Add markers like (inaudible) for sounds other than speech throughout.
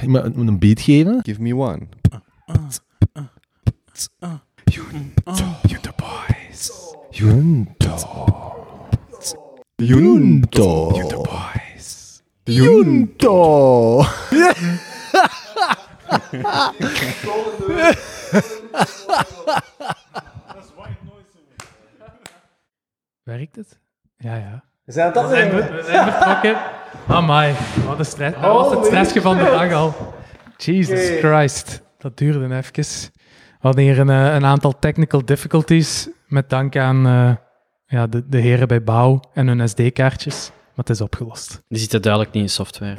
ik moet moet een beat geven. Give me one. Junto boys. Junto. Junto. Junto boys. Junto. Werkt het? Ja, ja. Zijn dat We zijn, dat? be- we zijn betrokken. Amai, wat een stress. Dat was het Holy stressje van de dag al. Jesus Oké. Christ. Dat duurde even. We hadden hier een, eh, een aantal technical difficulties met dank aan eh, ja, de, de heren bij Bouw en hun SD-kaartjes. Maar het is opgelost. Die zitten duidelijk niet in software.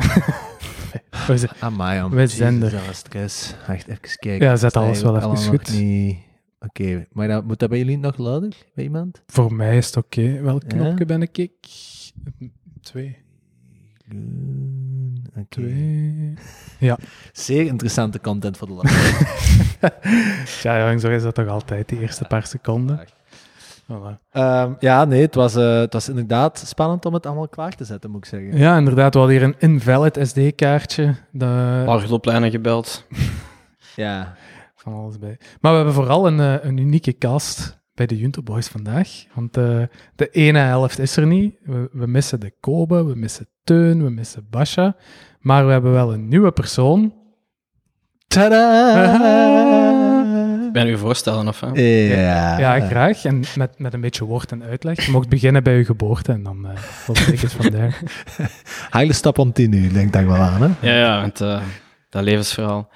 We zijn- Amai, man. Wij zijn er. Jezus, wat stress. Wacht, even kijken. Ja, zet alles wel Eigenlijk even allemaal goed. nog niet- Oké, maar dat, moet dat bij jullie nog luider? Bij iemand? Voor mij is het oké. Welk Ja? knopje ben ik? ik? Twee. Groen, Oké. Twee. Zeer interessante content voor de laatste. Ja, jong, zo is dat toch altijd, die eerste paar seconden. Voilà. Ehm, ja, nee, het was, eh, het was inderdaad spannend om het allemaal klaar te zetten, moet ik zeggen. Ja, inderdaad. We hadden hier een invalid SD-kaartje. De... Paar hulplijnen gebeld. Ja. Van alles bij. Maar we hebben vooral een, eh, een unieke cast bij de Junto Boys vandaag. Want eh, de ene helft is er niet. We, we missen de Kobe, we missen Teun, we missen Basha. Maar we hebben wel een nieuwe persoon. Tadaa! Ben u voorstellen of hè? Ja. Ja, graag. En met, met een beetje woord en uitleg. Je mocht beginnen bij uw geboorte en dan eh volg ik het van (laughs) daar. Heilige stap om tien uur, denk ik wel aan, hè? (laughs) Ja, ja, want eh, dat levensverhaal.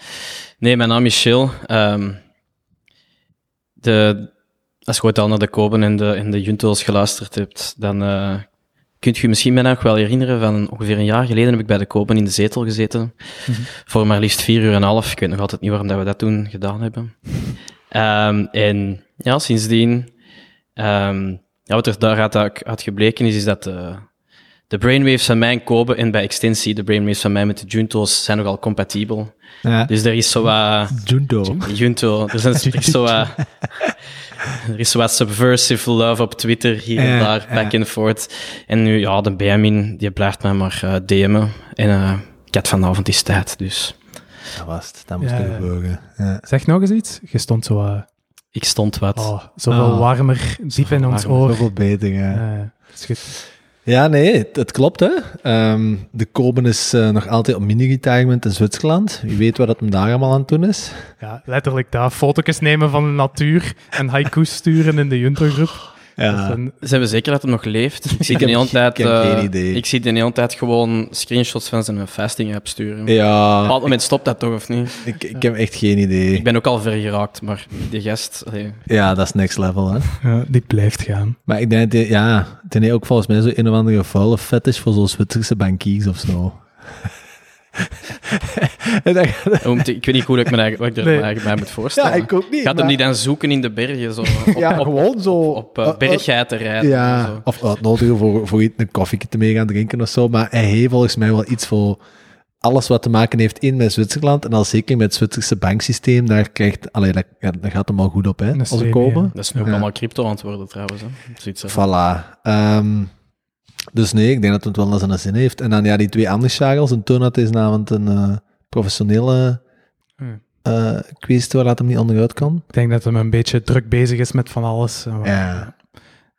Nee, mijn naam is Chill. Ehm, de, als je ooit al naar de Koben en de, en de Juntos geluisterd hebt, dan eh, kunt je je misschien mij nog wel herinneren van ongeveer een jaar geleden heb ik bij de Koben in de zetel gezeten. Voor maar liefst vier uur en een half. Ik weet nog altijd niet waarom dat we dat toen gedaan hebben. Ehm, en ja, sindsdien... ehm, ja, wat er daaruit uit uit gebleken is, is dat... eh, de brainwaves van mijn Kobe en bij extensie de brainwaves van mij met de Junto's zijn nogal compatibel. Ja. Dus er is zo wat... Junto. Junto, er, zijn, er is zo (laughs) wat... Er is zo wat subversive love op Twitter, hier en Ja, daar, ja. back and forth. En nu, ja, de Benjamin, die blijft mij maar eh, DM'en. En eh ik had vanavond is tijd, dus... Dat was het, dat moest Ja, er ja. gebeuren. Ja. Zeg nog eens iets. Je stond zo, eh, Ik stond wat. oh, zoveel Ah. warmer, diep in ons warmer. oor. Zoveel beter, ja. Eh, dat is goed. Ja, nee, het, het klopt hè. Ehm, de Koben is eh, nog altijd op mini-retirement in Zwitserland. Wie weet wat dat hem daar allemaal aan het doen is. Ja, letterlijk daar. Foto's nemen van de natuur en haiku's sturen in de Junto-groep. Dat is een- Zijn we zeker dat hij nog (laughs) leeft? Ik zie Ik de heb- hele tijd... ik heb geen eh, idee. Ik zie de hele tijd gewoon screenshots van zijn fasting app sturen. Op een Ja, bepaald moment stopt dat toch, of niet? ik, ik heb echt geen idee. Ik ben ook al ver geraakt, maar die gast. allee. Ja, dat is next level hè. ja, die blijft gaan. Maar ik denk, dat die- ja, ten heeft ook volgens mij zo een of andere vuile fetish voor zo'n Zwitserse bankiers of zo. (laughs) En dan- Om te- ik weet niet hoe ik me daar- wat ik er Nee. me eigenlijk bij moet voorstellen. ook niet. Gaat hem maar- niet dan zoeken in de bergen? Zo, op Ja, op, gewoon zo. op eh, Eh, eh, berggeiten rijden. en Ja, zo. of uitnodigen voor, voor iets, een koffietje te mee gaan drinken of zo. Maar hij heeft volgens mij wel iets voor alles wat te maken heeft in met Zwitserland. En al zeker met het Zwitserse banksysteem. Daar, krijgt, allee, daar, ja, daar gaat hem al goed op, hè? Een Als we slimme, komen. Dat is nu ook allemaal crypto aan het worden trouwens. Hè. Zoiets, hè. Voilà. Ehm, dus nee, ik denk dat het wel eens aan de zin heeft. En dan ja, die twee andere Charles. Een Turnhout is namelijk een eh, professionele Hmm. eh quiz waar laat hem niet onderuit kan. Ik denk dat hem een beetje druk bezig is met van alles. en wat- Ja.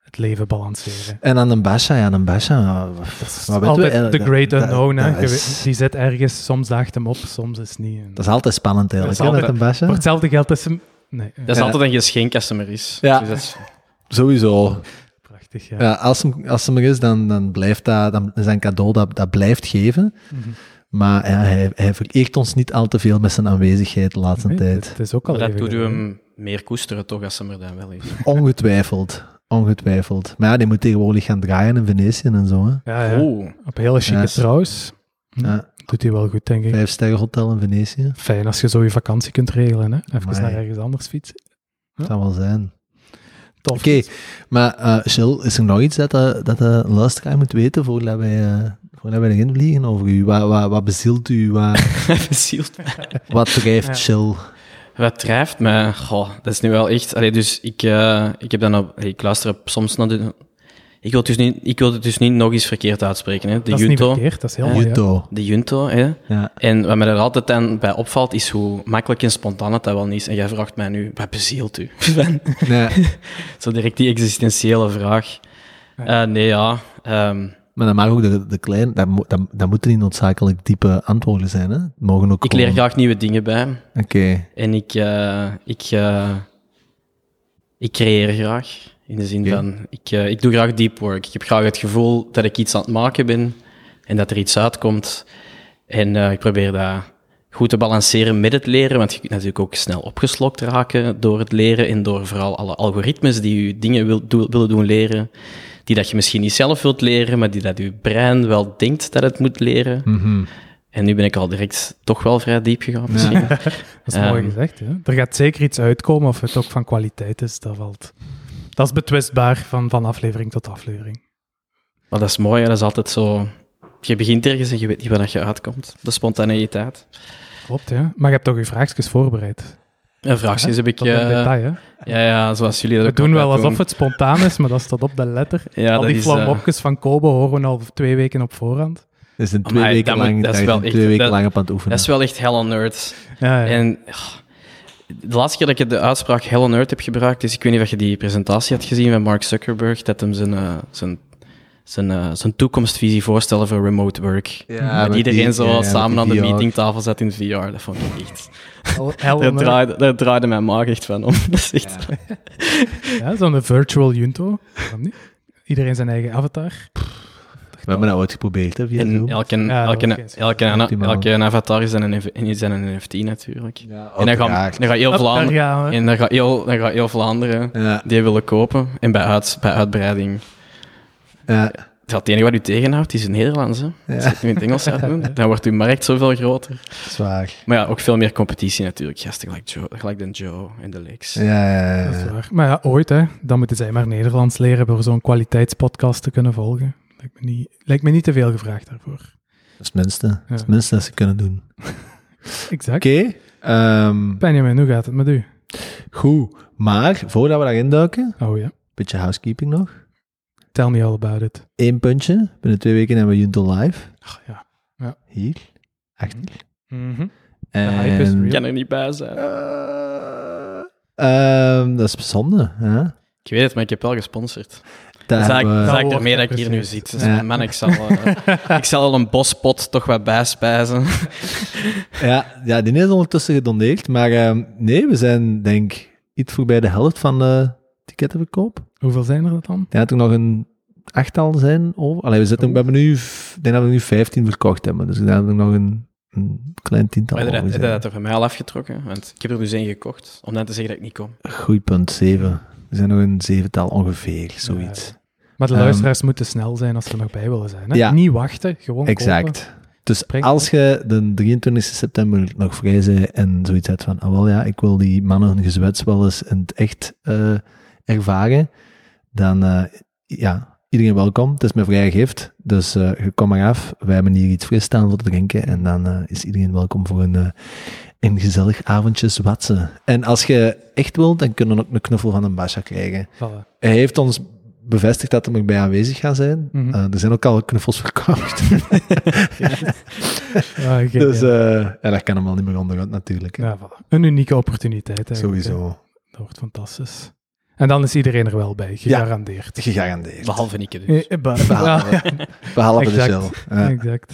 Het leven balanceren. En dan een Basha, ja, een Basha. Dat is Maar weten we, altijd eh, de dat- great dat- unknown. hè. dat Je is- weet- Die zit ergens, soms daagt hem op, soms is het niet. En Dat is altijd spannend eigenlijk, Dat hè, is met een Basha. Voor hetzelfde geld is hem... Nee, eh, Dat is Ja. altijd een geschenk als ze er is. Ja. Dus dat is- Sowieso. prachtig. Ja. Ja, als, hem, als hem er is, dan, dan blijft dat, dan is dat een cadeau dat, dat blijft geven. Mhm. Maar ja, hij, hij vereert ons niet al te veel met zijn aanwezigheid de laatste Nee, tijd. Het is ook al maar dat even doet u geleden. hem meer koesteren toch als ze er dan wel is. Ongetwijfeld. Ongetwijfeld. Maar ja, die moet tegenwoordig gaan draaien in Venetië en zo. Hè. Ja, (laughs) ja. Oeh. Op hele chique Yes. trouws. Hm, Ja. Doet hij wel goed, denk ik. Vijf sterren hotel in Venetië. Fijn als je zo je vakantie kunt regelen. Hè? Even Amai. naar ergens anders fietsen. Dat zou wel zijn. Tof. Oké, maar eh Jill, is er nog iets dat, eh, dat de luisteraar moet weten voordat wij, eh, voordat wij erin vliegen over u? Wat, wat, wat bezielt u? Wat, Bezield. wat drijft Ja. Jill? Wat drijft mij? Goh, dat is nu wel echt... Allee, dus ik, eh, ik, heb dan op, ik luister op- soms naar de... Ik wil het dus niet, ik wil het dus niet nog eens verkeerd uitspreken. Hè. De dat is niet junto. verkeerd, dat is heel mooi. hè. Judo. De junto, hè. Ja. En wat mij er altijd aan bij opvalt, is hoe makkelijk en spontaan het dat wel niet is. En jij vraagt mij nu, wat bezielt u? (laughs) Van- Nee, Zo direct die existentiële vraag. Eh, nee, ja. ehm, maar dan mag ook de, de klein, dat, mo- dat, dat moeten niet noodzakelijk diepe antwoorden zijn. Hè? Het mogen ook ik leer gewoon- graag nieuwe dingen bij. Oké. En ik, eh, ik, eh, ik creëer graag. In de zin Oké. van, ik, eh, ik doe graag deep work. Ik heb graag het gevoel dat ik iets aan het maken ben en dat er iets uitkomt. En eh, ik probeer dat goed te balanceren met het leren, want je kunt natuurlijk ook snel opgeslokt raken door het leren en door vooral alle algoritmes die je dingen wil, doe- willen doen leren, die dat je misschien niet zelf wilt leren, maar die dat je brein wel denkt dat het moet leren. (laughs) Mhm. En nu ben ik al direct toch wel vrij diep gegaan misschien. Dat is mooi Ehm. gezegd. Hè? Er gaat zeker iets uitkomen of het ook van kwaliteit is. Dat, valt. dat is betwistbaar van, van aflevering tot aflevering. Maar dat is mooi, hè. dat is altijd zo. Je begint ergens en je weet niet waar dat je uitkomt. De spontaneïteit. Klopt, hè? Maar je hebt toch je vraagjes voorbereid? En vraagjes heb ik. Tot in eh, detail, hè? ja, ja, zoals jullie dat We ook doen altijd wel alsof het spontaan is, maar dat is tot op de letter. Ja, Al dat die is. eh, flamopjes van Kobe horen we al twee weken op voorhand. Dat is een twee Amai, weken dat moet- lang, dat is dat is wel een echt- twee weken dat- lang op aan het oefenen. dat is wel echt hell on earth. Ja, ja. En ah, de laatste keer dat ik de uitspraak hell on earth heb gebruikt, is ik weet niet of je die presentatie had gezien van Mark Zuckerberg, dat hem zijn, eh, zijn, zijn, eh, zijn toekomstvisie voorstelde voor remote work. Ja, en met Mhm. iedereen die- zo ja, met samen die aan de VR. meetingtafel zat in VR. Dat vond ik echt. Hell- hell Daar on earth. draaide, daar draaide mijn maag echt van om. (laughs) Dat is echt. Ja, Zo'n virtual junto. Waarom niet? Iedereen zijn eigen avatar. We hebben dat ooit geprobeerd, hè, via En Zoom. elke, Ja, dat elke, is elke, geen zin. elke, Optimaal. avatar is dan een, NF is dan een NFT natuurlijk. Ja, en dan gaan, Oh, uiteraard. dan gaan heel Hop, daar Vlaanderen... gaan we. En dan gaat heel, dan gaat heel Vlaanderen Ja, die willen kopen. En bij, uit, bij uitbreiding... ja. Dat het enige wat u tegenhoudt, is in Nederlands. Hè? Als je het nu in het Engels gaat doen, (laughs) dan wordt uw markt zoveel groter. zwaar. Maar ja, ook veel meer competitie natuurlijk. Gasten gelijk, Joe, gelijk dan Joe en de Lex. Ja, ja, ja, Dat is ja. waar. Maar ja, ooit, hè. Dan moeten zij maar Nederlands leren om zo'n kwaliteitspodcast te kunnen volgen. Lijkt me niet, lijkt me niet te veel gevraagd daarvoor. Dat is het minste. Dat is Ja. het minste dat ze kunnen doen. Exact. Oké. ehm, Benjamin, hoe gaat het met u? goed. Maar, voordat we daarin duiken, Oh ja, beetje housekeeping nog. tell me all about it. Eén puntje. Binnen twee weken hebben we Junto Live. Ach, ja. Hier. Mhm. Achter. Mhm. De hype is En... Ik real. kan er niet bij zijn. Eh, ehm, dat is zonde. Hè? Dat Ik weet het, maar ik heb wel gesponsord. hebben Dat is eigenlijk, we- dat is eigenlijk Dat ermee dat wordt ik hier nu gepresteerd. zit. Dus Ja. man, ik zal, eh, (laughs) ik zal al een bospot toch wat bijspijzen. Ja, ja, die is ondertussen gedoneerd. Maar ehm, nee, we zijn denk ik iets voorbij de helft van de ticketverkoop. (laughs) Hoeveel zijn er dat dan? Ik denk dat er nog een achttal zijn over. Allee, we, zitten, we hebben nu, v- ik denk dat we nu 15 verkocht hebben. Dus ik denk dat er nog een, een klein tiental Maar dat, over dat, zijn. had er van mij al afgetrokken, want ik heb er dus één gekocht, om dan te zeggen dat ik niet kom. Goed punt, zeven. Er zijn nog een zevental ongeveer, zoiets. Maar de Ehm, luisteraars moeten snel zijn als ze er nog bij willen zijn. Hè? ja. Niet wachten, gewoon kopen. exact. Dus Spreekt als je de 23 september nog vrij bent en zoiets hebt van, ah wel ja, ik wil die mannen hun gezwets wel eens in het echt eh, ervaren, dan eh, ja, iedereen welkom. Het is mijn vrije gift, dus eh, je kom maar af. Wij hebben hier iets fris staan voor te drinken en dan eh, is iedereen welkom voor een, eh, een gezellig avondje zwatsen. En als je echt wilt, dan kunnen we ook een knuffel van een Basha krijgen. Voilà. (laughs) Hij heeft ons bevestigd dat hem erbij aanwezig gaat zijn. Mhm. Eh, er zijn ook al knuffels verkocht. Ah, oké, Dus ja. eh ja, dat kan hem al niet meer onderuit natuurlijk. hè. Ja, voilà. Een unieke opportuniteit. eigenlijk, hè. Sowieso. Dat wordt fantastisch. En dan is iedereen er wel bij, gegarandeerd. Gegarandeerd. Behalve ik dus. Eh, eh, bah- Behalve- ja, Behalve de Exact. cel. Ja. (laughs) Exact.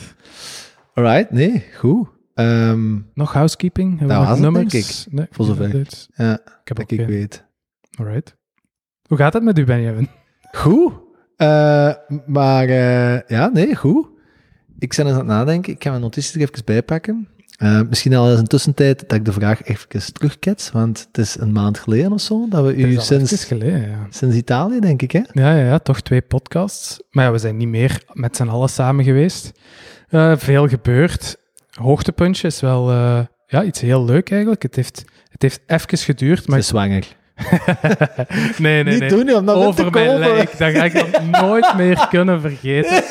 Alright, nee, goed. Ehm, Nog housekeeping? Hebben Dat we nog was het, nummers? Nou, denk Nee, Voor zover. inderdaad. ja, Ik heb dat ook ik geen. weet. Alright. Hoe gaat het met u, Benjamin? Goed. Eh, maar eh, ja, nee, goed. Ik ben eens aan het nadenken. Ik ga mijn notities er even bij pakken. Eh, misschien al eens een tussentijd dat ik de vraag even terugkets, want het is een maand geleden of zo dat we Het is u al even sinds, geleden, ja. sinds Italië, denk ik, hè? Ja, ja, ja, toch twee podcasts. Maar ja, we zijn niet meer met z'n allen samen geweest. Eh, veel gebeurd. Hoogtepuntje is wel eh, ja, iets heel leuk eigenlijk. Het heeft, het heeft even geduurd, Ze maar... is zwanger. nee, nee, Niet nee. doen, om dat in te Over mijn komen. (laughs) lijk, dat ga ik dan nooit meer kunnen vergeten.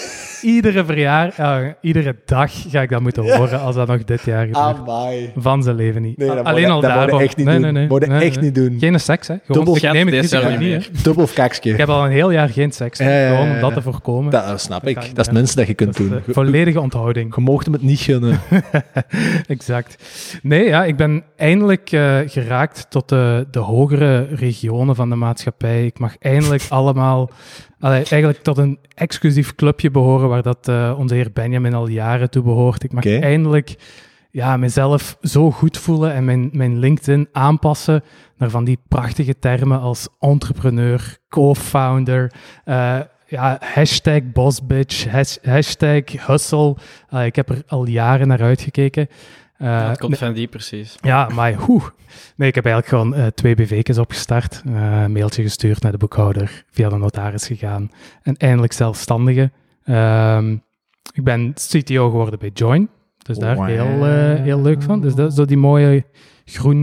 iedere verjaar, eh, iedere dag ga ik dat moeten horen als dat nog dit jaar gebeurt. Amai. van zijn leven niet. Nee, dat Alleen moet- al dat moet je daarvoor. echt niet nee, doen. Nee, nee, Moet je nee, echt nee. niet doen. Geen seks, hè. Gewoon, Dubbel ik neem het Gaat risico deze jaar niet, niet hè. meer. Dubbel kaksje. Ik heb al een heel jaar geen seks. Ja, ja, ja, Gewoon om ja. dat te voorkomen. Dat eh, snap Dat ik. kan niet, Dat is het hè. minste dat je kunt Dat is, doen. eh, Je- volledige onthouding. Je mocht hem het niet (laughs) gunnen. Exact. Nee, ja, ik ben eindelijk eh, geraakt tot de, de hogere regionen van de maatschappij. Ik mag eindelijk allemaal, allee, eigenlijk tot een exclusief clubje behoren waar dat eh, onze heer Benjamin al jaren toe behoort. Ik mag Oké. eindelijk ja, mezelf zo goed voelen en mijn, mijn LinkedIn aanpassen naar van die prachtige termen als entrepreneur, co-founder, eh, ja, hashtag bossbitch, has- hashtag hustle. Eh, ik heb er al jaren naar uitgekeken. Eh, Ja, het komt nee- van die precies. ja, maar hoe? Nee, ik heb eigenlijk gewoon eh, twee BV's opgestart. Eh, Een mailtje gestuurd naar de boekhouder, via de notaris gegaan. En eindelijk zelfstandige. Ehm, ik ben CTO geworden bij Join. Dus daar heel, eh, heel leuk van. Dus dat, zo die mooie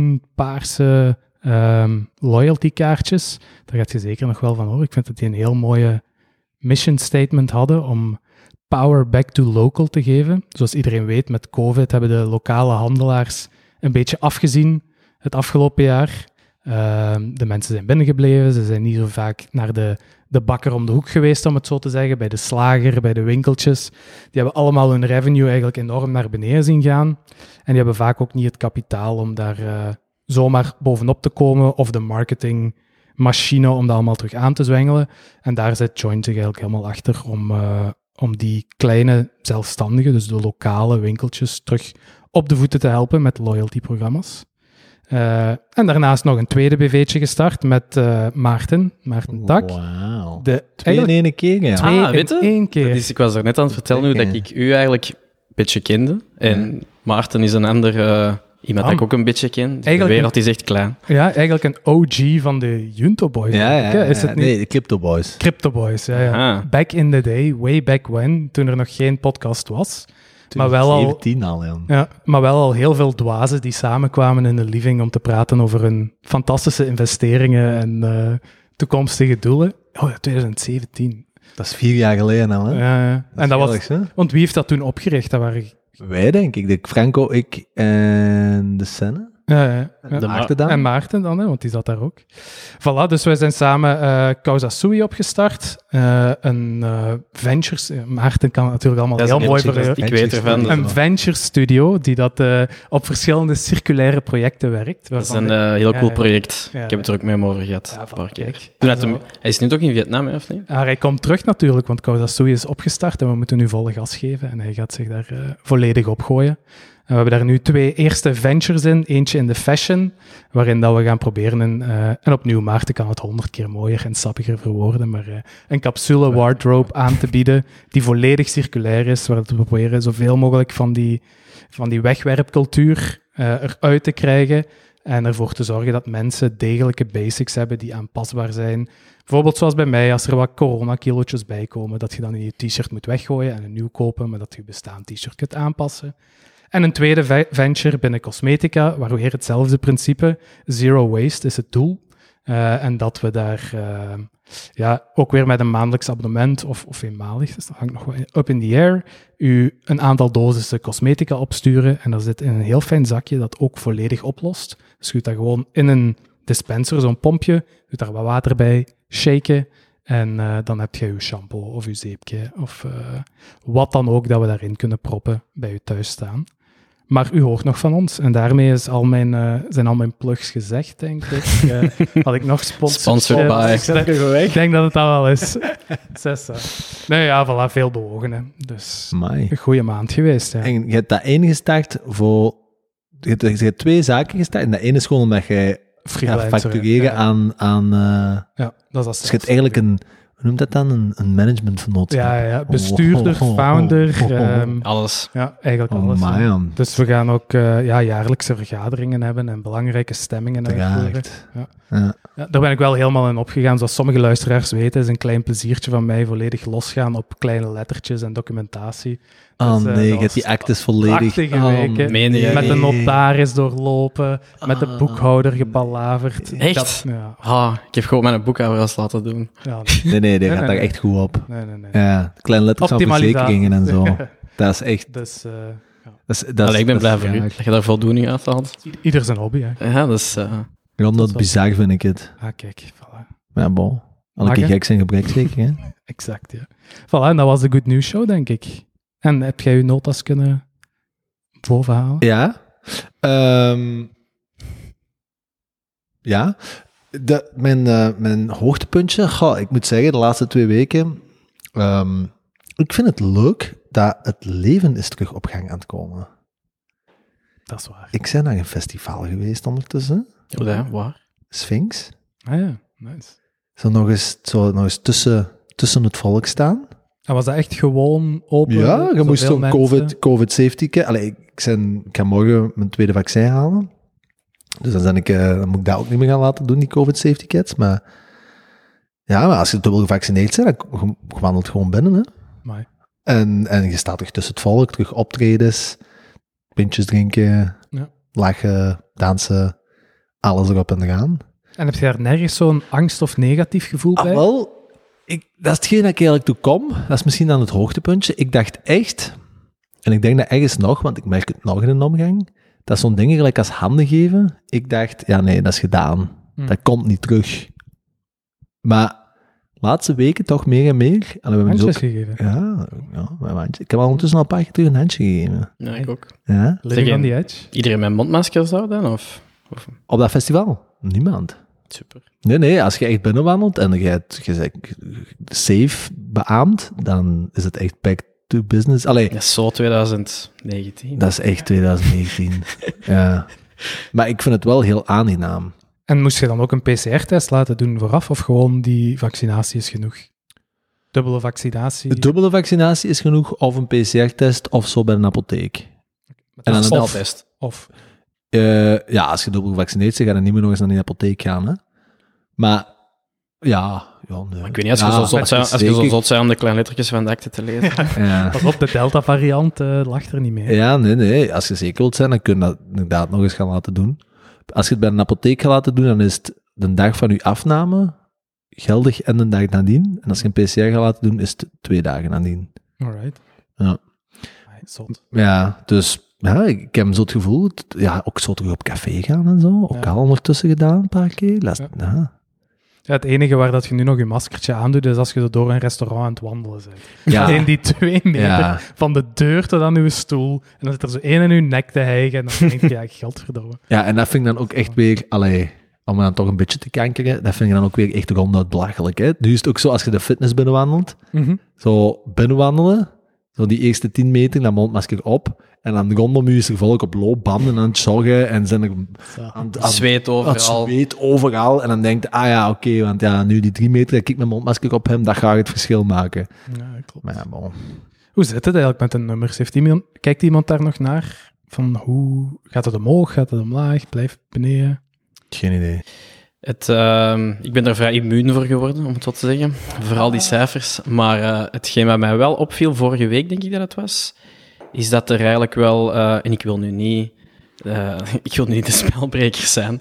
groen-paarse ehm, loyalty kaartjes. Daar gaat je zeker nog wel van horen. Ik vind dat die een heel mooie mission statement hadden om power back to local te geven. Zoals iedereen weet, met COVID hebben de lokale handelaars een beetje afgezien het afgelopen jaar. Ehm, de mensen zijn binnengebleven, ze zijn niet zo vaak naar de, de bakker om de hoek geweest, om het zo te zeggen, bij de slager, bij de winkeltjes. Die hebben allemaal hun revenue eigenlijk enorm naar beneden zien gaan. En die hebben vaak ook niet het kapitaal om daar eh, zomaar bovenop te komen of de marketingmachine om dat allemaal terug aan te zwengelen. En daar zit Joint zich eigenlijk helemaal achter om, eh, om die kleine zelfstandigen, dus de lokale winkeltjes, terug op de voeten te helpen met loyalty-programma's. Eh, en daarnaast nog een tweede BV'tje gestart met eh, Maarten, Maarten Oh, Tak. Wauw. De, Twee in eigenlijk één keer, ja. twee Ah, weet in je? één keer. Dus ik was er net aan het vertellen hoe dat ik u eigenlijk een beetje kende. En Maarten is een ander eh, iemand dat ik ook een beetje ken. Dus de Eigenlijk wereld is echt klein. Ja, eigenlijk een OG van de Junto Boys. Ja, ja, eigenlijk, hè? ja, Is het niet? Nee, de Crypto Boys. Crypto Boys, ja, ja. Ah. Back in the day, way back when, toen er nog geen podcast was. Maar wel al, 17 al, ja. ja, maar wel al heel veel dwazen die samenkwamen in de living om te praten over hun fantastische investeringen en eh, toekomstige doelen. Oh ja, 2017. Dat is vier jaar geleden al, hè. Ja, ja. En dat was, Jaarlijks, hè? want wie heeft dat toen opgericht? Dat waren, Wij, denk ik. De Franco, ik en de Senne. ja, ja, ja. De Ma- Maarten dan. En Maarten dan, hè, want die zat daar ook. Voilà, dus wij zijn samen eh Causa Sui opgestart. Eh, een eh, ventures... eh, Maarten kan het natuurlijk allemaal Dat is heel mooi echt- voor... Ik weet ervan. dat is Een venture studio die dat eh, op verschillende circulaire projecten werkt. Dat is waarvan een de- eh, heel Ja, cool ja. project. Ja, ik heb het er ook met hem over gehad. Ja, een van, paar keer. kijk. Toen had Zo. hem- hij is nu toch in Vietnam, hè, of niet? Ah, hij komt terug natuurlijk, want Causa Sui is opgestart en we moeten nu volle gas geven. En hij gaat zich daar eh, volledig op gooien. En we hebben daar nu twee eerste ventures in. Eentje in de fashion, waarin dat we gaan proberen. Een, eh, en opnieuw, Maarten kan het honderd keer mooier en sappiger verwoorden. Maar eh, een capsule wardrobe aan te bieden, die volledig circulair is. Waar we proberen zoveel mogelijk van die, van die wegwerpcultuur eh, eruit te krijgen. En ervoor te zorgen dat mensen degelijke basics hebben die aanpasbaar zijn Bijvoorbeeld zoals bij mij, als er wat coronakilootjes bij komen, dat je dan je t-shirt moet weggooien en een nieuw kopen, maar dat je bestaand t-shirt kunt aanpassen. En een tweede ve- venture binnen cosmetica, waar weer hetzelfde principe, zero waste is het doel. Eh, en dat we daar eh, ja, ook weer met een maandelijks abonnement of, of eenmalig, dus dat hangt nog wel in- up in the air, u een aantal dosissen cosmetica opsturen. En dat zit in een heel fijn zakje dat ook volledig oplost. Dus je doet dat gewoon in een dispenser, zo'n pompje, doet daar wat water bij, shaken. En eh, dan heb je je shampoo of je zeepje of eh, wat dan ook dat we daarin kunnen proppen bij je thuis staan. Maar u hoort nog van ons. En daarmee is al mijn, eh, zijn al mijn plugs gezegd, denk ik. Eh, had ik nog sponsors? Sponsored eh, by. ik zeg- ik denk dat het dat wel is. (laughs) Zes. hè. Nee, ja, voilà, veel bewogen. Hè. Dus Amai. een goede maand geweest. Ja. En je hebt dat één gestart voor... Je hebt, je hebt twee zaken gestart. En dat ene is gewoon omdat jij gaat Freelancer, hè. factureren ja. aan... aan eh, Ja, dat is als dus je hebt eigenlijk een... Hoe noemt dat dan? Een, een managementvernootschap. Ja, ja, ja. bestuurder, founder, ehm, Alles. ja, eigenlijk alles. Oh, hè. man. Dus we gaan ook eh, ja, jaarlijkse vergaderingen hebben en belangrijke stemmingen uitvoeren. Draagt. Ja. Ja. Ja, daar ben ik wel helemaal in opgegaan. Zoals sommige luisteraars weten, is een klein pleziertje van mij volledig losgaan op kleine lettertjes en documentatie. Oh Dus, nee, eh, dat je hebt die was actes volledig... prachtige oh, weken. Meen je? Met de nee. notaris doorlopen, met de boekhouder gepalaverd. Echt? Dat- ja, Ah, ik heb gewoon mijn boekhouder als laten doen. ja, Nee, nee, die Nee, gaat nee, daar nee. echt goed op. Nee, nee, nee. Ja, kleine letters van verzekeringen en (laughs) zo. Dat is echt... dus eh, Dat is, dat is, Allee, ik ben dat blij is voor u raar. dat je daar voldoening uit haalt. i- ieder zijn hobby, hè. Ja, dat is... eh, Ja, omdat Tot bizar vind ik het. Ah, kijk, voilà. Ja, bon. Alle Mag, keer hè? gek zijn gebrek zeker, hè? Exact, ja. Voilà, en dat was de Good News Show, denk ik. En heb jij je notas kunnen bovenhalen? Ja. Ehm, ja. De, mijn, eh, mijn hoogtepuntje, goh, ik moet zeggen, de laatste twee weken. ehm, ik vind het leuk dat het leven is terug op gang aan het komen. Dat is waar. Ik ben naar een festival geweest ondertussen. ja, waar? Sphinx. Ah ja, nice. Zo nog eens, zo nog eens tussen, tussen het volk staan. En was dat echt gewoon open? Ja, je eh, zoveel moest zo'n mensen? COVID, COVID safety kit. Allee, ik, ik zijn, ik ga morgen mijn tweede vaccin halen. Dus dan, ben ik, eh, dan moet ik dat ook niet meer gaan laten doen, die COVID safety kits. Maar ja, maar als je dubbel gevaccineerd bent, dan kom- je wandelt gewoon binnen. Hè. Amai. En, en je staat terug tussen het volk, terug optredens, pintjes drinken, Ja. lachen, dansen, alles erop en eraan. En heb je daar nergens zo'n angst of negatief gevoel Ah, bij? wel, ik, dat is hetgeen dat ik eigenlijk toe kom. Dat is misschien dan het hoogtepuntje. Ik dacht echt, en ik denk dat ergens nog, want ik merk het nog in een omgang, dat zo'n dingen gelijk als handen geven, ik dacht, ja nee, dat is gedaan. Hmm. Dat komt niet terug. Maar laatste weken toch meer en meer. En we hebben dus Handjes ook, gegeven. ja, ja mijn handje. ik heb al ondertussen al een paar keer terug een handje gegeven. Ja, ik ook. Ja? Living Zeg, on en- the edge. Iedereen met mondmaskers zou dan? Of? of- Op dat festival? Niemand. Super. Nee, nee, als je echt binnenwandelt en je hebt je zegt safe beaamd, dan is het echt back to business. Allee, Dat is zo 2019. dat is echt (laughs) 2019. ja. Maar ik vind het wel heel aangenaam. En moest je dan ook een PCR-test laten doen vooraf of gewoon die vaccinatie is genoeg? Dubbele vaccinatie. De dubbele vaccinatie is genoeg, of een PCR-test, of zo bij een apotheek. en dan een een sneltest. Of, Eh, ja, als je dubbel gevaccineerd bent, ga je niet meer nog eens naar die apotheek gaan. Hè? Maar, ja... ja nee. Ik weet niet, als je, Ja, zo, zot het zijn, is als je zo zeker- zot zijn om de kleine lettertjes van de akte te (laughs) lezen. Ja. pas op, de Delta-variant eh, lag er niet mee. Ja, nee, nee. Als je zeker wilt zijn, dan kun je dat inderdaad nog eens gaan laten doen. Als je het bij een apotheek gaat laten doen, dan is het de dag van je afname geldig en de dag nadien. En als je een PCR gaat laten doen, is het twee dagen nadien. Alright. Ja. Amai, Zot. Ja, dus ja, ik ik heb zo het gevoel, het- ja, ook zo terug op café gaan en zo. Ook Ja. al ondertussen gedaan, een paar keer. Laat, Ja. ja. Ja, het enige waar dat je nu nog je maskertje aandoet, is als je zo door een restaurant aan het wandelen bent. Ja. (laughs) Alleen die twee meter Ja. van de deur tot aan uw stoel. En dan zit er zo één in uw nek te hijgen. En dan denk je, (laughs) ja, geldverdomme. Ja, en dat vind ik dan ook echt weer, allee, om dan toch een beetje te kankeren, dat vind ik dan ook weer echt ronduit belachelijk. Hè? Nu is het ook zo, als je de fitness binnenwandelt, Zo binnenwandelen, zo die eerste 10 meter, dan mondmasker op. En dan rondom u is er volk op loopbanden aan het joggen en zijn er aan, het- aan, Zweet aan het overal. zweet overal. En dan denkt je, ah ja, oké, want ja, nu die 3 meter, dat ik mijn mondmasker op hem, dat gaat het verschil maken. Ja, klopt. Maar ja, bon. Hoe zit het eigenlijk met de nummers? Heeft iemand, kijkt iemand daar nog naar? Van hoe gaat het omhoog? Gaat het omlaag? Blijft het beneden? Geen idee. Het, ehm, ik ben daar vrij immuun voor geworden, om het zo te zeggen. Vooral die cijfers. Maar eh, hetgeen wat mij wel opviel vorige week, denk ik dat het was, is dat er eigenlijk wel, eh, en ik wil nu niet, eh, (laughs) ik wil nu niet de spelbreker zijn,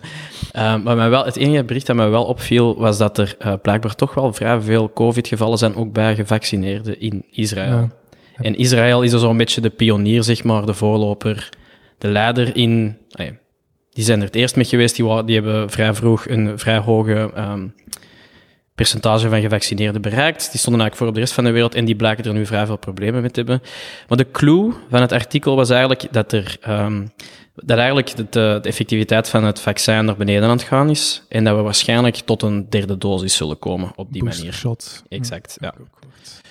Eh, maar mij wel, het enige bericht dat mij wel opviel was dat er eh, blijkbaar toch wel vrij veel COVID-gevallen zijn, ook bij gevaccineerden in Israël. Ja. En Israël is er zo'n beetje de pionier, zeg maar, de voorloper, de leider in. ah ja, die zijn er het eerst mee geweest. Die, wa- die hebben vrij vroeg een vrij hoge ehm, percentage van gevaccineerden bereikt. Die stonden eigenlijk voor op de rest van de wereld en die blijken er nu vrij veel problemen mee te hebben. Maar de clue van het artikel was eigenlijk dat er. ehm, dat eigenlijk de, de, de effectiviteit van het vaccin naar beneden aan het gaan is. En dat we waarschijnlijk tot een derde dosis zullen komen op die Booster manier. shot. Exact, ja. heb ik ook gehoord.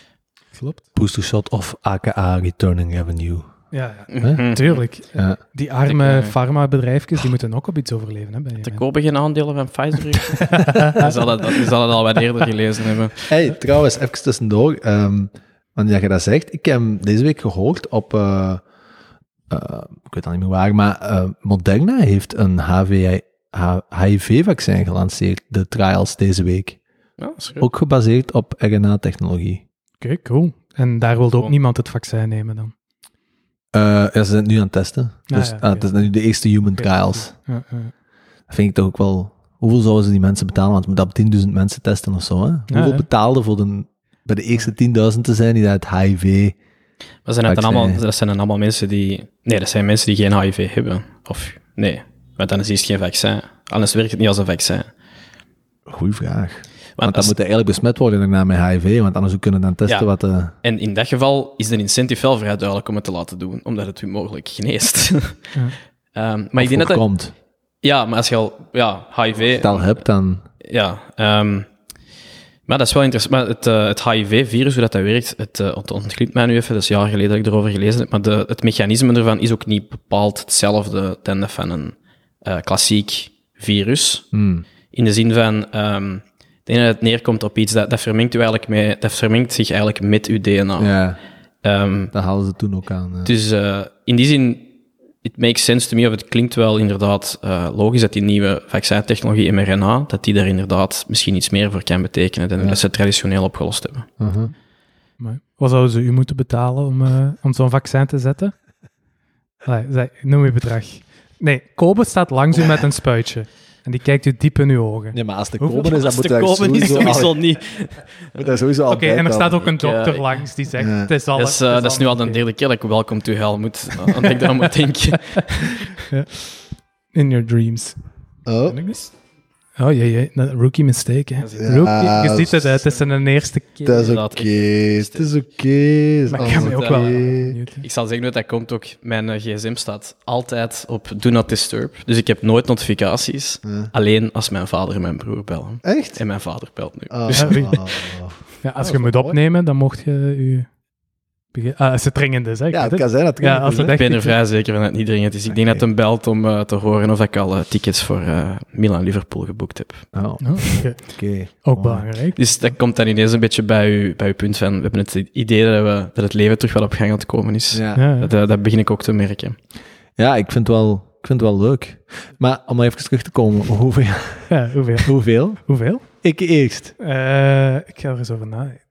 Klopt. Booster shot of AKA Returning Revenue. Ja, ja. Hè? (laughs) Mhm. Tuurlijk. Ja. Die arme Ik, eh, farmabedrijfjes, die moeten ook op iets overleven. Hè, Te Benjamin. kopen geen aandelen van Pfizer. je, zal het, je zal het al wat eerder gelezen hebben. Hey, trouwens, even tussendoor. ehm, want ja, je dat zegt, ik heb deze week gehoord op, eh, eh, ik weet al niet meer waar, maar eh, Moderna heeft een HVI H- HIV-vaccin gelanceerd, de trials deze week. Ja, dat is goed. Ook gebaseerd op RNA-technologie. Oké, cool. En daar wilde ook Gewoon. niemand het vaccin nemen dan. Eh, ja, ze zijn het nu aan het testen. Ah, dus ja, ah, het oké. is nu de eerste human trials. Ja, ja. Dat vind ik toch ook wel hoeveel zouden ze die mensen betalen? Want je moet dat op 10.000 mensen testen of zo. Ah, Hè? hoeveel hè? betaalde voor de, bij de eerste 10.000 te zijn die dat HIV... Dat zijn, net Vaccin. dan allemaal, dat zijn dan allemaal mensen die... Nee, dat zijn mensen die geen HIV hebben. Of nee, want dan is het geen vaccin. Anders werkt het niet als een vaccin. Goeie vraag. Want Want dan als- moet hij eigenlijk besmet worden daarna met HIV, want anders kunnen we dan testen Ja. wat... de En in dat geval is de incentive wel vrij duidelijk om het te laten doen, omdat het u mogelijk geneest. (laughs) Ehm, maar ik denk dat dat- komt. Ja, maar als je al... Ja, HIV... Stel hebt, dan... Ja, ehm, maar dat is wel interessant. Maar het, eh, het HIV-virus, hoe dat, dat werkt, het eh, ont- ontglipt mij nu even. Dat is jaren geleden dat ik erover gelezen heb. Maar de, het mechanisme ervan is ook niet bepaald hetzelfde dan dat van een eh, klassiek virus. Hmm. In de zin van, ehm ik denk dat het neerkomt op iets dat, dat, vermengt, u eigenlijk mee, dat vermengt zich eigenlijk met uw DNA. Ja, Ehm, dat haalden ze toen ook aan. ja. dus eh, in die zin, it makes sense to me, of het klinkt wel inderdaad eh, logisch dat die nieuwe vaccintechnologie mRNA, dat die daar inderdaad misschien iets meer voor kan betekenen dan dat ze traditioneel opgelost hebben. Uh-huh. Maar wat zouden ze u moeten betalen om, eh, om zo'n vaccin te zetten? Allee, zeg, noem je bedrag. Nee, Kobe staat langs u met een spuitje. En die kijkt u diep in uw ogen. Nee, maar als de Hoeveel- komen is, dan Als moet de daar kopen is sowieso al- sowieso niet. moet daar sowieso al Oké, bij en er staat komen. ook een dokter Ja. langs die zegt: Ja. het is al. Dat is, eh, het dat is nu al de oké. derde keer dat ik welcome to hell moet, aan ik daar moet (laughs) denken. In your dreams. Oh. Oh jee, jee. dat- rookie mistake. Hè. Ja. Rookie, je ziet het, hè. het is een eerste keer. Dat is oké, Inderdaad, het is oké. Oh, het is maar ik ga me allemaal ook wel. oké. benieuwd, hè. Ik zal zeggen dat dat komt ook, mijn eh, gsm staat altijd op do not disturb. Dus ik heb nooit notificaties, Ja. alleen als mijn vader en mijn broer bellen. Echt? En mijn vader belt nu. Ah, Dus Ja, oei. ah. Ja, als dat je is moet wel mooi. opnemen, dan mocht je je. begin- Ah, als het dringend is, hè? Ik Ja, het weet het. kan zijn dat het Ja, kan als zijn. het echt Ik ben er iets- vrij zeker van dat het niet dringend is. Ik denk Oké. dat hem belt om eh, te horen of ik al eh, tickets voor eh, Milan-Liverpool geboekt heb. Oh, oké. Oh, oké. Ook belangrijk. Dus dat komt dan ineens een beetje bij uw, bij uw punt van... We hebben het idee dat, we, dat het leven terug wel op gang aan het komen is. Oh. Ja. Ja, ja. Dat, eh, dat begin ik ook te merken. ja, ik vind, het wel, ik vind het wel leuk. Maar om even terug te komen, hoeveel? (laughs) Ja, hoeveel? hoeveel? hoeveel? Ik eerst. Eh, ik ga er eens over nadenken.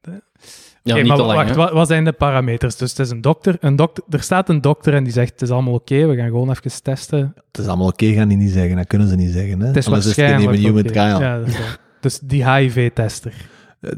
Ja, Oké, niet maar te lang, wacht, hè? wat, wat zijn de parameters? Dus het is een dokter, een dokter. Er staat een dokter en die zegt: Het is allemaal oké, we gaan gewoon even testen. Het is allemaal oké, gaan die niet zeggen. Dat kunnen ze niet zeggen. Hè? Het is Anders waarschijnlijk. is het geen human oké. trial. Eh, Ja, dat is waar. dus die HIV-tester.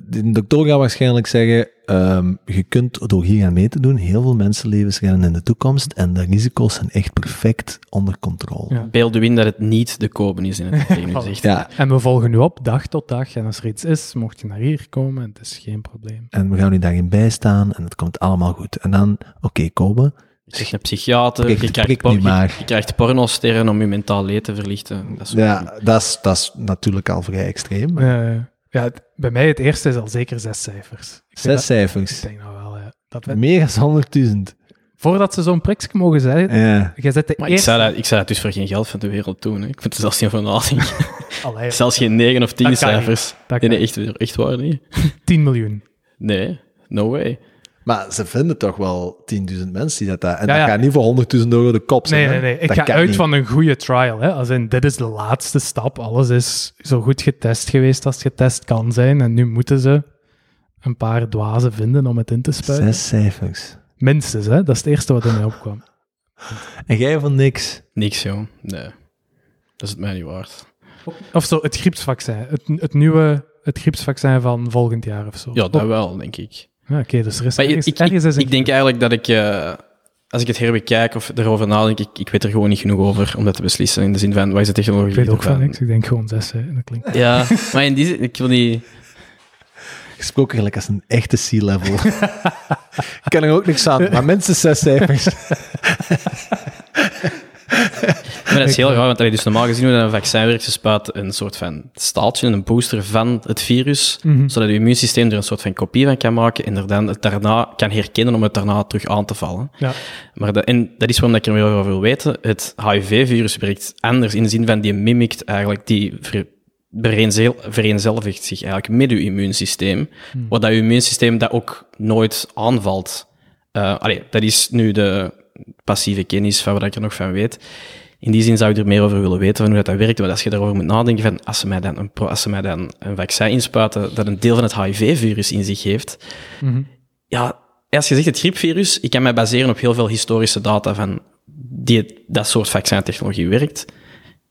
De dokter gaat waarschijnlijk zeggen, ehm, je kunt door hier aan mee te doen heel veel mensenlevens redden in de toekomst en de risico's zijn echt perfect onder controle. Ja. Ja, Beeld u in dat het niet de kopen is in het tegen u zegt. En we volgen nu op, dag tot dag. En als er iets is, mocht je naar hier komen. en Het is geen probleem. en we gaan nu daarin bijstaan en het komt allemaal goed. En dan, oké, komen. Je krijgt een psychiater, Prik- je krijgt, prik por- nu maar. je, je krijgt pornosterren om je mentaal leed te verlichten. Dat soort dingen. Ja, dat is, dat is natuurlijk al vrij extreem. maar Eh, ja, het- bij mij het eerste is al zeker zes cijfers. Ik denk Zes dat- cijfers. Ik denk nou wel, ja. Dat we- Meer dan 100.000. voordat ze zo'n prikje mogen zeggen, Ja. jij zet de Maar ik eerste... zou, dat, ik zou dat dus voor geen geld van de wereld doen. Hè. Ik vind het zelfs geen van Allee, (laughs) Zelfs geen 9 of 10 Dat kan niet. cijfers. dat kan. Nee, nee, echt, echt waar niet. 10 miljoen. Nee, no way. Maar ze vinden toch wel 10.000 mensen die dat... dat en Ja, ja. dat gaat niet voor 100.000 euro de kop zijn. Nee, nee, hè. nee. Ik Dat ga kan uit niet. van een goede trial. Hè. Als in, dit is de laatste stap. Alles is zo goed getest geweest als getest kan zijn. En nu moeten ze een paar dwazen vinden om het in te spuiten. Zes cijfers. Minstens, hè. Dat is het eerste wat in mij opkwam. En jij van niks. Niks, joh. Nee. Dat is het mij niet waard. Of zo, het griepsvaccin. Het, het nieuwe... Het griepsvaccin van volgend jaar of zo. Ja, dat wel, denk ik. Ja, Oké, dus er is Maar ik, ergens, ik, ergens ik, is een ik denk eigenlijk dat ik, eh, als ik het herbekijk of erover nadenk, ik, ik weet er gewoon niet genoeg over om dat te beslissen. In de zin van, wat is de technologie? Ik weet ook van ervan? niks. Ik denk gewoon zes. Hè. Dat klinkt. Ja, maar in die zin, ik wil niet... Gesproken gelijk als een echte C-level. ik kan er ook niks aan, maar mensen zes cijfers. Maar dat is heel raar, want allee, dus normaal gezien hoe dat een vaccin werkt, ze spuiten een soort van staaltje, een booster van het virus, Mhm. zodat je immuunsysteem er een soort van kopie van kan maken en er dan het daarna kan herkennen om het daarna terug aan te vallen. Ja. Maar dat, en dat is waarom dat ik er meer over wil weten. Het HIV-virus werkt anders in de zin van die mimikt eigenlijk, die ver, vereenzel- vereenzelvigt zich eigenlijk met uw immuunsysteem. Wat dat uw immuunsysteem dat ook nooit aanvalt. Eh, allee, dat is nu de passieve kennis van wat ik er nog van weet. In die zin zou ik er meer over willen weten van hoe dat, dat werkt. Want als je daarover moet nadenken, van als ze mij dan een, pro- als ze mij dan een vaccin inspuiten dat een deel van het HIV-virus in zich heeft, Mhm. ja, als je zegt het griepvirus, ik kan mij baseren op heel veel historische data van die, dat soort vaccintechnologie werkt.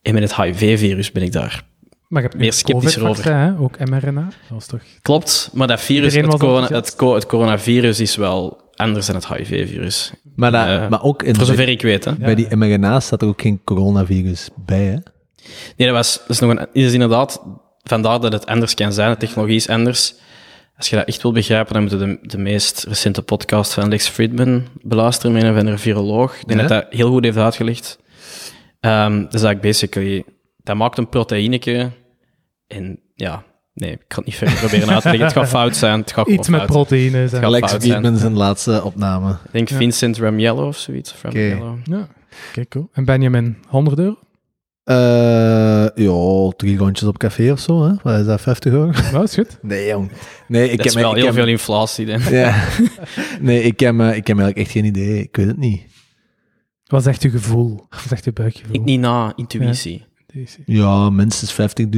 En met het HIV-virus ben ik daar Maar je hebt nu Meer sceptisch COVID-vaccin, hè? ook mRNA. Dat was toch... Klopt, maar dat virus, Iedereen was het, corona, enthousiast. het, co- het coronavirus is wel anders dan het HIV-virus. Maar, dat- Eh, maar ook in Voor zover ik weet, hè. bij die mRNA staat er ook geen coronavirus bij, hè? Nee, dat, was, dat is, nog een, is inderdaad vandaar dat het anders kan zijn. De technologie is anders. Als je dat echt wil begrijpen, dan moet je de, de meest recente podcast van Lex Friedman beluisteren met een of andere viroloog. Ik denk Ja. dat dat heel goed heeft uitgelegd. Ehm dat is eigenlijk basically... Dat maakt een proteïneke en ja... Nee, ik kan het niet verder proberen uit te leggen. Het gaat fout zijn. Het gaat gewoon Iets met fout zijn. proteïnes. Kan- En... Alex Alex fout zijn. Friedman zijn laatste opname. Ik denk Ja. Vincent Ramiello of zoiets. of Ramiello. Ja, oké, cool. En Benjamin, 100 euro? (laughs) Eh ja, drie rondjes op café of zo, hè? Wat is dat, 50 euro? (laughs) Nou, is goed. Nee, jong. Nee, ik Dat is heb wel ik heel heb- veel inflatie. Denk. ik. Ja. (laughs) Nee, ik heb, eh, ik heb eigenlijk echt geen idee. Ik weet het niet. Wat is echt uw gevoel? Wat is echt uw buikgevoel? (laughs) Ik niet na, intuïtie. Deze. Ja, minstens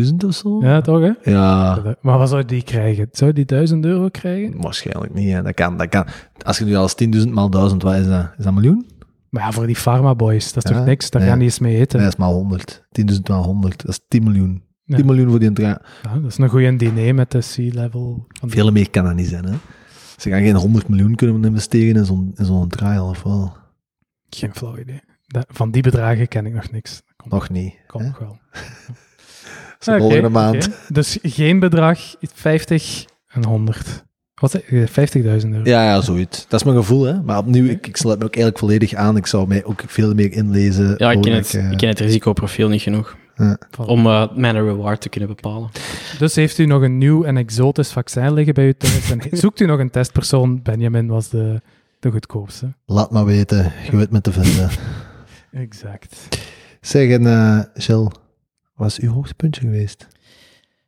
50.000 of zo. Ja, toch hè? Ja, Maar wat zou die krijgen? Zou die 1000 euro krijgen? waarschijnlijk niet. Hè. Dat kan, dat kan. Als je nu als 10.000 maal 1000, wat is dat? Is dat een miljoen? Maar ja, voor die pharmaboys, dat is Ja, toch niks? Daar nee. gaan die eens mee eten. Nee, dat is maar 100. 10.000 maal 100. Dat is 10 miljoen. Ja. 10 miljoen voor die entra. Ja, dat is een goede diner met de C-level. van die- Veel meer kan dat niet zijn, hè. Ze gaan geen 100 miljoen kunnen investeren in zo'n in zo'n trial, of wel? Geen flauw idee. Da- van die bedragen ken ik nog niks. Komt Nog niet. Kom nog wel. Ze volgende maand. oké. Dus geen bedrag, 50 en 100. Wat zei je? 50.000 euro. Ja, ja, zoiets. Dat is mijn gevoel, hè. Maar opnieuw, ik, ik sluit me ook eigenlijk volledig aan. Ik zou mij ook veel meer inlezen. Ja, ik ken, voordat het, eh, ik ken het risicoprofiel niet genoeg. Voilà. om eh, mijn reward te kunnen bepalen. Dus heeft u nog een nieuw en exotisch vaccin liggen bij u thuis? En zoekt u nog een testpersoon? Benjamin was de, de goedkoopste. Laat maar weten. Je weet me te vinden. Exact. Zeg, en, eh Jill, wat is uw hoogtepuntje geweest?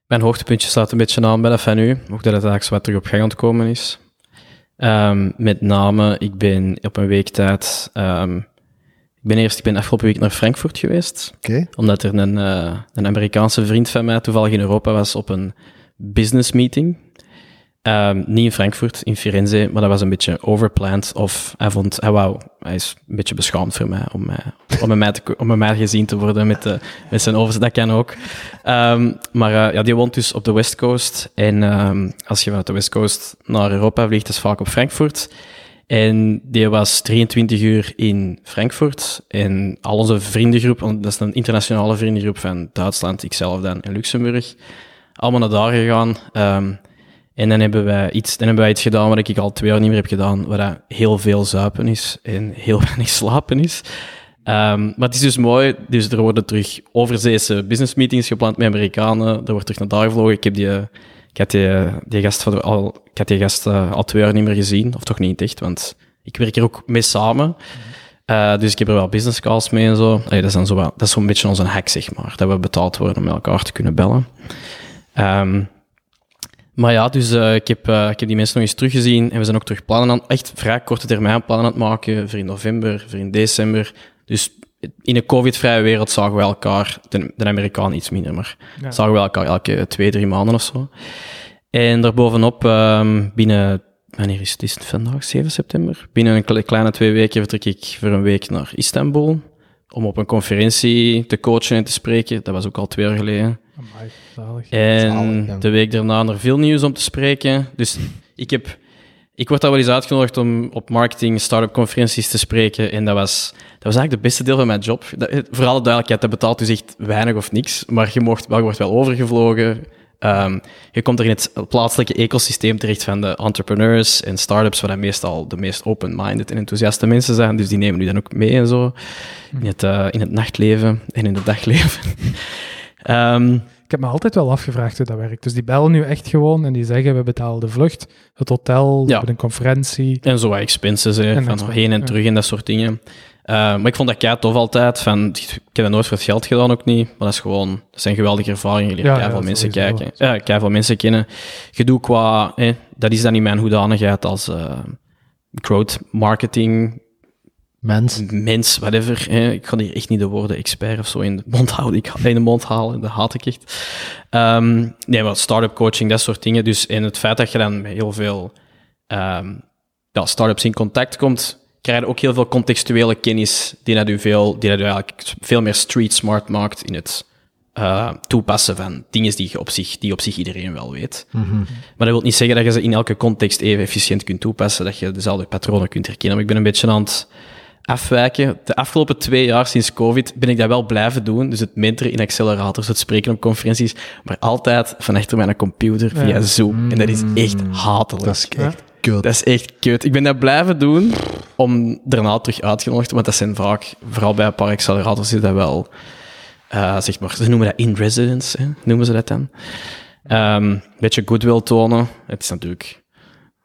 Mijn hoogtepuntje slaat een beetje aan bij dat van u, ook dat het eigenlijk zo wat terug op gang aan het komen is. Ehm, met name, ik ben op een week tijd... ehm, ik ben eerst, ik ben afgelopen week naar Frankfurt geweest, Oké. omdat er een, eh, een Amerikaanse vriend van mij toevallig in Europa was op een business meeting. Ehm, niet in Frankfurt, in Firenze, maar dat was een beetje overplanned. Of hij vond, hij wou, hij is een beetje beschaamd voor mij om, mij, om, met, mij te, om met mij gezien te worden met, de, met zijn overzet. Dat kan ook. Ehm, maar eh, ja, die woont dus op de West Coast. En ehm, als je vanuit de West Coast naar Europa vliegt, is vaak op Frankfurt. En die was 23 uur in Frankfurt. En al onze vriendengroep, want dat is een internationale vriendengroep van Duitsland, ikzelf dan en Luxemburg, allemaal naar daar gegaan. Ehm, en dan hebben, wij iets, dan hebben wij iets gedaan wat ik al twee jaar niet meer heb gedaan, waar dat heel veel zuipen is en heel (laughs) weinig slapen is. Ehm, maar het is dus mooi, dus er worden terug overzeese business meetings gepland met Amerikanen, er wordt terug naar daar gevlogen. Ik, heb die, eh, ik had die, eh, die gast, van de- al, ik had die gast eh, al twee jaar niet meer gezien, of toch niet echt, want ik werk er ook mee samen. Eh, dus ik heb er wel business calls mee en zo. Allee, dat is dan zo wel- dat is zo'n beetje onze hack, zeg maar, dat we betaald worden om met elkaar te kunnen bellen. Ehm, maar ja, dus eh, ik, heb, eh, ik heb die mensen nog eens teruggezien en we zijn ook terug plannen aan, echt vrij korte termijn plannen aan het maken voor in november, voor in december. Dus in een covid-vrije wereld zagen we elkaar, de, de Amerikaan iets minder, maar Ja. zagen we elkaar elke twee, drie maanden of zo. En daarbovenop, ehm, binnen, wanneer is het, is het vandaag, 7 september? Binnen een kle- kleine twee weken vertrek ik voor een week naar Istanbul om op een conferentie te coachen en te spreken. Dat was ook al twee jaar geleden. Amai, zalig. Eh. Zalig, En ja. de week daarna naar veel nieuws om te spreken. Dus ik, heb, ik word daar wel eens uitgenodigd om op marketing, start-up conferenties te spreken. En dat was, dat was eigenlijk de beste deel van mijn job. Dat, eh, voor alle duidelijkheid, dat betaalt dus echt weinig of niks. Maar je, mocht, wel- je wordt wel overgevlogen. Ehm, je komt er in het plaatselijke ecosysteem terecht van de entrepreneurs en start-ups, waar dan meestal de meest open-minded en enthousiaste mensen zijn. Dus die nemen u dan ook mee en zo. In het, eh, in het nachtleven en in het dagleven. (laughs) Ehm, Ik heb me altijd wel afgevraagd hoe dat werkt. Dus die bellen nu echt gewoon en die zeggen we betalen de vlucht, het hotel, we Ja. hebben een conferentie. En zo wat expenses, hè, En van expenses, heen en ja. terug en dat soort dingen. Eh, maar ik vond dat kei tof altijd. Van, ik heb dat nooit voor het geld gedaan, ook niet. Maar dat is gewoon, dat zijn geweldige ervaringen. Je leert Ja, keiveel ja, mensen sowieso. kijken. Ja, keiveel mensen kennen. Gedoe qua, hè, dat is dan niet mijn hoedanigheid als eh, growth marketing Mens. mens, whatever. Hè. Ik kan hier echt niet de woorden expert of zo in de mond houden. Ik in de mond halen, dat haat ik echt. Ehm, nee, maar start-up coaching, dat soort dingen. Dus in het feit dat je dan met heel veel ehm ja, start-ups in contact komt, krijg je ook heel veel contextuele kennis die dat u veel, die dat u eigenlijk veel meer street smart maakt in het eh, eh, toepassen van dingen die, je op zich, die op zich iedereen wel weet. Maar dat wil niet zeggen dat je ze in elke context even efficiënt kunt toepassen, dat je dezelfde patronen kunt herkennen. Maar ik ben een beetje aan het afwijken. De afgelopen twee jaar sinds COVID ben ik dat wel blijven doen. Dus het menteren in accelerators, het spreken op conferenties, maar altijd van achter mijn computer via Ja. Zoom. En dat is echt Mm. hatelijk. Dat is echt Dat kut. is echt kut. Ik ben dat blijven doen om daarna terug uitgenodigd te worden, want dat zijn vaak, vooral bij een paar accelerators, is dat wel, eh, zeg maar, ze noemen dat in-residence, hè, noemen ze dat dan. Ehm, Een beetje goodwill tonen. Het is natuurlijk,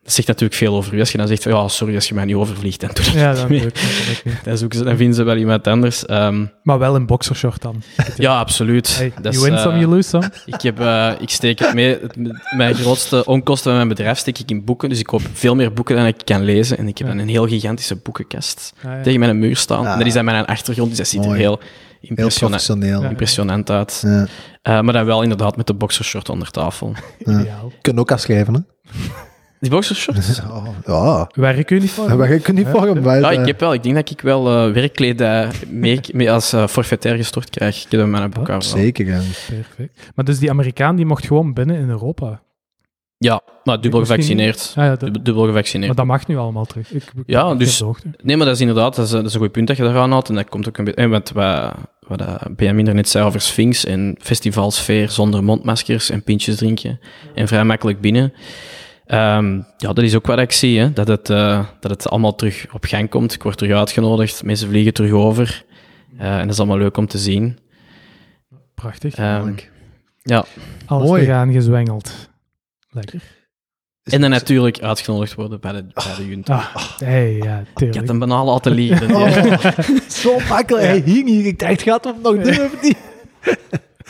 dat zegt natuurlijk veel over u. Als je dan zegt, van, ja, sorry als je mij niet overvliegt, dan doe ik Ja, het (laughs) dat niet meer. lukt, dat lukt niet. Dan, zoeken ze, dan vinden ze wel iemand anders. Ehm, Maar wel een boxershort dan. ja, absoluut. Hey, Dat is, you win some, eh, you lose some. ik, heb, eh, ik steek het mee. Het- Mijn grootste onkosten van mijn bedrijf steek ik in boeken. Dus ik koop veel meer boeken dan ik kan lezen. En ik heb Ja. dan een heel gigantische boekenkast Ah, ja. tegen mijn muur staan. Ah. En dat is dan mijn achtergrond, dus dat ziet er Mooi. heel Heel impressiona- professioneel. Ja. impressionant uit. Ja. Eh, maar dan wel inderdaad met de boxershort onder tafel. Ideaal. Kunnen ook afschrijven, hè? Die (laughs) boxershort? Dus, Ja. ja. Werkuniform. Maar eh, je kunt niet voor hem Ja, wijzen. ik heb wel. Ik denk dat ik wel eh werkkledij mee, mee als eh, forfaitair gestort krijg. Ik heb dat in mijn boek al. Zeker, hè. Perfect. Maar dus die Amerikaan die mocht gewoon binnen in Europa. Ja, maar dubbel Misschien- gevaccineerd. Ah, ja, dat- Dub- Dubbel gevaccineerd. maar dat mag nu allemaal terug. Ik, ik- Ja, ik dus- heb de hoogte. Nee, maar dat is inderdaad dat is, een- dat is een goed punt dat je daar aanhaalt. En dat komt ook een beetje... en Wat, wat, wat eh, Benjamin er net zei over Sphinx en festivalsfeer zonder mondmaskers en pintjes drinken en vrij makkelijk binnen. Ehm, ja, dat is ook wat ik zie, hè? Dat, het, eh, dat het allemaal terug op gang komt. Ik word terug uitgenodigd, mensen vliegen terug over. Eh, en dat is allemaal leuk om te zien. Prachtig. Ehm, ja, Alles mooi. tegenaan gezwengeld. Lekker. en dan natuurlijk uitgenodigd worden bij de, bij de junta. Ah, hey, ja, Ik had tuurlijk. Oh. een banale atelier. (laughs) Zo makkelijk. Hij hing hier. Ik dacht, gaat hem nog doen of niet? (laughs)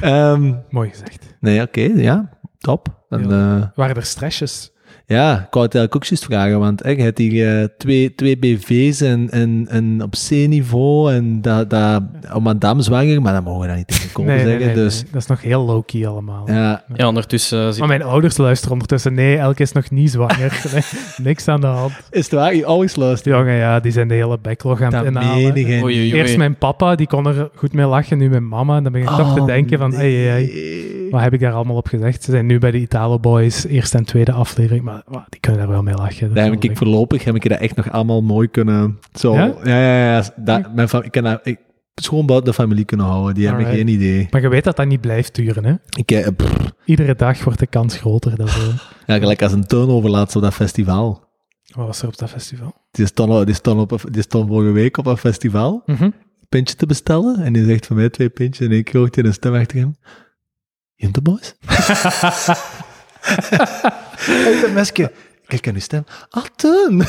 Ehm, Mooi gezegd. nee, oké. ja, top. En, eh, Waren er stressjes? ja, ik wou het eigenlijk ook juist vragen, want hè, je hebt hier eh, twee, twee BV's en, en, en op C-niveau en dat, dat, oh, madame zwanger, maar dat mogen we dan niet tegenkomen zeggen. dus Dat is nog heel low-key allemaal. ja, dus Ja, ondertussen eh, zit Maar mijn ouders luisteren ondertussen. Nee, Elke is nog niet zwanger. (laughs) Nee, niks aan de hand. is het waar? Je ouders luisteren. Jongen, ja, die zijn de hele backlog aan het Dat inhalen. meen je Oei, niet. oei, oei. Eerst mijn papa, die kon er goed mee lachen. Nu mijn mama. En dan ben ik toch te Oh, denken van... Hey, hey, hey, nee. Wat heb ik daar allemaal op gezegd? Ze zijn nu bij de Italo Boys, eerste en tweede aflevering, maar wow, die kunnen daar wel mee lachen. Daar heb ik voorlopig heb ik dat echt nog allemaal mooi kunnen. Zo, Ja? ja, ja, ja. ja. dat, mijn fam- ik kan dat, ik, schoon buiten de familie kunnen houden. Die hebben Alright. geen idee. Maar je weet dat dat niet blijft duren, hè? Ik, eh, pff, Iedere dag wordt de kans groter. (laughs) Dat we... ja, gelijk als een turnover overlaat op dat festival. Wat was er op dat festival? Die stond, die, stond op, een- die stond vorige week op een festival pintje te bestellen. En die zegt van mij twee pintjes. En ik hoort in een stem achter hem. Junte (laughs) boys? Uit een mesje. Kijk aan uw stem. Ah, Teun.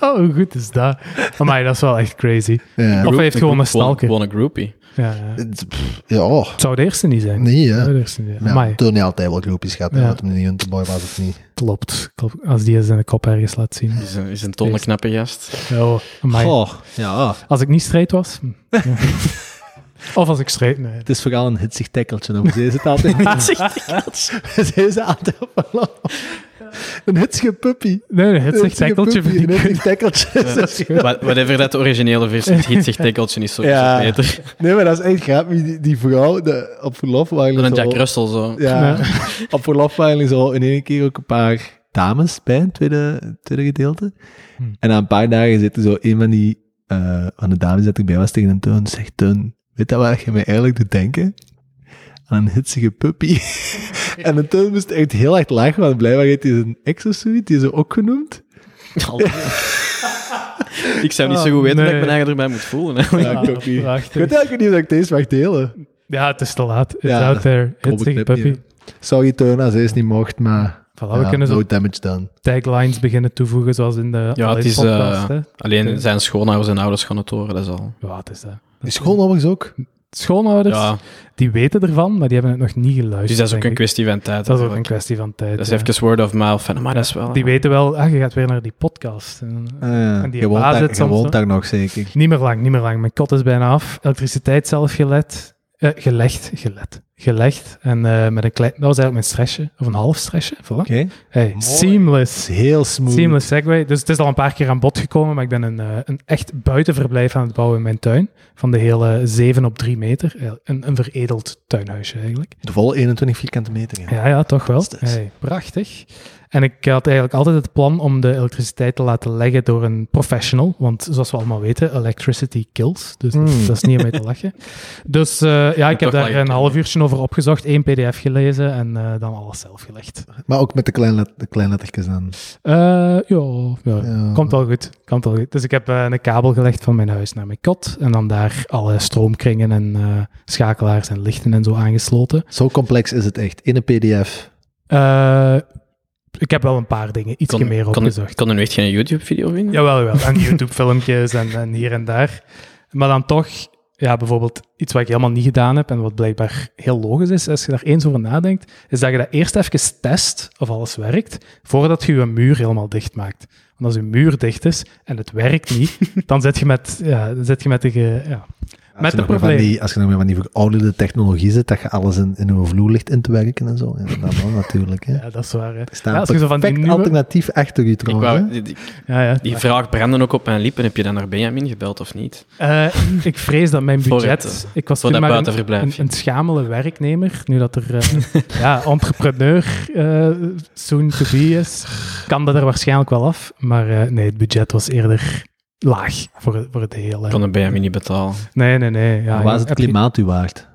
Oh, hoe goed is dat? Amai, dat is wel echt crazy. Ja, Of hij heeft gewoon een gewoon, stalker. gewoon een groupie. Ja, ja. het- pff, ja, oh, Het zou de eerste niet zijn. nee Het hè. zou de eerste niet zijn. Ja, Amai, Teun heeft altijd wel groepjes gehad. Ja. Ja. Wat hem een Junte boy was of niet. klopt. klopt. Als die zijn kop ergens laat zien. Is een, is een tonnen knappe gast. Oh, amai. Goh, ja. ah. Als ik niet strijd was. (laughs) hm. Ja. of als ik strijd, nee. Het is vooral een hitsig tackeltje. Over deze taal. (laughs) (laughs) deze altijd verloren. Een hitsige puppy. Nee, nee, het Een zegt hitsige tackeltje puppy, vind ik Een hitsig tackeltje. (laughs) Zo- (laughs) Wa- Whatever dat de originele versie is, hit zegt tekeltje is sowieso Ja. beter. (laughs) Nee, maar dat is echt grappig. Die, die vrouw de, op verlof waren Dan een zo- Jack Russell zo. Ja, Nee. op verlof waren er zo in één keer ook een paar dames bij, het tweede, tweede gedeelte. Hm. En na een paar dagen zitten zo een van die eh, van de dames dat erbij was tegen een toon, zegt Teun, weet dat wat je mij eigenlijk doet denken? Aan een hitsige (laughs) puppy. en de Teun moest echt heel hard lachen, want blijkbaar heet hij een ex of zoiets, die is er ook genoemd. Ik zou niet zo goed weten Ah, Nee. dat ik mijn eigen erbij moet voelen. hè. Ja, ik ook niet. prachtig. Ik weet eigenlijk niet of ik deze mag delen. (laughs) Ja, het is te laat. It's Ja, out there. Kom, It's ik a knip puppy. niet. Sorry Teun, als hij het niet mocht, maar Voilà, we ja, kunnen zo no damage done. taglines beginnen toevoegen, zoals in de Ja, het is, Allee podcast, eh, hè. Alleen zijn schoonouders en ouders gaan het horen, dat is al. Ja, het is dat. Die schoonouders ook. Schoonouders, Ja, die weten ervan, maar die hebben het nog niet geluisterd. dus dat is ook denk een ik. kwestie van Dat tijd. is ook een eigenlijk. kwestie van tijd. Dat is ja. even word of mouth. Van, maar dat is wel. Die weten wel, ah, je gaat weer naar die podcast. En, eh, Ah, Ja, En die je woont, baas daar, het je soms, woont hè? daar nog zeker. Niet meer lang, niet meer lang. Mijn kot is bijna af. Elektriciteit zelf gelet. eh, gelegd, gelet. gelegd. En eh, met een klein, dat was eigenlijk mijn stressje, of een half stressje. Voilà. Oké. Het Hey, seamless. is heel smooth. Seamless segue. Dus het is al een paar keer aan bod gekomen, maar ik ben een, eh, een echt buitenverblijf aan het bouwen in mijn tuin. Van de hele 7 op 3 meter. Eh, Een, een veredeld tuinhuisje eigenlijk. De volle 21 vierkante meter. Ja. Ja, ja, toch wel. Dat is- Hey, prachtig. En ik had eigenlijk altijd het plan om de elektriciteit te laten leggen door een professional. Want zoals we allemaal weten, electricity kills. Dus dat, is- dat is niet om mee te lachen. Dus eh, ja, ik heb toch daar lachen. een half uurtje over opgezocht, één pdf gelezen en eh, dan alles zelf gelegd. Maar ook met de, klein, de kleinlettertjes aan. Eh, ja, ja, Ja. Komt wel goed, komt wel goed. Dus ik heb eh, een kabel gelegd van mijn huis naar mijn kot en dan daar alle stroomkringen en eh, schakelaars en lichten en zo aangesloten. Zo complex is het echt. In een pdf. Eh, ik heb wel een paar dingen iets Kon, meer kon, opgezocht. kon er nu echt geen YouTube-video vinden? Jawel, jawel. En YouTube-filmpjes en, en hier en daar. Maar dan toch, ja, bijvoorbeeld iets wat ik helemaal niet gedaan heb en wat blijkbaar heel logisch is, als je daar eens over nadenkt, is dat je dat eerst even test of alles werkt, voordat je je muur helemaal dicht maakt. Want als je muur dicht is en het werkt niet, dan zit je met, ja, dan zit je met de... ge- Ja. Als Met je de nog maar van problemen. die- Als je nog meer van die verouderde technologie zit, dat je alles in, in uw vloer ligt in te werken en zo. Ja, dat wel (laughs) natuurlijk. Hè. ja, dat is waar. hè. Er staat Ja, als je zo van die perfect nieuwe- alternatief achter je Ik trouwens. wou, hè. die, die- Ja, ja. die vraag brandde ook op mijn lippen. Heb je dan naar Benjamin gebeld of niet? Eh, ik vrees dat mijn Voor budget... het, ik was voor toen dat maar een, buitenverblijf, een, ja. een schamele werknemer. Nu dat er eh, ja, entrepreneur eh, soon to be is, kan dat er waarschijnlijk wel af. Maar eh, nee, het budget was eerder laag voor, het- voor het hele... Ik kon de Benjamin niet betalen. Nee, nee, nee. Ja, Maar waar is het heb je- klimaat u waard?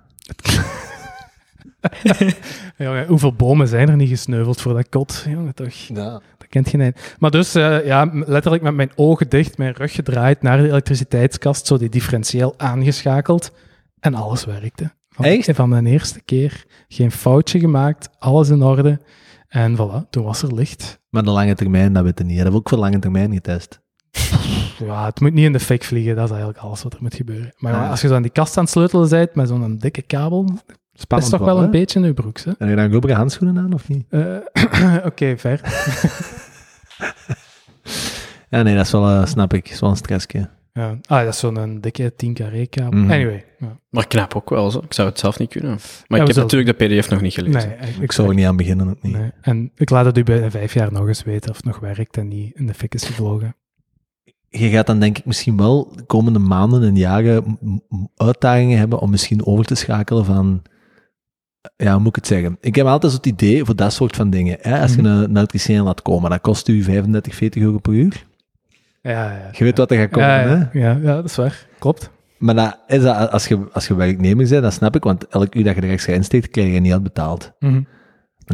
jongen, hoeveel bomen zijn er niet gesneuveld voor dat kot? Jongen, toch? Ja. Dat kent geen eind. Maar dus, eh, ja, m- letterlijk met mijn ogen dicht, mijn rug gedraaid naar de elektriciteitskast, zo die differentieel aangeschakeld. En alles werkte. Van, Echt? Van mijn eerste keer. Geen foutje gemaakt, alles in orde. En voilà, toen was er licht. Maar de lange termijn, dat weten we niet. hè. Dat hebben we ook voor lange termijn getest. Ja, het moet niet in de fik vliegen, dat is eigenlijk alles wat er moet gebeuren. Maar ja, Ah. als je zo aan die kast aan het sleutelen bent met zo'n dikke kabel, dat is toch wel een beetje in je broek, hè? Heb je dan rubberen handschoenen aan of niet? Eh, (clears throat) Oké, ver. Ja, nee, dat is wel, eh, snap ik, dat is wel een stressje. Ja. Ah, dat is zo'n eh, dikke 10 carré kabel. Mhm. Anyway. Ja. Maar knap ook wel, zo. ik zou het zelf niet kunnen. Maar we ik heb zullen- natuurlijk de pdf nog niet gelezen. Nee, ik, Ik zou er niet aan beginnen, ook niet. Nee. En ik laat het u binnen vijf jaar nog eens weten of het nog werkt en niet in de fik is gevlogen. Je gaat dan denk ik misschien wel de komende maanden en jaren m- m- uitdagingen hebben om misschien over te schakelen van... Ja, hoe moet ik het zeggen? Ik heb altijd zo het idee voor dat soort van dingen. Hè? Mhm. Als je een, een elektricien laat komen, dat kost u 35, 40 euro per uur. Ja, ja. Je weet wat er gaat komen, ja, hè? ja, ja, ja, dat is waar. Klopt. Maar dat is dat, als, je, als je werknemer bent, dat snap ik, want elk uur dat je er extra insteekt, krijg je niet uitbetaald. Mhm. Maar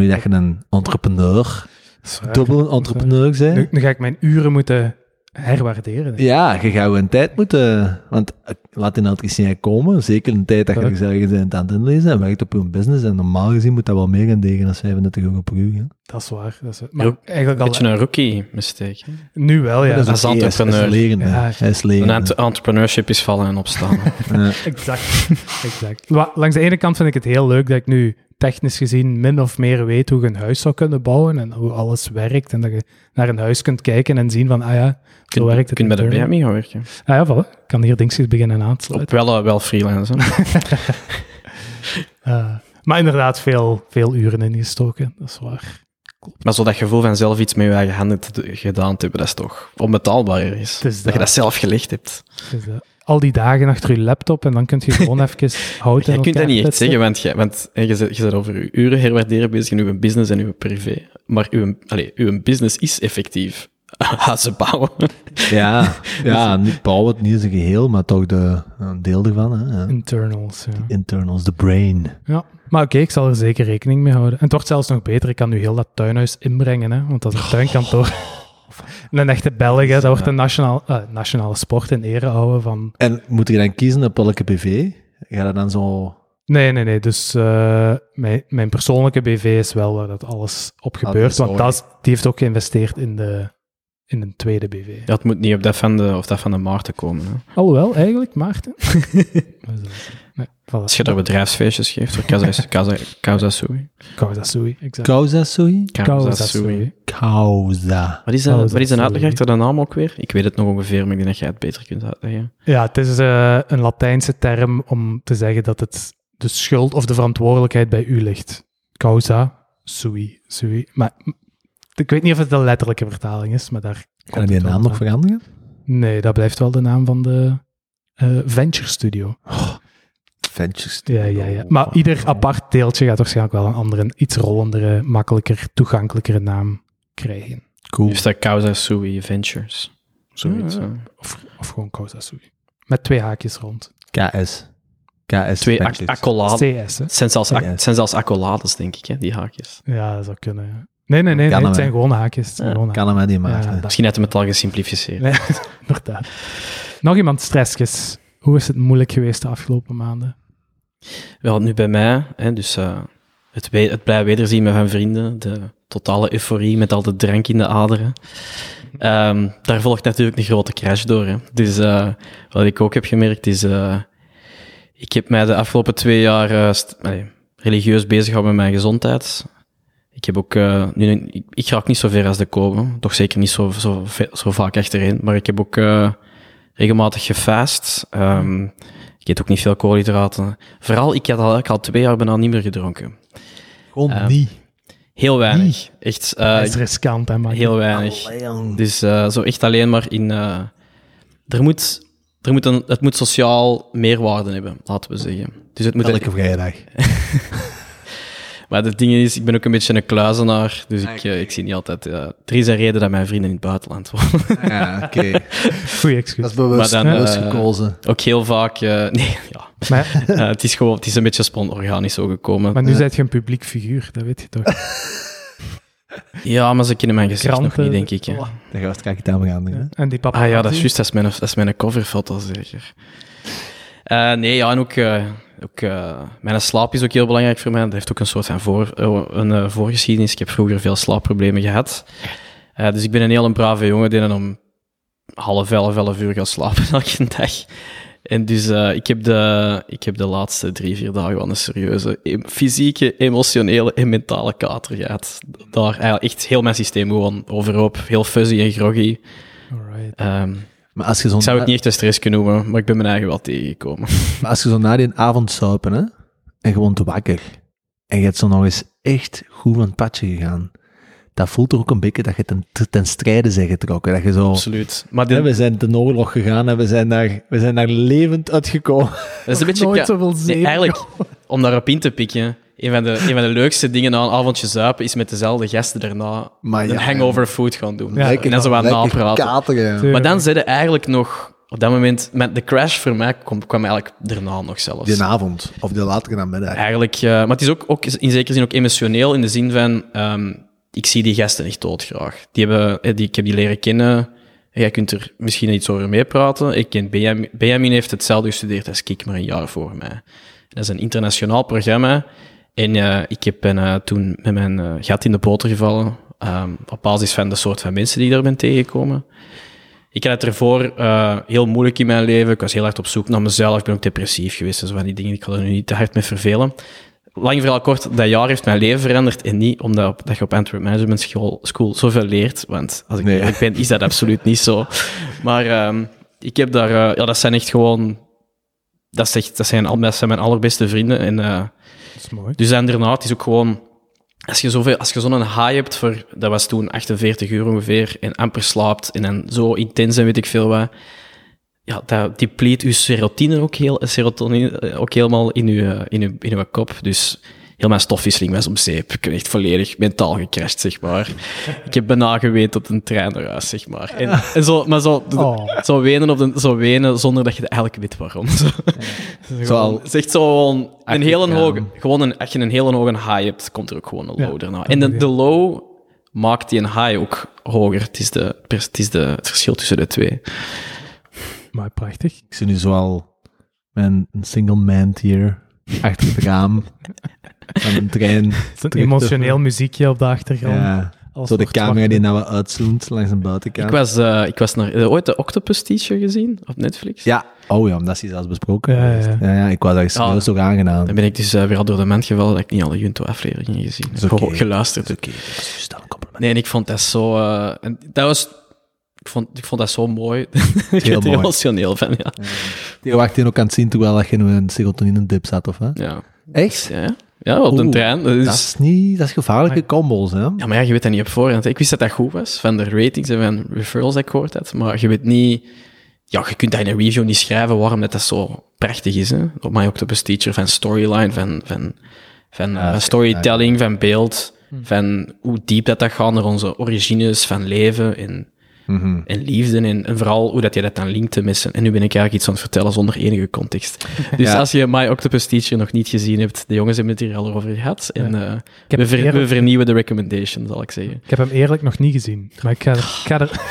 nu dat je een entrepreneur, Dat is waar. dubbel een entrepreneur bent... Nu, nu ga ik mijn uren moeten herwaarderen. Ja, je gaat wel een tijd moeten. Want eh, laat een elektricien komen. Zeker een tijd dat je Ja. er ergens bent aan het inlezen en werkt op je business. En normaal gezien moet dat wel meer gaan tegen dan 35 euro per uur. hè. Dat is waar. Dat is waar. Maar Ook eigenlijk Een al, beetje een rookie mistake. hè. nu wel, Oh ja. Maar dat is oké, hij Hij entrepreneur. is leren. hè. eh, Ja. Hij is Een leren. ent- entrepreneurship is vallen en (laughs) opstaan. Ja. Exact. (laughs) exact. Wa- Langs de ene kant vind ik het heel leuk dat ik nu technisch gezien min of meer weet hoe je een huis zou kunnen bouwen en hoe alles werkt. En dat je naar een huis kunt kijken en zien van, ah ja, Je zo werkt kunt, het. kunt bij de intern. Benjamin gaan werken. Ah ja, voilà. Ik kan hier dingetjes beginnen aansluiten. Op wel, eh, wel freelance. (laughs) hè. Eh, maar inderdaad, veel, veel uren ingestoken, dat is waar. Maar zo dat gevoel van zelf iets met je eigen handen te do- gedaan te hebben, dat is toch onbetaalbaar ergens. Het is dat, dat. je dat zelf gelegd hebt. Dus, eh, al die dagen achter je laptop en dan kun je (laughs) gewoon even hout Je in kunt dat elkaar niet echt kletsen. zeggen, want, je, want hè, je, zit- je bent over je uren herwaarderen bezig in uw business en uw privé. Maar uw, allez, uw business is effectief (laughs) hazen bouwen. (laughs) ja, ja, niet bouwen, het niet in zijn geheel, maar toch de, een deel ervan. Hè. ja. Internals, ja. Internals, the brain. ja. Maar oké, ik zal er zeker rekening mee houden. En het wordt zelfs nog beter, ik kan nu heel dat tuinhuis inbrengen, hè, want dat Oh. is een tuinkantoor. (laughs) En Een echte Belg, hè, dat wordt een nationaal, eh, nationale sport in ere houden van... En moet je dan kiezen op welke BV? Ga je dan zo. Nee, nee, nee, dus eh, mijn, mijn persoonlijke BV is wel waar dat alles Ah, op gebeurt, is want mooi. dat is- die heeft ook geïnvesteerd in, de, in een tweede BV. Ja, het moet niet op dat van de, of dat van de Maarten komen. Hè. Alhoewel, eigenlijk, Maarten. (laughs) Maar zo. nee, voilà. Als je daar bedrijfsfeestjes geeft, (laughs) voor Kaza- Kaza- Kauzasui. Kauzasui, exact. Causa, sorry? Kauzasui. Causa. Wat is, dat, wat is eh, een Kauzasui. uitleg achter de naam ook weer? Ik weet het nog ongeveer, maar ik denk dat jij het beter kunt uitleggen. Ja, het is eh, een Latijnse term om te zeggen dat het de schuld of de verantwoordelijkheid bij u ligt. Causa sui, sui. Maar m- ik weet niet of het de letterlijke vertaling is, maar daar Kan je die het wel naam nog aan. veranderen? Nee, dat blijft wel de naam van de eh, Venture Studio. Ventures. Ja, ja, ja. Maar ieder apart deeltje gaat waarschijnlijk wel een andere, iets rollendere, makkelijker, toegankelijkere naam krijgen. Cool. Is dat Causa Sui Ventures? Zoiets. Ah, Ja, ja. Of, of gewoon Causa Sui. Met twee haakjes rond. KS. KS. Twee ac- Ventures. accolades. CS, hè? Het zijn zelfs, ac- Ja. het zijn zelfs accolades, denk ik, hè, die haakjes. Ja, dat zou kunnen. ja. Nee, nee, nee. Kan nee hem, het zijn gewoon haakjes. Het zijn Ja, gewoon Kan hem hè, die haakjes. maken. Ja, Misschien had hem het al (laughs) gesimplificeerd. Nee, inderdaad. Nog iemand stressjes. Hoe is het moeilijk geweest de afgelopen maanden? Wel, nu bij mij, hè, dus eh, het, we- het blij wederzien met mijn vrienden, de totale euforie met al de drank in de aderen. Ehm, daar volgt natuurlijk een grote crash door. Hè. Dus eh, wat ik ook heb gemerkt is, eh, ik heb mij de afgelopen twee jaar eh, st- allee, religieus bezig gehouden met mijn gezondheid. Ik heb ook, eh, nu, ik, ik raak niet zo ver als de komen, toch zeker niet zo, zo, ve- zo vaak achtereen, maar ik heb ook eh, regelmatig gefast. Ehm, ik eet ook niet veel koolhydraten. Vooral, ik had al, ik had twee jaar bijna niet meer gedronken. Gewoon Ja. niet. Heel weinig. Echt eh, dat is riskant, hè, man. heel weinig. Dus eh, zo echt alleen maar in... eh, er moet, er moet een, het moet sociaal meerwaarde hebben, laten we zeggen. Dus het moet Elke vrijdag. Maar het ding is, ik ben ook een beetje een kluizenaar, dus ik, eh, ik zie niet altijd... eh, er is een reden dat mijn vrienden in het buitenland wonen. (laughs) Ja, oké. Goeie excuus. (laughs) Dat is bewust, Maar dan, bewust eh, gekozen. Ook heel vaak... eh, (laughs) nee, ja. (laughs) Maar, Eh, het, is gewoon, het is een beetje sponorganisch zo gekomen. maar nu zijt je een publiek figuur, dat weet je toch? ja, maar ze kennen mijn gezicht nog Kranten, niet, denk ik. Hè. Daar gaan we straks aan veranderen. hè. En die papa. Ah ja, dat is juist. Dat is mijn, dat is mijn coverfoto, zeker. Eh, nee, ja, en ook, eh, ook eh, mijn slaap is ook heel belangrijk voor mij. Dat heeft ook een soort van voor, eh, een, eh, voorgeschiedenis. Ik heb vroeger veel slaapproblemen gehad. Eh, dus ik ben een heel een brave jongen die dan om half elf, elf uur gaat slapen (laughs) elke dag. En dus eh, ik, heb de, ik heb de laatste drie, vier dagen wel een serieuze em- fysieke, emotionele en mentale kater gehad. Daar eigenlijk echt heel mijn systeem gewoon overhoop. Heel fuzzy en groggy. Alright. Ehm, Maar als je ik zou het zo'n niet echt een stress kunnen noemen, maar ik ben mijn eigen wel tegengekomen. Maar als je zo na die avond zuipen, hè, en gewoon te wakker, en je hebt zo nog eens echt goed van het padje gegaan, dat voelt toch ook een beetje dat je ten, ten strijde bent getrokken. Dat je zo... Absoluut. Maar dit, hè, we zijn ten oorlog gegaan en we zijn daar, we zijn daar levend uitgekomen. dat is (laughs) een beetje... nooit ka- zoveel Nee, zeven, eigenlijk, om daarop in te pikken, een van, de, een van de leukste dingen na een avondje zuipen is met dezelfde gasten daarna Maar een ja, hangover food gaan doen. Ja, en dan zo wat napraten. Kateren, Maar dan zit je eigenlijk nog... Op dat moment, met de crash voor mij kwam, kwam eigenlijk daarna nog zelfs. Die avond, of die latere namiddag. Eigenlijk, eh, maar het is ook, ook in zekere zin ook emotioneel in de zin van, ehm, ik zie die gasten echt doodgraag. Die hebben, eh, die, ik heb die leren kennen. Jij kunt er misschien iets over meepraten. Ik ken Benjamin. Benjamin heeft hetzelfde gestudeerd als ik, maar een jaar voor mij. Dat is een internationaal programma. En eh, ik heb, ben eh, toen met mijn eh, gat in de boter gevallen. ehm, op basis van de soort van mensen die ik daar ben tegengekomen. Ik had het ervoor eh, heel moeilijk in mijn leven. Ik was heel hard op zoek naar mezelf. Ik ben ook depressief geweest en zo van die dingen. Ik ga er nu niet te hard mee vervelen. Lang verhaal kort, dat jaar heeft mijn leven veranderd. En niet omdat op, dat je op Antwerp Management School, School zoveel leert. Want als ik Nee. eerlijk ben, is dat absoluut niet zo. Maar ehm, ik heb daar... eh, ja, dat zijn echt gewoon... Dat, is echt, dat, zijn, al- dat zijn mijn allerbeste vrienden. En... eh, Dat is mooi. dus en daarna, het is ook gewoon... Als je, zoveel, als je zo'n high hebt voor... Dat was toen 48 uur ongeveer. En amper slaapt. En dan zo intens en weet ik veel wat. Ja, dat depleet je serotonine ook, heel, serotonine eh, ook helemaal in je, eh, in, je, in je kop. Dus heel mijn stofwisseling was om zeep. Ik ben echt volledig mentaal gecrashed, zeg maar. Ik heb bijna geweten op een trein naar huis, zeg maar. En, en zo, maar zo, Oh. zo, wenen op de, zo wenen zonder dat je eigenlijk weet waarom. (laughs) Zo. Zo al- Het is echt zo gewoon een hele gaan. hoge... Gewoon een, als je een hele hoge high hebt, komt er ook gewoon een Ja, low daarna. dat En de, moet de low maakt die een high ook hoger. Het is, de, het is de, het verschil tussen de twee. Maar prachtig. Ik zie nu zoal mijn single man hier achter het raam (laughs) van een trein. Het is een terug te- eh, emotioneel muziekje op de achtergrond. Ja. Alles Zo de wordt camera die wakker. nou wat uitzoomt langs een buitenkant. Ik was, eh, ik was naar, heb je ooit de Octopus Teacher gezien op Netflix. Ja, oh ja, dat is zelfs besproken. Ja, ja, geweest. ja. ja, ik was daar Ja. serieus toch aangedaan. Dan ben ik dus eh, weer al door de mand gevallen dat ik niet alle Junto-afleveringen gezien heb. oké. Gewoon Geluisterd. Oké, dat is juist dan een compliment. Nee, en ik vond dat zo... eh, en dat was... Ik vond, ik vond dat zo mooi. (laughs) ik Heel werd er mooi. emotioneel van, ja. Die wacht je ook aan het zien terwijl dat je in een serotonine-dip zat, of wat? Ja, Echt? ja. ja op de Oeh, trein. dat is- Dat is niet... Dat is gevaarlijke combos, hè? Ja, maar ja, je weet dat niet op voorhand. Ik wist dat dat goed was, van de ratings en van referrals dat ik gehoord had. Maar je weet niet... Ja, je kunt dat in een review niet schrijven waarom dat, dat zo prachtig is. Hè? Op My Octopus Teacher, van storyline, van, van, van, eh, van storytelling, van beeld, van hoe diep dat, dat gaat naar onze origines van leven en, Mhm. en liefde. En, en vooral hoe dat je dat dan linkt met z'n- En nu ben ik eigenlijk iets aan het vertellen zonder enige context. Dus Ja. als je My Octopus Teacher nog niet gezien hebt, de jongens hebben het hier al over gehad. En, eh, heb we, ver- eerder- we vernieuwen de recommendation, zal ik zeggen. Ik heb hem eerlijk nog niet gezien, maar ik ga er... ik ga er- (laughs)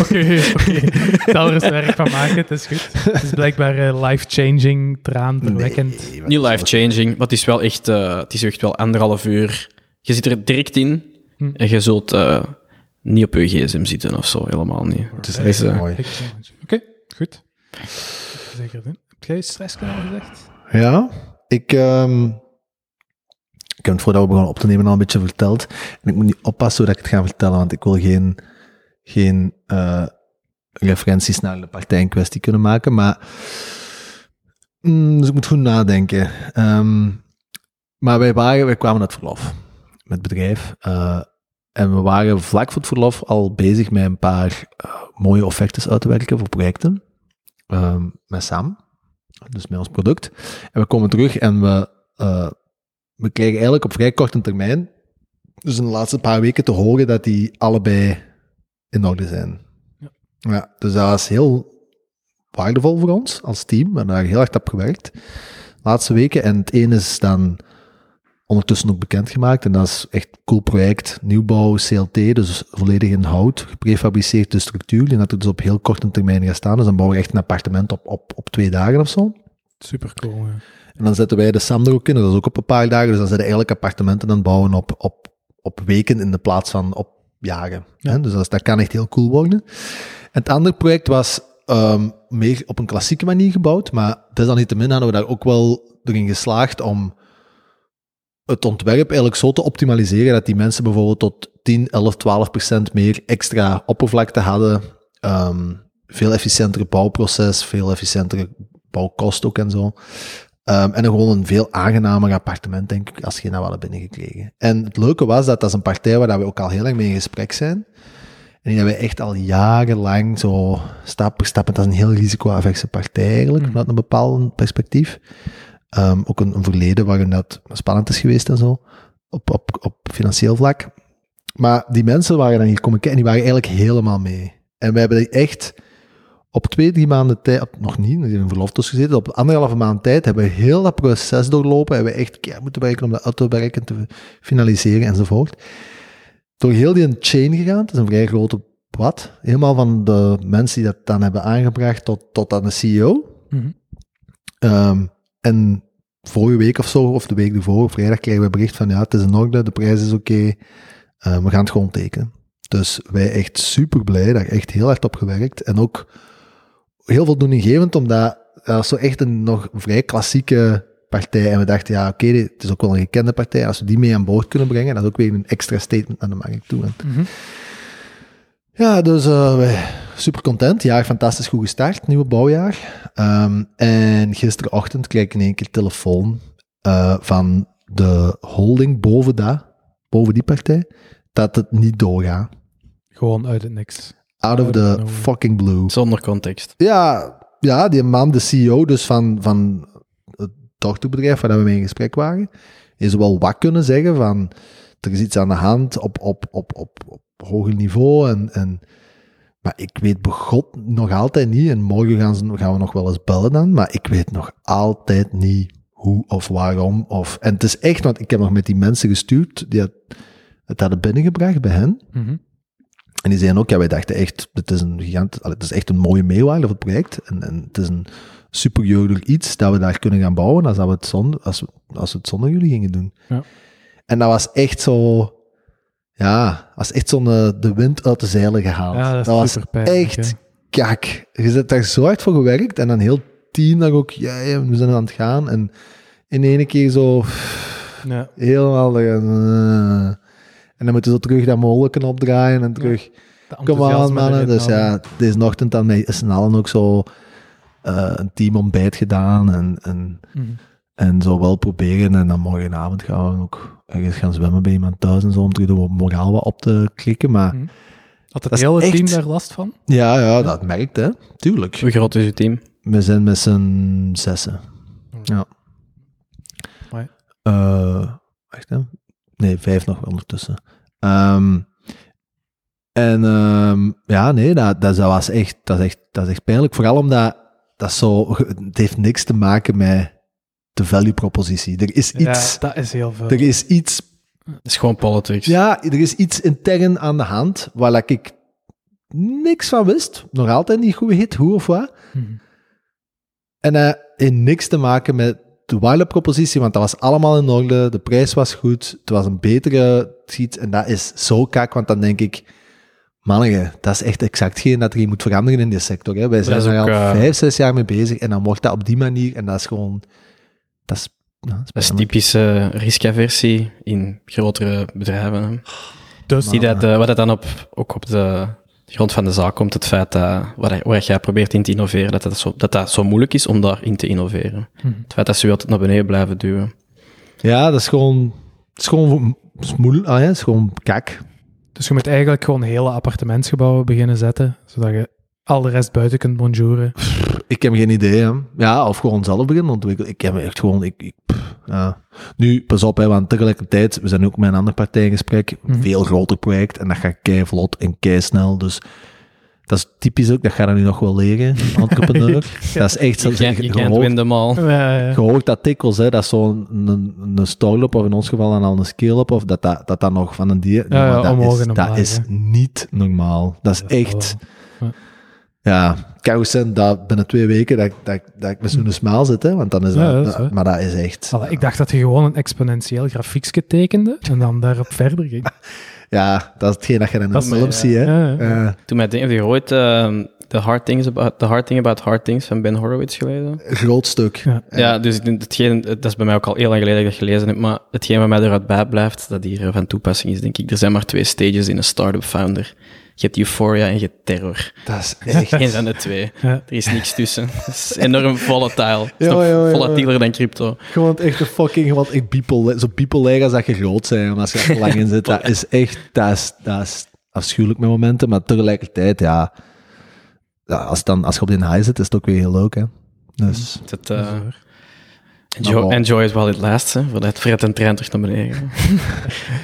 Oké, oké. (laughs) Ik zal er eens werk van maken, het is goed. Het is blijkbaar eh, life-changing, traanverwekkend. Niet life-changing, maar het is wel echt, eh, het is echt wel anderhalf uur. Je zit er direct in Hm. en je zult eh, niet op je gsm zitten of zo, helemaal niet. Het is Dat is, echt eh, mooi. Ik challenge. Oké, goed. Zeker doen. Heb jij stress gezegd? Ja, ik, ehm, ik heb het voordat we begonnen op te nemen al een beetje verteld. En ik moet niet oppassen hoe dat ik het ga vertellen, want ik wil geen, geen eh, referenties naar de partij in kwestie kunnen maken. Maar, mm, dus ik moet goed nadenken. Ehm, maar wij, waren, wij kwamen uit verlof met het bedrijf. eh, en we waren vlak voor het verlof al bezig met een paar eh, mooie offertes uit te werken voor projecten. Ehm, met Sam, dus met ons product. En we komen terug en we, eh, we krijgen eigenlijk op vrij korte termijn, dus in de laatste paar weken, te horen dat die allebei in orde zijn. Ja. Ja, dus dat is heel waardevol voor ons als team. We hebben daar heel hard op gewerkt de laatste weken. En het ene is dan ondertussen ook bekendgemaakt. En dat is echt een cool project. Nieuwbouw, CLT, dus volledig in hout, geprefabriceerde structuur. Die dat er dus op heel korte termijn gaat staan. Dus dan bouwen we echt een appartement op, op, op twee dagen of zo. Super cool. En dan zetten wij de SAM er ook in. Dat is ook op een paar dagen. Dus dan zijn er eigenlijk appartementen aan het bouwen op, op, op weken in de plaats van op jaren. Hè? Dus dat, is- dat kan echt heel cool worden. En het andere project was ehm, meer op een klassieke manier gebouwd. Maar desalniettemin hadden we daar ook wel erin geslaagd om het ontwerp eigenlijk zo te optimaliseren dat die mensen bijvoorbeeld tot 10, 11, 12 procent meer extra oppervlakte hadden. Ehm, veel efficiënter bouwproces, veel efficiëntere bouwkost ook en zo. Ehm, en dan gewoon een veel aangenamer appartement, denk ik, als je nou wel hebt binnengekregen. En het leuke was dat dat is een partij waar dat we ook al heel lang mee in gesprek zijn. En die hebben we echt al jarenlang zo stap per stap, en dat is een heel risico-averse partij eigenlijk, vanuit een bepaald perspectief. Ehm, ook een, een verleden waarin dat spannend is geweest en zo, op, op, op financieel vlak. Maar die mensen waren dan hier komen kijken, die waren eigenlijk helemaal mee. En we hebben die echt op twee, drie maanden tijd, op- nog niet, we hebben in verloftes gezeten, op anderhalve maand tijd hebben we heel dat proces doorlopen, hebben we echt keihard moeten werken om dat uit te werken, te finaliseren enzovoort. Door heel die chain gegaan, het is een vrij grote pad, helemaal van de mensen die dat dan hebben aangebracht tot, tot aan de CEO. Mhm. Ehm, en vorige week of zo, of de week ervoor, vrijdag, kregen we bericht van ja, het is in orde, de prijs is oké, eh, we gaan het gewoon tekenen. Dus wij echt super blij, daar echt heel hard op gewerkt. En ook heel voldoeninggevend, omdat dat is zo echt een nog vrij klassieke partij. En we dachten, ja, oké, dit het is ook wel een gekende partij. Als we die mee aan boord kunnen brengen, dat is ook weer een extra statement naar de markt toe. En Mhm. ja, dus eh, wij super content. Jaar fantastisch goed gestart, nieuwe bouwjaar. Ehm, en gisterochtend kreeg ik in één keer telefoon eh, van de holding boven, dat, boven die partij, dat het niet doorgaat. Gewoon uit het niks. Out of Uit the nowhere. fucking blue. Zonder context. Ja, ja, die man, de CEO dus van, van het dochterbedrijf waar we mee in gesprek waren, is wel wat kunnen zeggen van er is iets aan de hand op, op, op, op, op hoger niveau. En, en, maar ik weet begot nog altijd niet, en morgen gaan, ze, gaan we nog wel eens bellen dan, maar ik weet nog altijd niet hoe of waarom. Of, en het is echt, want ik heb nog met die mensen gestuurd die het, het hadden binnengebracht bij hen. Mhm. En die zeiden ook, ja, wij dachten echt, dit is een gigant, allee, het is echt een mooie meerwaarde voor het project. En, en het is een superieur iets dat we daar kunnen gaan bouwen als, dat we, het zonder, als, we, als we het zonder jullie gingen doen. Ja. En dat was echt zo, ja, was echt zo'n eh, de wind uit de zeilen gehaald. Ja, dat is was super pijnlijk, echt hè. kak. Je zit daar zo hard voor gewerkt en dan heel team daar ook, ja, ja, we zijn aan het gaan. En in ene keer zo, Ja. helemaal. eh, en dan moeten ze terug dat molenken opdraaien en terug. de Kom aan, enthousiasme mannen. erin Dus halen. ja, deze ochtend aan mij is allen ook zo eh, een team ontbijt gedaan en, en, Mhm. en zo wel proberen. En dan morgenavond gaan we ook ergens gaan zwemmen bij iemand thuis en zo om terug de moraal wat op te klikken. Maar Mhm. Had het Dat is hele team echt- daar last van? ja, ja, dat merkt, hè. Tuurlijk. Hoe groot is uw team? We zijn met z'n zessen. Ja. Hmm. Amai. Eh, wacht, hè. Nee, vijf nog wel ondertussen. Ehm, en ehm, ja, nee, dat, dat, dat was echt, dat, is echt, dat is echt pijnlijk. Vooral omdat dat zo, het heeft niks te maken met de value propositie. Er is iets, Ja, dat is heel veel. er is iets Het is gewoon politics. ja, er is iets intern aan de hand waar dat ik niks van wist. Nog altijd niet goed hit, hoe of wat. Mhm. En eh in niks te maken met de wilde propositie, want dat was allemaal in orde. De prijs was goed. Het was een betere giet. En dat is zo kak, want dan denk ik... Mannige, dat is echt exact geen dat er hier moet veranderen in die sector. Hè. Wij zijn is er al ook, eh, vijf, zes jaar mee bezig. En dan wordt dat op die manier. En dat is gewoon... Dat is, ja, dat is Dat is pijnlijk. typische riskaversie in grotere bedrijven. hè. Dus Zie dat, eh, wat dat dan op, ook op de grond van de zaak komt, het feit dat waar, waar jij probeert in te innoveren, dat dat, zo, dat dat zo moeilijk is om daarin te innoveren. Mhm. Het feit dat ze je altijd naar beneden blijven duwen. Ja, dat is gewoon... Het is gewoon smoel, ah, ja, het is gewoon kak. Dus je moet eigenlijk gewoon hele appartementsgebouwen beginnen zetten, zodat je al de rest buiten kunt bonjouren. Ik heb geen idee, hè. Ja, of gewoon zelf beginnen ontwikkelen. Ik heb echt gewoon... Ik, ik, pff, ja. Nu, pas op, hè, want tegelijkertijd, we zijn ook met een andere partij in gesprek. Mhm. Veel groter project en dat gaat kei vlot en kei snel. Dus dat is typisch ook, dat ga je nu nog wel leren, entrepreneur. Dat is echt zo. Je can't, Je, you can't win hoort, them all. Ja, ja. je hoort dat tikkels, hè, dat zo'n een, een start-up, of in ons geval dan al een scale-up, of dat dat, dat, dat nog van een dier... Ja, ja, maar dat omhoog is, en dat omlaag, is hè. niet normaal. Dat is Dat is echt... wel- ja. Ja, carousel, dat binnen twee weken dat, dat, dat ik met zo'n smaal zit, hè, want dan is Hm. Ja, dat, dat is waar. maar dat is echt... Allee, ik dacht dat je gewoon een exponentieel grafiekje tekende en dan daarop verder ging. Ja, dat is hetgeen dat je in een Dat is- film ziet, hè. Ja, ja. Eh, Toen mij denk, heb je ooit ehm, the, hard things about, the Hard Thing About Hard Things van Ben Horowitz gelezen? groot stuk. Ja. Eh, Ja, dus ik denk, hetgeen, dat is bij mij ook al heel lang geleden dat ik dat gelezen heb, maar hetgeen wat mij eruit bij blijft, dat hier eh, van toepassing is, denk ik, er zijn maar twee stages in een start-up founder. Je hebt euphoria en je hebt terror. Dat is echt... Geen van de twee. Ja. Er is niks tussen. (laughs) Het is enorm volatile. Het is Ja, nog ja, ja, ja. volatieler dan crypto. Gewoon echt een fucking, gewoon echt people, zo people als dat je groot zijn, als je er lang in zit. Dat is echt, dat is, dat is afschuwelijk met momenten, maar tegelijkertijd, ja, ja, als, dan, als je op die high zit, is het ook weer heel leuk, hè. Dus, Het, Dat is eh, waar. enjoy, Maar bon. enjoy it while it lasts. Hè, voordat het fret en trein terug naar beneden.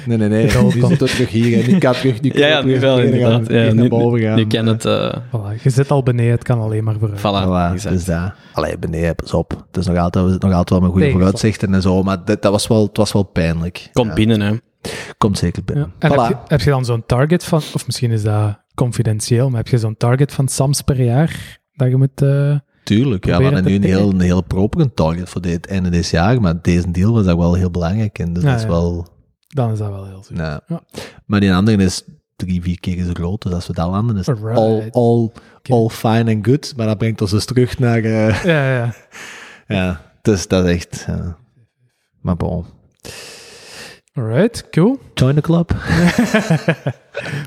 nee, nee, nee, Goal die komt. zit ook terug hier, en die kan terug, die kan (laughs) ja, ja, ook nu weer wel verder gaan, inderdaad. Ja, terug nu, naar boven gaan. nu kan het... eh Voilà, je zit al beneden, het kan alleen maar vooruit. voilà, Voilà, exact. dus daar. Allee, beneden, pas op. Het is nog altijd, we zitten nog altijd wel met goede Nee, vooruitzichten en zo, maar dit, dat was wel, het was wel pijnlijk. Komt Ja, binnen, hè. Komt zeker Ja. binnen. En Voilà. heb, je, heb je dan zo'n target van, of misschien is dat confidentieel, maar heb je zo'n target van SAMS per jaar dat je moet... eh, Tuurlijk, ja, we Proberen hadden nu een te heel, een heel proper target voor dit einde dit jaar, maar deze deal was daar wel heel belangrijk in. Dus Ja, dat is ja. wel... dan is dat wel heel (laughs) zuur. nou. Ja. Maar die andere is drie, vier keer zo groot, dus als we dat landen is het Alright. all, all, all fine and good, maar dat brengt ons dus terug naar... eh, (laughs) Ja, ja. ja, dus dat is echt... ja. Maar bon. Alright, cool. Join the club.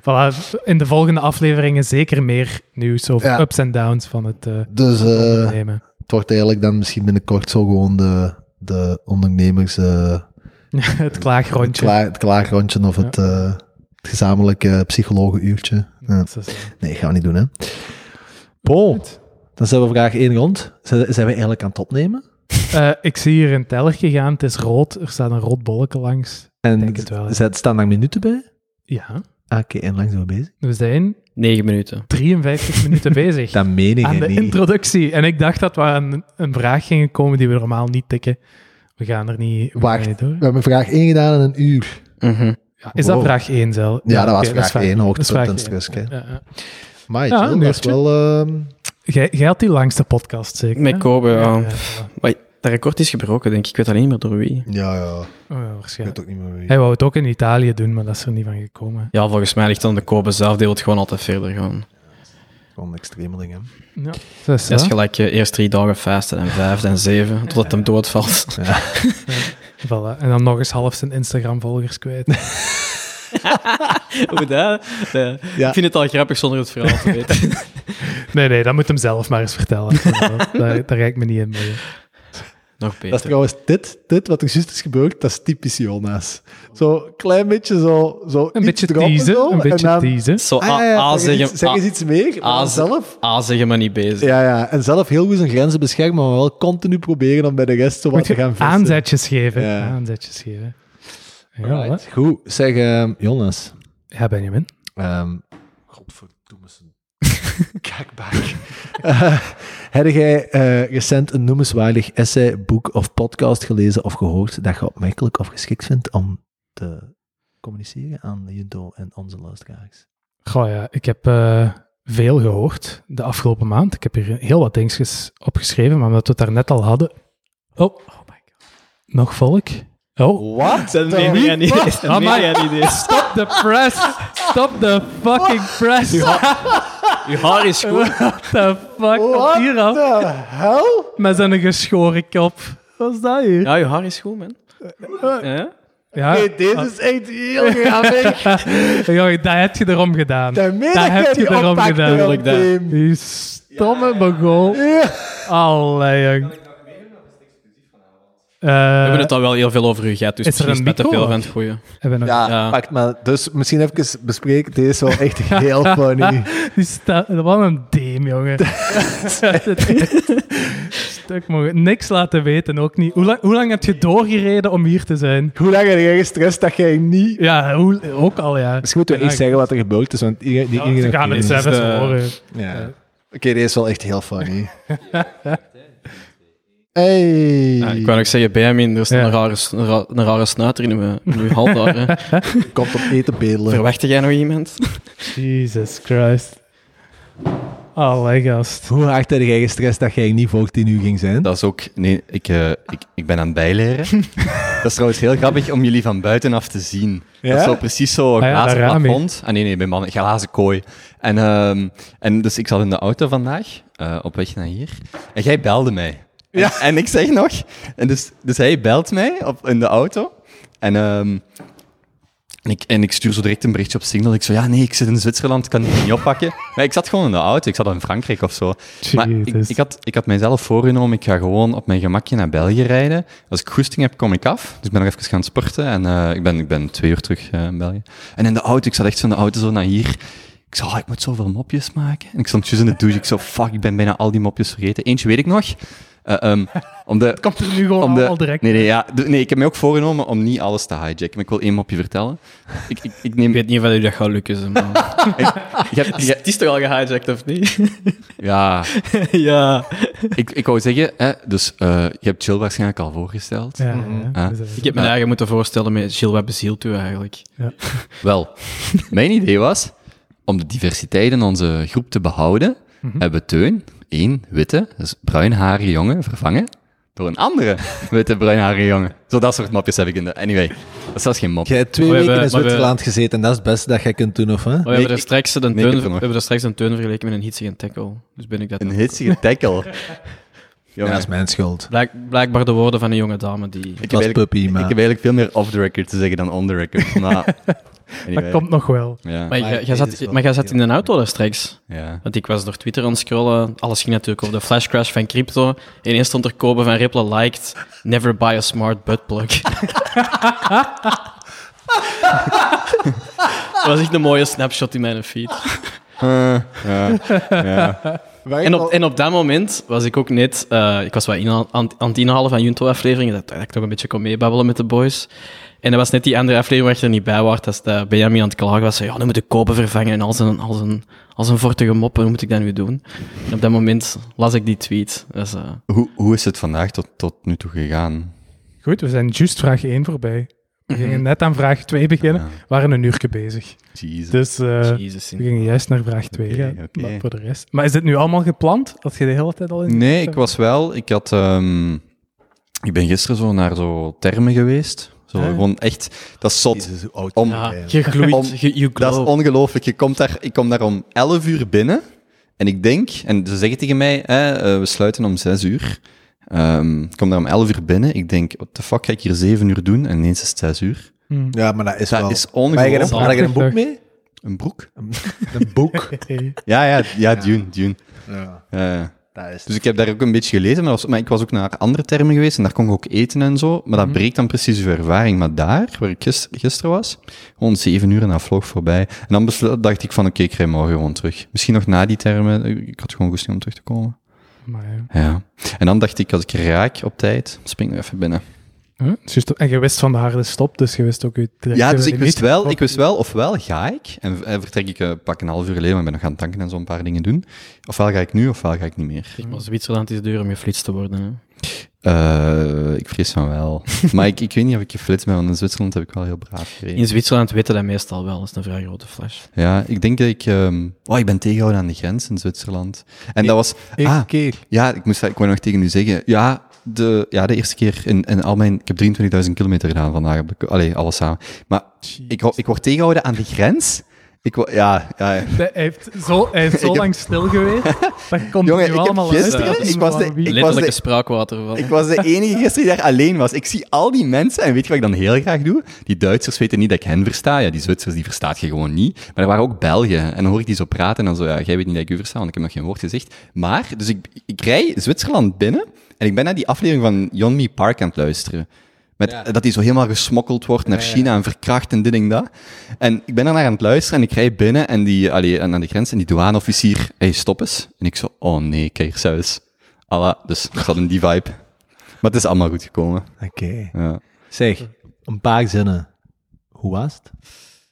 Voilà, in de volgende afleveringen zeker meer nieuws over Ja. ups en downs van het eh Dus... eh, ondernemen. (laughs) Het wordt eigenlijk dan misschien binnenkort zo gewoon de, de ondernemers... eh, het klaagrondje. klaar, het klaarrondje of het, eh, het gezamenlijke psychologenuurtje. Ja. Dat is, eh, Nee, gaan we niet doen, hè. Paul, dan zijn we vraag één rond. Zijn, zijn we eigenlijk aan het opnemen? eh, ik zie hier een tellertje gaan, het is rood, er staat een rood bolletje langs. En denk het wel, ja. zet- staan daar minuten bij? Ja, Ah, Oké, en lang zijn we bezig. we zijn Negen minuten. 53 (laughs) minuten bezig. Dat meen ik aan de niet. introductie. En ik dacht dat we aan een vraag gingen komen die we normaal niet tikken. We gaan er niet, we gaan Wacht. niet door. We hebben vraag één gedaan in een uur. Mhm. Ja, is dat Wow. vraag 1 zelf? Ja, dat was oké, is vraag fijn. één, Dat is hoogtepunt vraag en één. stress. hè. Ja, ja. Maar Ja, chill, een dat is uurtje. wel... ehm, Jij, jij had die langste podcast, zeker? Met hè? Kobe, ja. voilà. Maar dat record is gebroken, denk ik. Ik weet alleen niet meer door wie. ja, ja. Oh, ja, Ik waarschijnlijk. weet ook niet meer wie. Hij wou het ook in Italië doen, maar dat is er niet van gekomen. Ja, volgens mij ligt dan de Kobe zelf. Die wil gewoon altijd verder gaan. Gewoon extremeling, hè. Ja. Dus, Dat is gelijk eh, eerst drie dagen fasten en vijf, dan zeven, totdat hem doodvalt. voilà. En dan nog eens half zijn Instagram-volgers kwijt. (laughs) Hoe dat? Nee. Ja. Ik vind het al grappig zonder het verhaal te weten. Nee, nee, dat moet hem zelf maar eens vertellen. (laughs) daar, daar ga ik me niet in mee. Nog beter. Dat is trouwens dit, dit wat er juist is gebeurd, dat is typisch Jonas. Zo klein beetje zo... zo Een iets beetje droppen zo, teasen, een en beetje dan- teasen. Zo Ah, A, ja, ja, zeg, A eens zeggen, iets, zeg A- eens iets meer, A maar ze- zelf... A zeggen, ah, maar niet bezig. Ja, ja, en zelf heel goed zijn grenzen beschermen, maar wel continu proberen om bij de rest zo wat Moet te gaan je vissen. aanzetjes geven. Ja. Aanzetjes geven. Ja, Alright. Goed, zeg ehm, Jonas. hè. ja, Benjamin. ehm Godverdomme (laughs) zijn kakbaak. Eh, Heb jij eh, recent een noemenswaardig essay, boek of podcast gelezen of gehoord dat je opmerkelijk of geschikt vindt om te communiceren aan Junto en onze luisteraars? Goh ja, ik heb eh, veel gehoord de afgelopen maand. Ik heb hier heel wat dingetjes opgeschreven, maar omdat we het daar net al hadden... Oh, nog volk. Oh, Wat? Zijn media niet is. Ah, maar- media niet is. stop the press! Stop the fucking press! What Uw haar is (laughs) goed. the fuck? Wat hier af? the hell? Met zijn geschoren kop. Wat is dat hier? Ja, uw haar is goed, man. Ja? Ja, Nee, dit is echt heel (laughs) grappig. ja, dat heb je erom gedaan. De middag Daar heb heb je je erom oppakt gedaan. erop, Tuurlijk, dat. Tim. Die stomme begool. Allee, jong. Eh, We hebben het al wel heel veel over uw gat, dus Is er misschien een met te micro, veel van of? het goede. Ja, Ja. pakt maar. Dus misschien even bespreken. Dit is wel echt (laughs) heel funny. Die sta- Wat een deem, (laughs) jongen. Stuk mogen. Niks laten weten, ook niet. Hoe lang, hoe lang heb je doorgereden om hier te zijn? Hoe lang heb jij gestrest dat jij niet... Ja, hoe, ook al, ja. Misschien moeten we eerst zeggen wat er gebeurd is, want die, die Ja, ze gaan het is eh, zelf eens de- horen. Ja. Oké, dit is wel echt heel funny. hey. Ja, ik wou nog zeggen, Benjamin, er is Ja. een, rare, s- een, ra- een rare snuiter in uw, in uw hand daar. (laughs) hè. Komt op eten bedelen. Verwachtte jij nog iemand? Jesus Christ. Allee, gast. Hoe hard heb jij gestrest dat jij niet voor tien uur ging zijn? Dat is ook... Nee, ik, eh, ik, ik ben aan het bijleren. dat is trouwens heel grappig om jullie van buitenaf te zien. Dat is zo precies zo Ah ja, glazen dat raam hier. plafond. Ah nee, nee, bij mannen. Glazen kooi. En, ehm, en dus ik zat in de auto vandaag, eh, op weg naar hier. En jij belde mij. En- Ja. En, ik zeg nog... En dus, dus hij belt mij op, in de auto. En, ehm, en, ik, en ik stuur zo direct een berichtje op Signal. Ik zo, ja nee, ik zit in Zwitserland, ik kan het niet oppakken. Maar ik zat gewoon in de auto. Ik zat al in Frankrijk of zo. Maar ik, Jezus. ik, had, ik had mijzelf voorgenomen, ik ga gewoon op mijn gemakje naar België rijden. Als ik goesting heb, kom ik af. Dus ik ben nog even gaan sporten en eh, ik, ben, ik ben twee uur terug eh, in België. En in de auto, ik zat echt zo in de auto zo naar hier. Ik zei, "Ah, ik moet zoveel mopjes maken. En ik stond juist in de douche, ik zo, fuck, ik ben bijna al die mopjes vergeten. Eentje weet ik nog. Eh, ehm, om de, Komt er nu gewoon om de, al direct. Nee, nee, ja, de- nee, ik heb me ook voorgenomen om niet alles te hijacken. Maar ik wil één mopje vertellen. Ik, ik, ik neem... Ik weet niet of dat u dat gaat lukken. zeg (laughs) maar. je hebt- je- Het is toch al gehijacked, of niet? ja, (laughs) ja. ik, ik wou zeggen, hè, dus eh, je hebt Jill waarschijnlijk al voorgesteld. Ja, ja. Ah. Dus, eh, Ik heb me eigen moeten voorstellen met Gilles, wat bezielt u eigenlijk? Wel, mijn idee was, om de diversiteit in onze groep te behouden, Mhm. hebben we Teun, één witte, dus bruinharige jongen, vervangen door een andere witte bruinharige jongen. Zo dat soort mopjes heb ik in de... Anyway, dat is zelfs geen mop. Jij hebt twee We weken hebben- in maar we- Zwitserland gezeten en dat is het beste dat jij kunt doen, of hè? Oh, we, hebben er ik- straks een nee, ik heb teun, er we nog. hebben er straks een teun vergeleken met een hitsige tackle. Dus ben ik dat... Een hitsige tackle. Ja, Jongen, dat is mijn schuld. Blijk- blijkbaar de woorden van een jonge dame die... ik, heb Dat is eigenlijk, puppy, ik heb maar... eigenlijk veel meer off the record te zeggen dan on the (laughs) record. Maar, Dat komt nog wel. Ja, Maar Maar jij- ik jij weet dus zat, wel maar jij dat zat die in een auto daar straks. ja. Want ik was door Twitter aan het scrollen. Alles ging natuurlijk over de flash crash van crypto. Ineens stond er Kobe van Ripple liked. Never buy a smart butt plug. (laughs) Dat was echt een mooie snapshot in mijn feed. Eh, ja, ja. En op, en op dat moment was ik ook net... eh, ik was wat inha- aan, aan het inhalen van Junto-afleveringen. Dat, dat ik nog een beetje kon meebabbelen met de boys. En dat was net die andere aflevering waar je er niet bij was. Dat dat Benjamin aan het klagen was. Zei, ja, nu moet ik kopen vervangen en als een, als een, als een vortige mop. Hoe moet ik dat nu doen? En op dat moment las ik die tweet. Dus, eh, Hoe, hoe is het vandaag tot, tot nu toe gegaan? Goed, we zijn juist vraag 1 voorbij. We gingen net aan vraag 2 beginnen. We waren een uurtje bezig. Jezus. Dus eh, Jezus. we gingen juist naar vraag 2 Oké, gaan. oké. Maar voor de rest. Maar is dit nu allemaal gepland? Dat je de hele tijd al in. Nee, ik was wel. Ik had. ehm, ik ben gisteren zo naar zo termen geweest. Zo gewoon echt. Dat is zot. Jezus, hoe oud Om, Ja, Ah, je gloeit, Om- je, you dat is glow. ongelooflijk. Je komt daar, ik kom daar om 11 uur binnen. En ik denk, en ze zeggen tegen mij, hè, eh, we sluiten om 6 uur. Ehm, ik kom daar om 11 uur binnen. Ik denk, what the fuck ga ik hier 7 uur doen? En ineens is het 6 uur. Hm. Ja, maar dat is dat wel... is maar je hebt- ongelooflijk. had je een boek Prachtig. mee? Een broek? Een boek? Ja, ja, ja, Dune, Dune. ja, Ja, ja. dat is... Dus ik heb daar ook een beetje gelezen, maar, was- maar ik was ook naar andere termen geweest en daar kon ik ook eten en zo. Maar dat breekt dan precies uw ervaring. Maar daar, waar ik gister- gisteren was, gewoon zeven uur en dat vloog voorbij. En dan beslo- dacht ik van, oké, ik rij morgen gewoon terug. Misschien nog na die termen, ik had gewoon goesting om terug te komen. Maar, ja. Ja. En dan dacht ik, als ik raak op tijd, spring ik nog even binnen. Huh? Het is juist- En je wist van de harde stop, dus je wist ook je directe Ja, dus ik limiet. wist wel, ik wist wel ofwel ga ik, en, en vertrek ik eh, pak een half uur geleden, want ik ben nog gaan tanken en zo'n paar dingen doen. Ofwel ga ik nu, ofwel ga ik niet meer. Maar Zwitserland is duur om geflitst te worden. Hè. Eh, ik vrees van wel. maar ik, ik weet niet of ik geflitst ben, want in Zwitserland heb ik wel heel braaf gereden. In Zwitserland weten dat meestal wel. Dat is een vrij grote flash. Ja, ik denk dat ik... ehm, oh, ik ben tegengehouden aan de grens in Zwitserland. En dat was... ah, Eén keer. ja, ik, moest, dat- ik wou nog tegen u zeggen. Ja, de, ja, de eerste keer in, in al mijn... Ik heb 23.000 kilometer gedaan vandaag. op de ko- Allee, alles samen. Maar ik, ho- ik word tegengehouden aan de grens. Ik, wo- ja, ja, ja. Hij heeft zo, hij (laughs) heeft zo Ik heb- lang stil geweest. Dat komt Jongen, nu ik heb allemaal gisteren- uit. ik was de- Van wie- (laughs) Ik was Letterlijke de- spraakwater van. (laughs) Ik was de enige gisteren die daar alleen was. Ik zie al die mensen en weet je wat ik dan heel graag doe? Die Duitsers weten niet dat ik hen versta. Ja, die Zwitsers die verstaat je gewoon niet. Maar er waren ook Belgen. En dan hoor ik die zo praten en dan zo, ja, jij weet niet dat ik u versta, want ik heb nog geen woord gezegd. Maar, dus ik, ik rij Zwitserland binnen en ik ben naar die aflevering van Yonmi Park aan het luisteren. Met, Dat die zo helemaal gesmokkeld wordt naar China en verkracht en dit en dat. En ik ben daarnaar aan het luisteren en ik rijd binnen en die, allee, en aan de grens en die douaneofficier, hey, stop eens. En ik zo, oh nee, kijk, zelfs. Allah, dus ik zat in die vibe. Maar het is allemaal goed gekomen. Oké. Ja. Zeg, een paar zinnen. Hoe was het?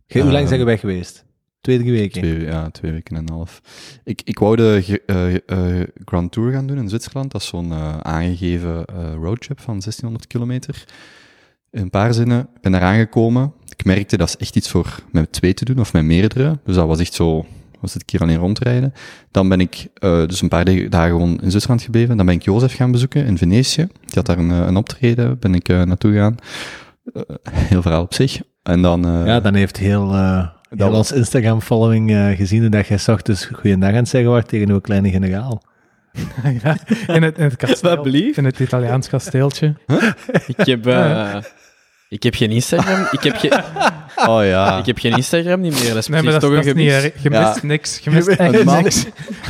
Ge- hoe Eh, lang zijn we weg geweest? Twee, drie weken. Twee, ja, twee weken en een half. Ik, ik wou de ge- eh, eh, Grand Tour gaan doen in Zwitserland. Dat is zo'n eh, aangegeven eh, roadtrip van 1600 kilometer. In een paar zinnen ik ben daar aangekomen. Ik merkte dat is echt iets voor met twee te doen of met meerdere. Dus dat was echt zo, was het een keer alleen rondrijden. Dan ben ik eh, dus een paar de- dagen gewoon in Zwitserland gebleven. Dan ben ik Jozef gaan bezoeken in Venetië. Die had daar een, eh, een optreden. Ben ik eh, naartoe gegaan. Eh, heel verhaal op zich. En dan... eh, Ja, dan heeft heel, eh Dat heel was- ons Instagram-following eh, gezien dat jij 's ochtends goeiedag aan het zeggen was tegen uw kleine generaal. Ja, in het, in het kasteel. Wat blieft? In het Italiaans (laughs) kasteeltje. Ik heb, eh, ik heb geen Instagram. Ik heb, ge- Oh ja. ik heb (laughs) geen Instagram niet meer. Dat is Nee, maar dat, precies toch is- dat een is niet gemis. erg. Je Ja. mist niks. Je mist echt Een man, niks.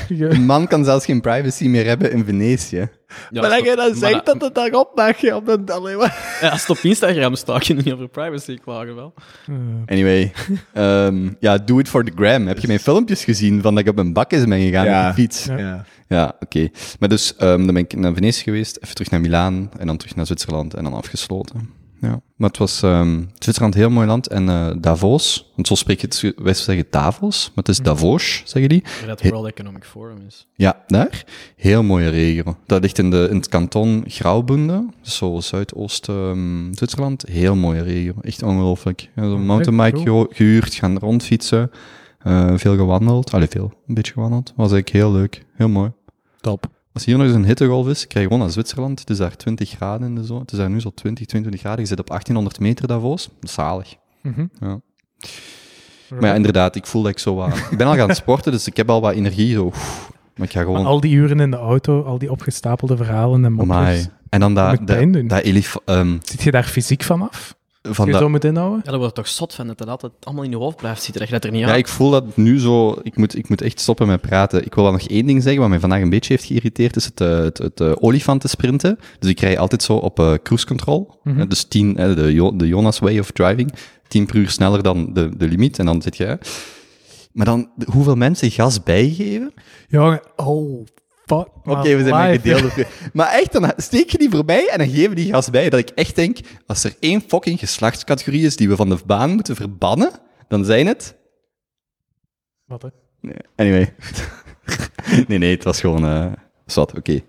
Je- een man kan zelfs geen privacy meer hebben in Venetië. Ja, als het op- maar dat- het daarop mag, je op dat alleen maar... (laughs) ja, Als het op Instagram staat, kun je niet over privacy klagen wel. Eh, Anyway, ehm, ja, do it for the gram. Heb je mijn filmpjes gezien van dat ik op een bakjes ben gegaan Ja. met de fiets? Ja. Ja. Ja, oké. Maar dus, ehm, dan ben ik naar Venetië geweest, even terug naar Milaan en dan terug naar Zwitserland en dan afgesloten. Ja, maar het was ehm, Zwitserland een heel mooi land en eh, Davos, want zo spreek je het, wij zeggen Davos, maar het is Davos, zeggen die. Maar Dat World Economic Forum is. Ja, daar. Heel mooie regio. Dat ligt in, de, in het kanton Graubünden, dus zo zuidoost ehm, Zwitserland. Heel mooie regio. Echt ongelooflijk. Ja, Een mountainbike cool. geho- gehuurd, gaan rondfietsen. eh, veel gewandeld. Allee, veel. Een beetje gewandeld. Was eigenlijk heel leuk. Heel mooi. Top. Als hier nog eens een hittegolf is, krijg je gewoon naar Zwitserland. Het is daar 20 graden in de zon. Het is daar nu zo 20, 22 graden. Je zit op 1800 meter Davos. Zalig. mhm. Ja. Maar ja, inderdaad, ik voel dat ik zo wat... Ik ben al gaan sporten, dus ik heb al wat energie. Zo. oef. Maar ik ga gewoon... Maar al die uren in de auto, al die opgestapelde verhalen en mopjes. Amai. En dan dat, Moet pijn dat, doen. dat elif... ehm, Zit je daar fysiek van af? van je dat- zo moet inhouden? Ja, daar wordt toch zot van dat dat altijd allemaal in je hoofd blijft zitten. Dat je dat er niet ja, uit- ik voel dat nu zo... Ik moet, ik moet echt stoppen met praten. Ik wil dan nog één ding zeggen, wat mij vandaag een beetje heeft geïrriteerd, is het, eh, het, het eh, olifantensprinten. Dus ik rij altijd zo op eh, cruise control. Mhm. Eh, Dus 10, eh, de, Jo- de Jonas way of driving. 10 per uur sneller dan de, de limiet. En dan zit je... eh. Maar dan, de- hoeveel mensen gas bijgeven? Jongen, oh, fuck. Oké, we zijn een gedeelde... vri- Maar echt, dan steek je die voorbij en dan geven die gas bij. Dat ik echt denk, als er één fucking geslachtscategorie is die we van de baan moeten verbannen, dan zijn het... (laughs) Wat, hè? Nee, Anyway. (laughs) nee, nee, het was gewoon... eh zat, oké.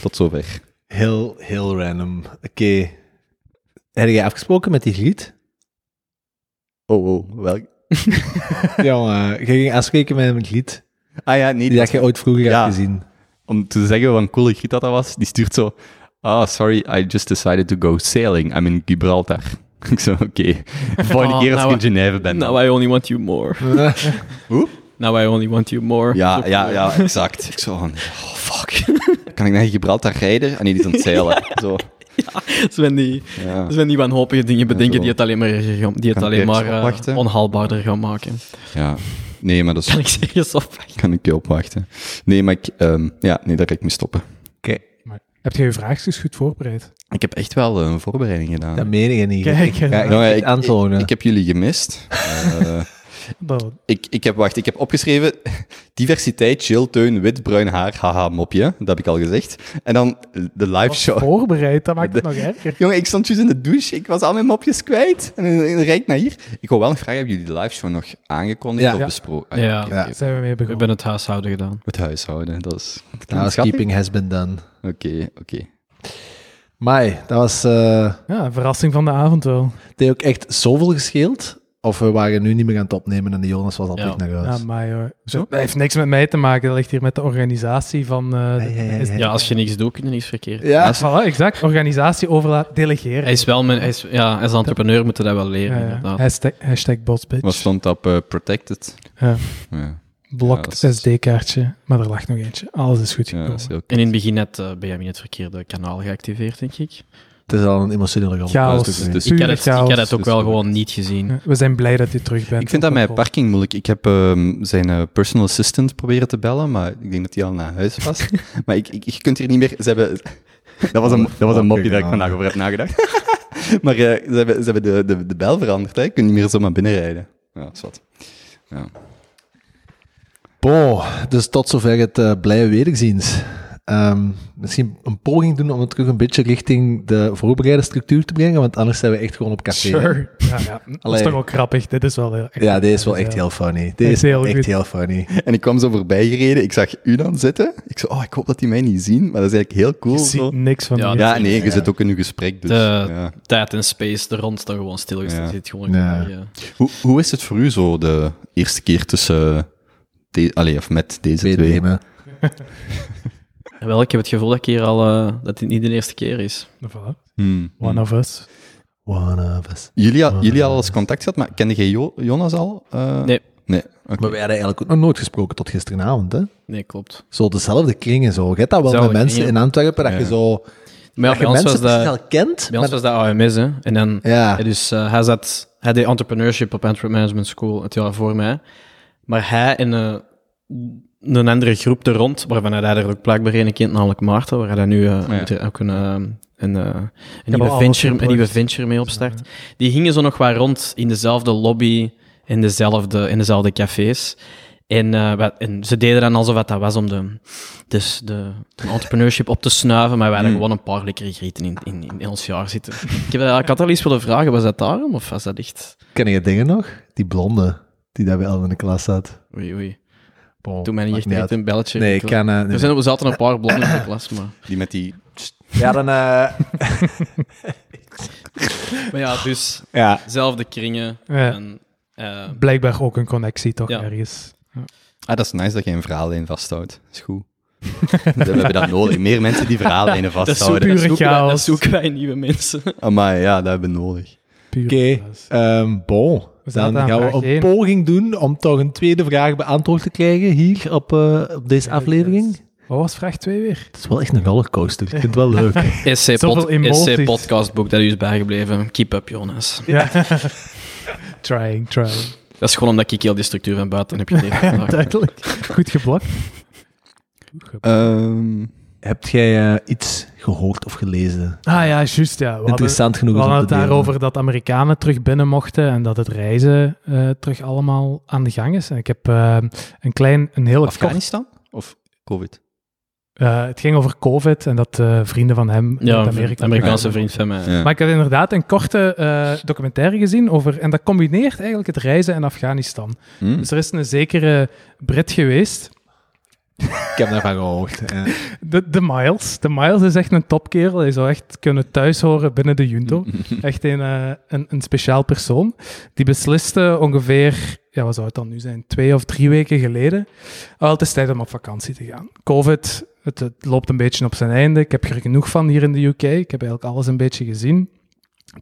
Tot zover. Heel, heel random. Oké. Heb jij afgesproken met die griet? Oh, oh, welk... ja, eh, je ging afspreken met een griet Ah ja, nee, die dat je ooit vroeger Ja. hebt gezien. om te zeggen wat een coole giet dat dat was, die stuurt zo... Ah, sorry, I just decided to go sailing. I'm in Gibraltar. (laughs) ik zo, oké. (laughs) Volgende Oh, keer als nou, ik in Genève ben. dan. Now I only want you more. (laughs) Hoe? Now I only want you more. Ja, Zo- ja, ja, (laughs) (laughs) Ah, exact. Ik zo van, oh fuck. Kan ik naar Gibraltar rijden? En die is aan het zeilen. Zo. (laughs) Sven die, Ja. Sven die wanhopige dingen bedenken zo. die het alleen maar, erger gaan- die het Kan alleen ik maar ergens eh, opwachten? onhaalbaarder gaan (laughs) maken. ja. Nee, maar dat Kan is, ik serieus opwachten? kan ik je opwachten. Nee, maar ik, ehm, ja, nee, daar ga ik mee stoppen. Maar heb jij je vraagjes goed voorbereid? Ik heb echt wel eh, een voorbereiding gedaan. Dat meen je niet. Kijk, eh, Ja, Jongen, ik- ik, aantonen. ik, ik heb jullie gemist. Eh, (laughs) dat- ik, ik heb, wacht, ik heb opgeschreven (laughs) diversiteit, chill, teun, wit, bruin haar, haha, mopje. Dat heb ik al gezegd. En dan de live Oh, was show. voorbereid, dat maakt (laughs) het nog erger. Jongen, ik stond juist in de douche. Ik was al mijn mopjes kwijt. En dan dan rijd ik naar hier. Ik wou wel een vraag, hebben jullie de live show nog aangekondigd Ja. of Ja. besproken? Ah, Ja. oké, Ja. oké. Zijn we mee We begonnen? hebben het huishouden gedaan. Het huishouden, dat is... dat klinkt schattig. Housekeeping has been done. Oké, oké. Mai, dat was... eh Ja, verrassing van de avond wel. het heeft ook echt zoveel gescheeld. Of we waren nu niet meer aan het opnemen en de Jonas was al Ja. terug naar huis. Ja, maar joh. dat heeft niks met mij te maken. Dat ligt hier met de organisatie van... eh, Ja, ja, ja, is- Ah, ja. Ja, als je niks doet, kun je niks verkeerd. Ja. voilà, exact. Organisatie overlaat, delegeren. Hij is wel mijn, hij is, ja, als entrepreneur moeten we dat wel leren, Ja, ja. inderdaad. Hashtag, hashtag botsbitch. Wat stond op eh, protected? Ja. Ja, Ja, Blokt dat is- SD-kaartje. Maar er lag nog eentje. Alles is goed ja, gekomen. dat is heel En in het begin net eh Benjamin het verkeerde kanaal geactiveerd, denk ik. Het is al een emotionele rol. Chaos. Dat is het Dus- niet. Ik had Pure het, ik chaos. had het ook Dus wel goed. gewoon niet gezien. Ja, We zijn blij dat je terug bent. Ik vind dat Ook met al- parking moeilijk. Ik heb ehm, zijn eh, personal assistant proberen te bellen, maar ik denk dat hij al naar huis was. maar ik, ik, je kunt hier niet meer... Ze hebben... Dat was een, dat was een mopje dat ik vandaag over heb nagedacht. (laughs) maar eh, ze hebben, ze hebben de, de, de bel veranderd. Hè. Je kunt niet meer zomaar binnenrijden. Ja, dat is wat. Ja. Boah, dus tot zover het eh blije wederziens. Ehm, misschien een poging doen om het terug een beetje richting de voorbereide structuur te brengen, want anders zijn we echt gewoon op café. hè. Sure. Ja, ja. Dat is Allee. toch ook grappig. Dit is wel heel... Ja, deze is wel echt heel funny. Deze is Echt heel echt goed. heel funny. En ik kwam zo voorbij gereden. Ik zag u dan zitten. Ik zo, oh, ik hoop dat die mij niet zien. Maar dat is eigenlijk heel cool. Je ziet zo. niks van Ja, die- Ja, nee, je zit ook in uw gesprek. Dus, De ja. tijd en space er rond dan gewoon stilgestaan. Ja. Zit gewoon eh, Ja. ja. Hoe, hoe is het voor u zo de eerste keer tussen... De, allee, of met deze Twee twee? nemen. Wel, ik heb het gevoel dat, ik hier al, eh, dat dit niet de eerste keer is. Voilà. Hmm. One of us. One of us. Jullie, al- jullie al eens contact gehad, maar kende jij Jo- Jonas al? Eh, Nee. Nee, oké. Maar wij hadden eigenlijk ook nog nooit gesproken tot gisteravond, hè? Nee, klopt. Zo dezelfde kringen, zo. Je hebt dat wel Dezelfde met mensen kringen. in Antwerpen, dat Ja. je zo... Maar ja, dat je bij ons, was mensen precies dat, al kent, bij ons maar- was dat AMS, hè. En dan, Ja. ja, dus eh, hij zat, hij deed entrepreneurship op Antwerp Management School het jaar voor mij. Maar hij en eh, een andere groep er rond, waarvan hij daar ook blijkbaar een kind, namelijk Maarten, waar hij daar nu eh, Ja. moet er ook een, eh, een, eh, een al nieuwe alles venture, een nieuwe gehoord. venture mee opstart. Die gingen zo nog wat rond in dezelfde lobby, in dezelfde, in dezelfde cafés. En, eh, wat- en ze deden dan alsof het dat was om de, dus de, de entrepreneurship op te snuiven, maar wij Hmm. hadden gewoon een paar lekkere grieten in, in, in ons jaar zitten. Ik, heb, dat- ik had al eens willen vragen, was dat daarom of was dat echt... Ken je dingen nog? Die blonde, die daar bij Elwin in de klas zat. Oei, oei. Bon, Toen mij niet maakt echt direct uit. een belletje. Nee, ik kan... eh, nee. Er, zijn, er zaten een (coughs) paar blonden in de klas, maar... Die met die... Ja, dan... eh, Maar ja, dus (laughs) ja. zelfde kringen. Ja. En, eh, Blijkbaar ook een connectie toch Ja. ergens. Ah, dat is nice dat je een verhaallijn vasthoudt. Is goed. We hebben dat nodig. Meer mensen die dat, verhaallijnen zoeken, vasthouden. Ah, dat, pure zoeken wij, chaos. dat zoeken wij nieuwe (laughs) mensen. Maar ja, dat hebben we nodig. Puur Oké, chaos. ehm, bon. We zaten Dan aan gaan vraag we een één. poging doen om toch een tweede vraag beantwoord te krijgen hier op, eh, op deze aflevering. Wat was vraag 2 weer? Het is wel echt een rollercoaster. Ik vind het wel (laughs) leuk. SC, Zoveel pod, emoties. SC podcastboek, dat u is bijgebleven. Keep up, Jonas. Ja. (laughs) trying, trying. Dat is gewoon omdat ik heel die structuur van buiten (laughs) heb gegeven. vandaag. Duidelijk. Goed geblokt. Goed geblokt. Ehm, Hebt jij eh, iets gehoord of gelezen? Ah ja, juist ja. We hadden, Interessant we genoeg is hadden om het te delen. daarover dat Amerikanen terug binnen mochten en dat het reizen eh, terug allemaal aan de gang is. En ik heb eh, een klein, een hele kort... Afghanistan? Of COVID? eh, het ging over COVID en dat eh, vrienden van hem Ja, uit een Amerika... Amerikaanse vriend van mij. Ja. Maar ik had inderdaad een korte eh, documentaire gezien over... En dat combineert eigenlijk het reizen en Afghanistan. Hm? Dus er is een zekere Brit geweest Ik heb daarvan gehoord. (laughs) Ja. Eh, De, de Miles. De Miles is echt een topkerel. Hij zou echt kunnen thuis horen binnen de Junto. Echt een, eh, een, een speciaal persoon. Die besliste ongeveer, ja, wat zou het dan nu zijn, twee of drie weken geleden. Al het is tijd om op vakantie te gaan. COVID, het, het loopt een beetje op zijn einde. Ik heb er genoeg van hier in de UK. Ik heb eigenlijk alles een beetje gezien.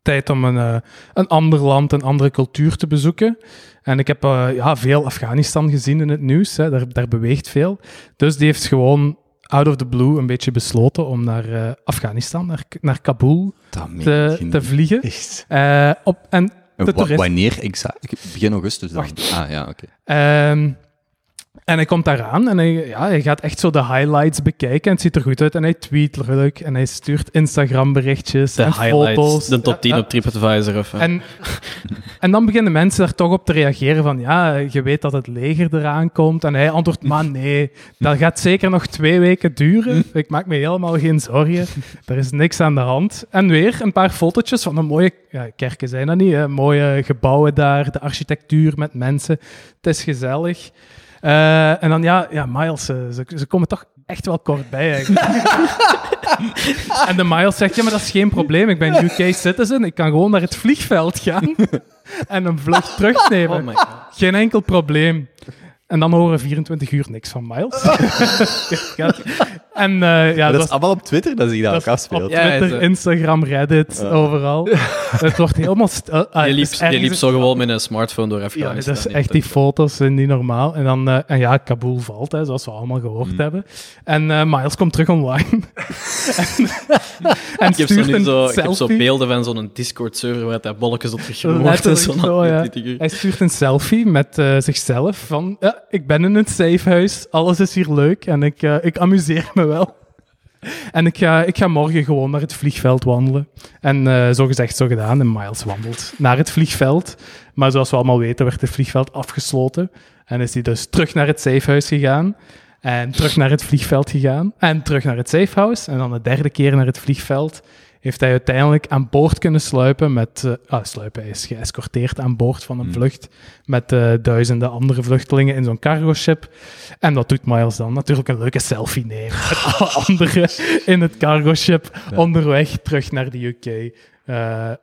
Tijd om een, eh, een ander land, een andere cultuur te bezoeken. En ik heb eh, ja, veel Afghanistan gezien in het nieuws. Hè. Daar, daar beweegt veel. Dus die heeft gewoon out of the blue een beetje besloten om naar eh, Afghanistan, naar, naar Kabul Dat meen te, je te niet. vliegen. Echt. Eh, op, en En de wa- toerist- Wanneer exact? Begin augustus dan? Wacht. Ah ja, oké. Ehm, en hij komt daaraan en hij, ja, hij gaat echt zo de highlights bekijken. En het ziet er goed uit. En hij tweet leuk. En hij stuurt Instagram-berichtjes De en highlights, foto's. de top 10 Ja, op TripAdvisor. Of, eh. En, en dan beginnen mensen daar toch op te reageren van, ja, je weet dat het leger eraan komt. En hij antwoordt, maar nee, dat gaat zeker nog twee weken duren. Ik maak me helemaal geen zorgen. Er is niks aan de hand. En weer een paar fotootjes van een mooie, ja, kerken zijn dat niet, hè, mooie gebouwen daar, de architectuur met mensen. Het is gezellig. Eh, en dan, ja, ja Miles, eh, ze, ze komen toch echt wel kort bij eigenlijk. (laughs) En de Miles zegt, ja, maar dat is geen probleem. Ik ben UK citizen. Ik kan gewoon naar het vliegveld (laughs) gaan en een vlucht terugnemen. oh my god. Geen enkel probleem. En dan horen we 24 uur niks van (laughs) Miles. Ja. en eh, ja, dat, dat, is allemaal op Twitter dat zich dat, dat ook is op afspeelt. Ja, Twitter, het, eh. Instagram, Reddit, (laughs) overal. het wordt helemaal... stil. Ah, het Je is liep, je ergens- liep zo gewoon met een smartphone door Ja, dat Afghanistan. is echt die foto's zijn niet normaal. En, dan, eh, en ja, Kabul valt, hè, zoals we allemaal gehoord Mm. hebben. En eh, Miles komt terug (laughs) online. en en Ik heb, zo stuurt nu een zo, ik selfie. heb zo beelden van zo'n Discord-server waar dat bolletjes op groen wordt. (laughs) en (laughs) Letterlijk zo. zo, ja. Hij stuurt een selfie met eh, zichzelf van ja, ik ben in een safe huis, alles is hier leuk en ik, eh, ik amuseer me wel. En ik ga, ik ga morgen gewoon naar het vliegveld wandelen. En eh, zo gezegd, zo gedaan. En Miles wandelt naar het vliegveld. Maar zoals we allemaal weten, werd het vliegveld afgesloten. En is hij dus terug naar het safehuis gegaan. En terug naar het vliegveld gegaan. En terug naar het safehouse. En dan de derde keer naar het vliegveld. Heeft hij uiteindelijk aan boord kunnen sluipen met... eh, ah, sluipen. Hij is geëscorteerd aan boord van een vlucht. Met eh, duizenden andere vluchtelingen in zo'n cargo ship. En dat doet Miles dan natuurlijk een leuke selfie nemen. Met alle anderen in het cargo ship. Onderweg terug naar de UK. Eh,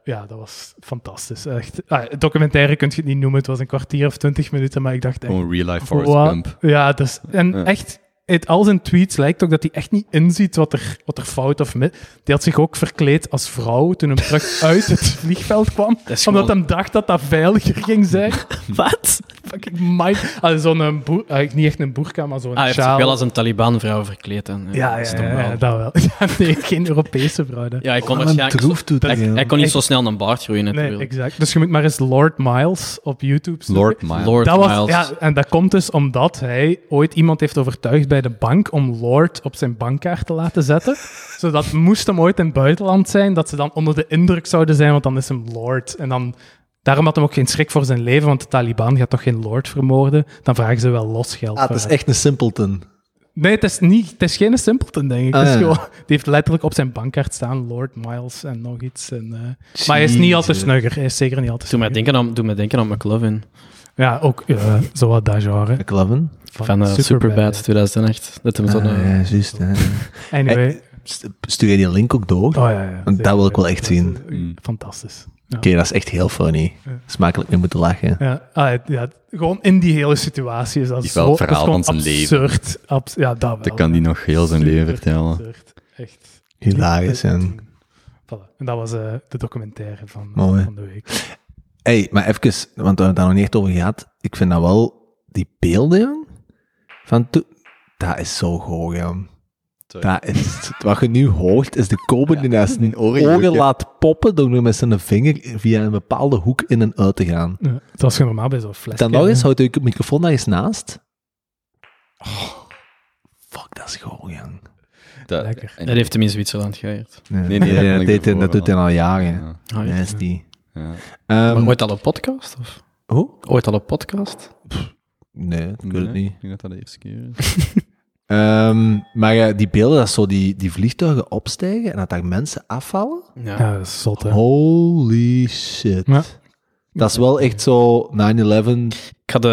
ja, dat was fantastisch. Echt. Ah, documentaire kun je het niet noemen. Het was een kwartier of twintig minuten. Maar ik dacht echt... Gewoon real life Forrest Wow. Gump. Ja, dus, en Ja. echt, het, al zijn tweets lijkt ook dat hij echt niet inziet wat er, wat er fout of mis... Die had zich ook verkleed als vrouw toen hem (laughs) terug uit het vliegveld kwam. Dat is Omdat gewoon- hem dacht dat dat veiliger ging zijn. Wat? Fucking mind. Ah, zo'n eh, boer... ah, niet echt een boerka, maar zo'n Ah, hij heeft zich sjaal. wel als een Taliban-vrouw verkleed. En, Ja, dat is ja, toch ja, wel- ja, dat wel. (laughs) Ja, nee, geen Europese vrouw. hè. Ja, hij kon Wat een waarschijnlijk... droef doet dat, hij, joh. hij kon niet Ik- zo snel een baard groeien, Nee, natuurlijk. exact. Dus je moet maar eens Lord Miles op YouTube zoeken. Lord Miles. Lord Dat was, Miles. ja, en dat komt dus omdat hij ooit iemand heeft overtuigd bij de bank om Lord op zijn bankkaart te laten (laughs) zetten. zodat moest hem ooit in het buitenland zijn, dat ze dan onder de indruk zouden zijn, want dan is hem Lord. En dan, daarom had hem ook geen schrik voor zijn leven, want de Taliban gaat toch geen Lord vermoorden? Dan vragen ze wel los geld. Ah, voor het is hem. echt een simpleton. Nee, het is, niet, het is geen simpleton, denk ik. Ah, Het is ja. gewoon- die heeft letterlijk op zijn bankkaart staan Lord Miles en nog iets. En, eh, maar hij is niet al te Jezus. snugger. Hij is zeker niet al te Doe mij snugger. denken aan, doe mij denken aan McLovin Ja, ook eh, zo wat dat genre. McLovin. van eh, Superbad 2008. Dat hem zo'n... Ah, eh, ja, juist. ja. Anyway. Eh, St- Stuur je die link ook door? Oh, ja, ja, Dat zeker. wil ik wel echt Dat is, zien. eh, Fantastisch. Oké, dat is echt heel funny. Ja. Smakelijk mee moeten lachen. Ja, ah, ja, ja, gewoon in die hele situatie is dat Die zo wel het verhaal dat is van gewoon zijn absurd, abs- ja, dat wel. Dat kan die nog heel zijn leven Super vertellen. absurd. Echt. Hilarisch. En... Voilà. En dat was eh, de documentaire van, eh, Mooi. van de week. Hey, maar even, want we hebben het daar nog niet echt over gehad. Ik vind dat wel, die beelden, jong, van toen, dat is zo hoog, jong. Sorry. Dat is, wat je nu hoort, is de koper die naar zijn oren oren geduwd, ja. laat poppen door nu met zijn vinger via een bepaalde hoek in en uit te gaan. Ja, het was normaal bij zo'n fles. Dan nog eens, houd je microfoon daar eens naast. Oh, fuck, dat is gewoon, jong. Dat, Lekker. Dat heeft hem in Zwitserland geëerd. Nee, nee, dat kan dat, ik deed, hij- ervoor dat doet hij al jaren. Ja, Ah, ja. Dat is die. ja. maar Ehm, ooit al een podcast? Of? hoe? Ooit al een podcast? Nee, ik weet het Nee, niet. Ik denk dat dat de eerste keer is. Ehm, maar eh, die beelden, dat zo die, die vliegtuigen opstijgen en dat daar mensen afvallen. Ja. Ja, dat is zot, hè. Oh, Holy shit. Ja. Dat is wel echt zo 9-11 Ik had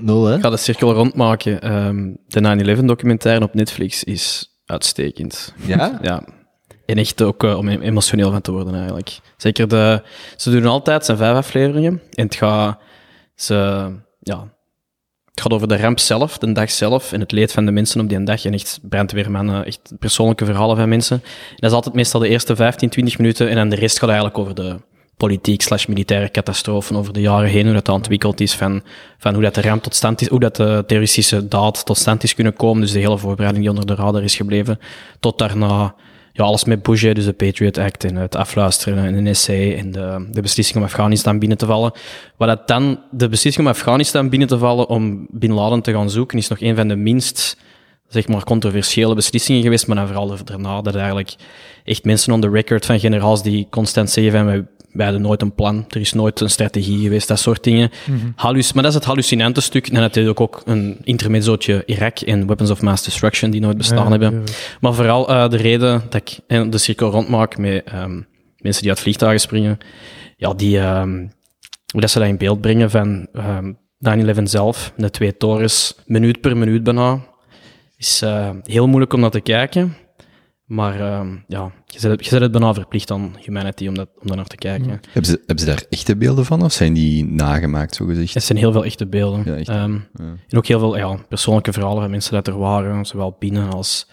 2.0, hè? Ik ga de cirkel rondmaken. Ehm, de 9-11 documentaire op Netflix is uitstekend. Ja? Ja. En echt ook eh, om emotioneel van te worden eigenlijk. Zeker de... Ze doen altijd, het zijn vijf afleveringen. En het gaat... Ze, ja, het gaat over de ramp zelf, de dag zelf. En het leed van de mensen op die dag. En echt brandweermannen, eh, echt persoonlijke verhalen van mensen. En dat is altijd meestal de eerste 15, 20 minuten. En dan de rest gaat eigenlijk over de politiek slash militaire catastrofen over de jaren heen, hoe dat ontwikkeld is, van, van hoe dat de ramp tot stand is, hoe dat de terroristische daad tot stand is kunnen komen, dus de hele voorbereiding die onder de radar is gebleven, tot daarna ja, alles met Bush, hè, dus de Patriot Act en het afluisteren en de NSC en de, de beslissing om Afghanistan binnen te vallen. Wat dat dan, de beslissing om Afghanistan binnen te vallen om Bin Laden te gaan zoeken, is nog een van de minst zeg maar, controversiële beslissingen geweest, maar dan vooral daarna dat eigenlijk echt mensen on the record van generaals die constant zeggen van wij, wij hadden nooit een plan, er is nooit een strategie geweest, dat soort dingen. Hallus, maar dat is het hallucinante stuk. En natuurlijk ook een intermezzootje Irak en Weapons of Mass Destruction die nooit bestaan Ja, hebben. tuurlijk. Maar vooral eh, de reden dat ik eh, de cirkel rondmaak met ehm, mensen die uit vliegtuigen springen, ja, die, ehm, hoe dat ze dat in beeld brengen van ehm 9-11 zelf, de twee torens, minuut per minuut bijna, is eh, heel moeilijk om naar te kijken. Maar ehm, ja, je zet, het, je zet het bijna verplicht aan humanity om, dat, om daar naar te kijken. Hebben ze, hebben ze daar echte beelden van of zijn die nagemaakt, zo gezegd? Het zijn heel veel echte beelden. Ja, echt. Ehm, En ook heel veel ja, persoonlijke verhalen van mensen dat er waren, zowel binnen als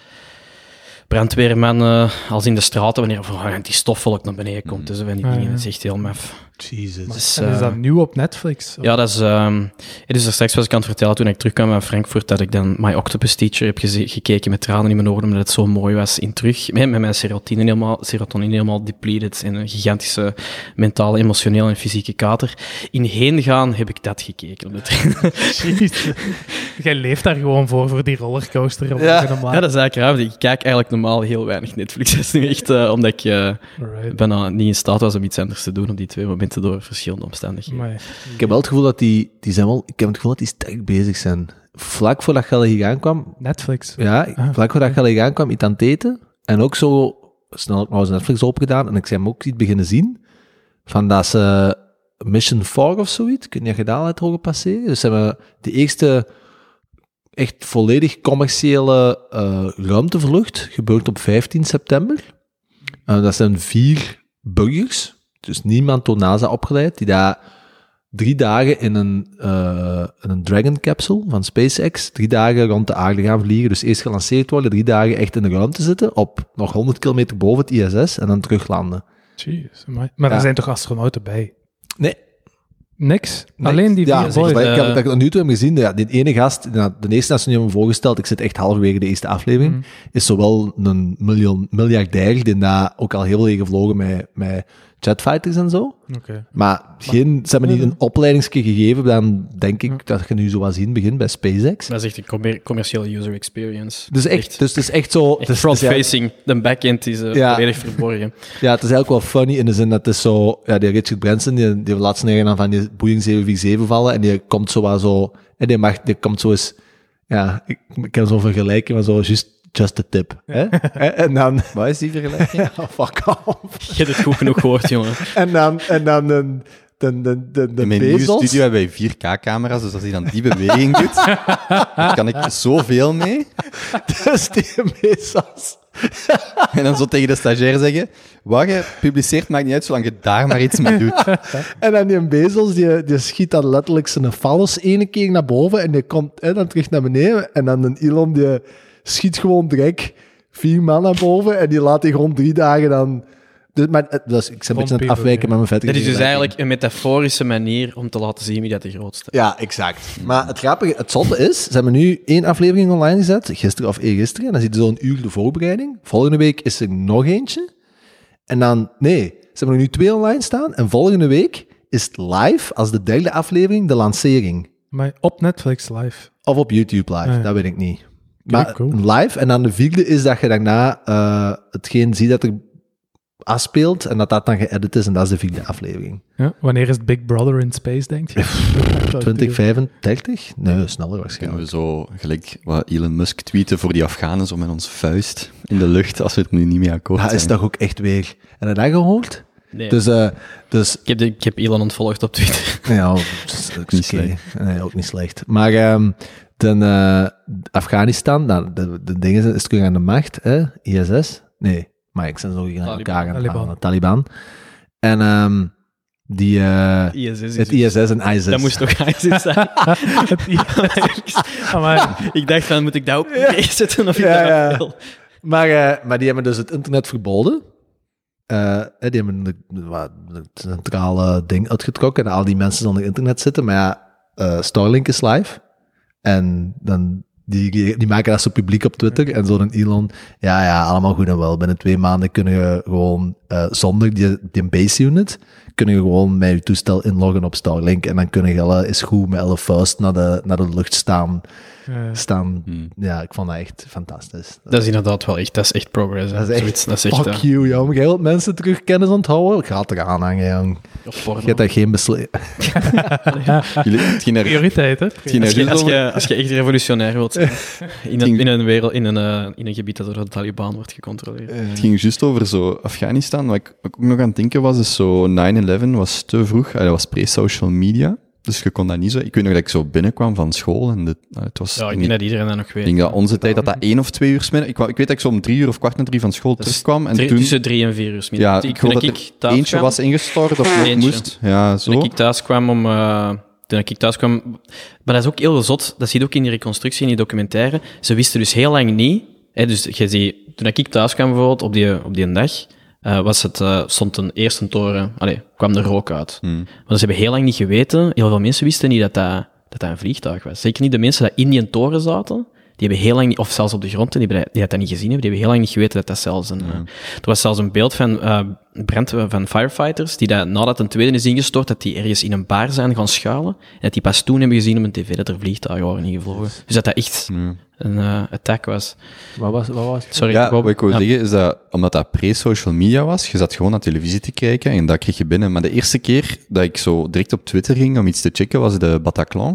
brandweermannen, als in de straten, wanneer van, die stofvolk naar beneden komt. Dus van die Ah, dingen, ja. dat is echt heel maf. Jesus. Dus, en is eh, dat nieuw op Netflix? Oh, ja, dat is... ehm dus daar straks was ik aan het vertellen toen ik terugkwam uit Frankfurt dat ik dan My Octopus Teacher heb geze- gekeken met tranen in mijn ogen, omdat het zo mooi was in terug. Met, met mijn serotonine helemaal, serotonine helemaal depleted en een gigantische mentale, emotionele en fysieke kater. In heen gaan heb ik dat gekeken op de trein. Jezus. Jij leeft daar gewoon voor, voor die rollercoaster. Om Ja. Ja, dat is eigenlijk raar. want Ik kijk eigenlijk normaal heel weinig Netflix. (laughs) Dat is nu echt eh, omdat ik eh, bijna niet in staat was om iets anders te doen op die twee momenten door verschillende omstandigheden. Ik heb wel het gevoel dat die, die zijn wel, ik heb het gevoel dat die sterk bezig zijn. Vlak voordat Gelle hier aankwam, Netflix. ja, Ah. vlak voordat Gelle hier aankwam, iets aan het eten. En ook zo snel, ik nou eens Netflix opgedaan en ik zei hem ook iets beginnen zien. Van dat ze Mission 4 of zoiets, kun je gedaan het horen passeren. Dus ze hebben de eerste echt volledig commerciële eh, ruimtevlucht, gebeurt op 15 september. Eh, dat zijn vier burgers, dus niemand door NASA opgeleid, die daar drie dagen in een, eh, in een Dragon capsule van SpaceX, drie dagen rond de aarde gaan vliegen. Dus eerst gelanceerd worden, drie dagen echt in de ruimte zitten, op nog 100 kilometer boven het ISS en dan teruglanden. Jeez, amai. Maar Ja. er zijn toch astronauten bij? Nee, Niks? Nee. Alleen die ja, vier zeg, boys? maar ik heb eh, dat ik tot nu toe heb gezien. Ja, die ene gast, nou, de eerste dat ze nu hebben voorgesteld, ik zit echt halverwege de eerste aflevering, Mm. is zowel een miljoen, miljardair, die daar ook al heel veel gevlogen met, met jetfighters en zo. Oké. Maar geen, ze hebben niet een opleidingskeer gegeven, dan denk Ja. ik dat je nu zo wat zien begint bij SpaceX. Dat is echt een commer- commerciële user experience. Dus, echt, dus het is echt zo... Echt het is- het is eigenlijk- front-facing, de backend is eh, Ja. volledig (laughs) verborgen. Ja, het is eigenlijk wel funny in de zin dat het is zo... Ja, die Richard Branson, die, die heeft laatst negen aan van die Boeing 747 vallen en die komt zo wel zo... En die, mag, die komt zo eens... Ja, ik, ik kan zo vergelijken, maar zo just, just the tip. Hè? (laughs) en (laughs) dan... Waar is die vergelijking? (laughs) fuck off. Je hebt het goed genoeg (laughs) gehoord, jongen. En dan... En dan een, de, de, de, de In mijn nieuwe Bezos. studio hebben wij 4K-camera's, dus als hij dan die beweging doet, daar kan ik zoveel mee. (laughs) Dus die Bezos. En dan zo tegen de stagiair zeggen, wat je publiceert maakt niet uit, zolang je daar maar iets mee (laughs) doet. En dan die Bezos, die, die schiet dan letterlijk zijn fallus ene keer naar boven en die komt hè, dan terug naar beneden. En dan een Elon, die schiet gewoon direct vier man naar boven en die laat die gewoon drie dagen dan... Dus, maar, eh, dat is, ik ben een beetje aan het Pompier, afwijken ja. met mijn vette Dat is dus vergelijking. eigenlijk een metaforische manier om te laten zien wie dat de grootste is. Ja, exact. Maar het grappige, het zotte is, ze hebben nu één aflevering online gezet, gisteren of eergisteren, en dan zit er zo'n uur de voorbereiding. Volgende week is er nog eentje. En dan, nee, ze hebben er nu twee online staan, en volgende week is het live, als de derde aflevering, de lancering. Maar op Netflix live. Of op YouTube live, Ah, ja. dat weet ik niet. Kijk, Maar cool. live, en dan de vierde is dat je daarna eh, hetgeen ziet dat er afspeelt, en dat dat dan geëdit is, en dat is de vierde aflevering. Ja? Wanneer is het Big Brother in Space, denk je? (laughs) 2035? Nee, sneller waarschijnlijk. Kunnen we zo gelijk wat Elon Musk tweeten voor die Afghanen, zo met ons vuist in de lucht, als we het nu niet meer akkoord Dat zijn. is toch ook echt weer. En dat dat gehoord? Nee. Dus, eh, dus nou ik, heb de- ik heb Elon ontvolgd op (laughs) Twitter. ja, dat is ook Niet niet slecht. slecht. Nee, ook niet slecht. Maar ehm, dan, eh, Afghanistan, nou, de, de dingen zijn, is terug aan de macht, hè? ISS. Nee, maar ik zijn zo aan Taliban. elkaar aan Taliban. aan de Taliban. En ehm, die, eh, ISS is het dus- ISS en ISS. Dat moest toch (laughs) ISIS zijn? (laughs) Amai. (laughs) ik dacht van, moet ik dat ook neerzetten of ik Ja, dat ja. wil? Maar, eh, maar die hebben dus het internet verboden. Eh, eh, hè, die hebben de, wat, het centrale ding uitgetrokken en al die mensen die op internet zitten. Maar ja, eh, Starlink is live. En dan, die, die maken dat zo publiek op Twitter. En zo'n Elon, ja, ja, allemaal goed en wel. Binnen twee maanden kunnen je gewoon eh, zonder die, die base unit, kunnen je gewoon met je toestel inloggen op Starlink. En dan kunnen je alle, is goed met alle vuist naar de, naar de lucht staan. Eh, staan. Hmm. Ja, ik vond dat echt fantastisch. Dat is inderdaad wel echt, dat is echt progress. hè. Dat is echt- Zoiets, dat is echt Fuck eh, you, jong. Jij wilt mensen terug kennis onthouden? Gaat eraan hangen, jong. op Je porno. hebt daar geen besluit. Jullie, misschien naar, prioriteit, hè? misschien Als naar je, als, Rizzo- je, als je echt revolutionair wilt (laughs) zijn in een, in een, wereld, in een, eh, in een gebied dat door de Taliban wordt gecontroleerd. Het ging juist over zo Afghanistan. Wat ik ook nog aan het denken was, is zo 9-11 was te vroeg. Eh, Dat was pre-social media. Dus je kon dat niet zo... Ik weet nog dat ik zo binnenkwam van school en dit, nou, het was... Ja, ik niet- denk dat iedereen dat nog ik weet. denk dat onze tijd dat dat één of twee uur... 's middag- Ik, wou- ik weet dat ik zo om drie uur of kwart na drie van school is terugkwam. En Drie- toen Tussen drie en vier uur. 's middags. ja, Toen ik hoorde dat toen er eentje kwam- was ingestort of nog Eentje. moest. Ja, zo. Toen ik thuis kwam om... eh, toen ik thuis kwam... Maar dat is ook heel zot. Dat zit ook in die reconstructie, in die documentaire. Ze wisten dus heel lang niet... Hè, dus je ziet, toen ik thuis kwam bijvoorbeeld, op die, op die dag, eh, was het, eh, stond een eerste toren... Allee, kwam er rook uit. Hmm. Want ze hebben heel lang niet geweten. Heel veel mensen wisten niet dat dat, dat, dat een vliegtuig was. Zeker niet de mensen die in die toren zaten. Die hebben heel lang niet, of zelfs op de grond, die, hebben, dat- die dat niet gezien hebben, die hebben heel lang niet geweten dat dat zelfs een... eh, er was zelfs een beeld van eh, brand van firefighters, die dat, nadat een tweede is ingestort, dat die ergens in een bar zijn gaan schuilen. En dat die pas toen hebben gezien op een tv dat er vliegtuigen waren ingevlogen. Dus dat dat echt een eh, attack was. Wat was, wat was Sorry, Ja, ik wou- wat ik wil Ja. zeggen is dat, omdat dat pre-social media was, je zat gewoon naar televisie te kijken en dat kreeg je binnen. Maar de eerste keer dat ik zo direct op Twitter ging om iets te checken, was de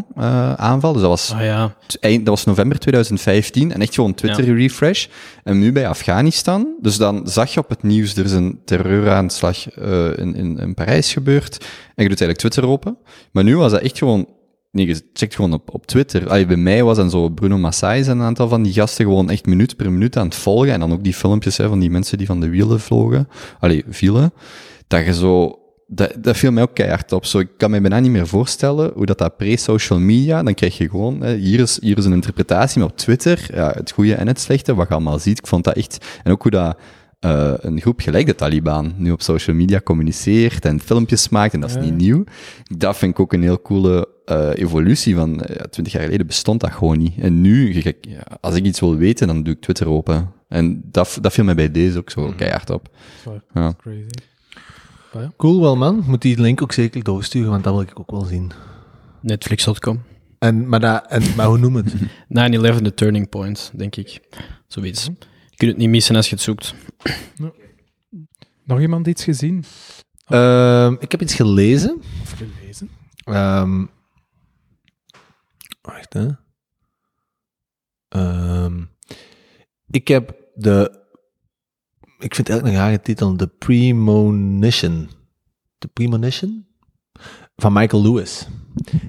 Bataclan-aanval. dus dat was, Ah ja, t- eind, dat was november 2015 en echt gewoon Twitter-refresh. En nu bij Afghanistan, dus dan zag je op het nieuws, er is een terreuraanslag eh, in, in, in Parijs gebeurd. En je doet eigenlijk Twitter open. Maar nu was dat echt gewoon... Nee, je checkt gewoon op, op Twitter. Allee, bij mij was dan zo Bruno Massai en een aantal van die gasten gewoon echt minuut per minuut aan het volgen. En dan ook die filmpjes hè, van die mensen die van de wielen vlogen. Allee, vielen. Dat je zo... Dat, dat viel mij ook keihard op. Zo, ik kan me bijna niet meer voorstellen hoe dat, dat pre-social media... Dan krijg je gewoon... Hè, hier, is, hier is een interpretatie, maar op Twitter... Ja, het goede en het slechte, wat je allemaal ziet. Ik vond dat echt... En ook hoe dat... eh, een groep gelijk de Taliban nu op social media communiceert en filmpjes maakt, en dat is niet nieuw. Dat vind ik ook een heel coole eh, evolutie. Van twintig jaar geleden bestond dat gewoon niet. En nu, je- je- ja, als ik iets wil weten, dan doe ik Twitter open. En dat, dat viel mij bij deze ook zo keihard op. Ja. Crazy. Cool wel, man. Moet die link ook zeker doorsturen, want dat wil ik ook wel zien. Netflix.com. En, maar, dat, en, maar hoe noem het? 9-11, de turning point, denk ik. Zoiets. Mhm. Je kunt het niet missen als je het zoekt. Nog iemand iets gezien? (laughs) Ehm, ik heb iets gelezen. Of gelezen? Ehm, wacht, hè. Ehm, ik heb de... Ik vind het eigenlijk een rare titel. The Premonition. The Premonition? Van Michael Lewis.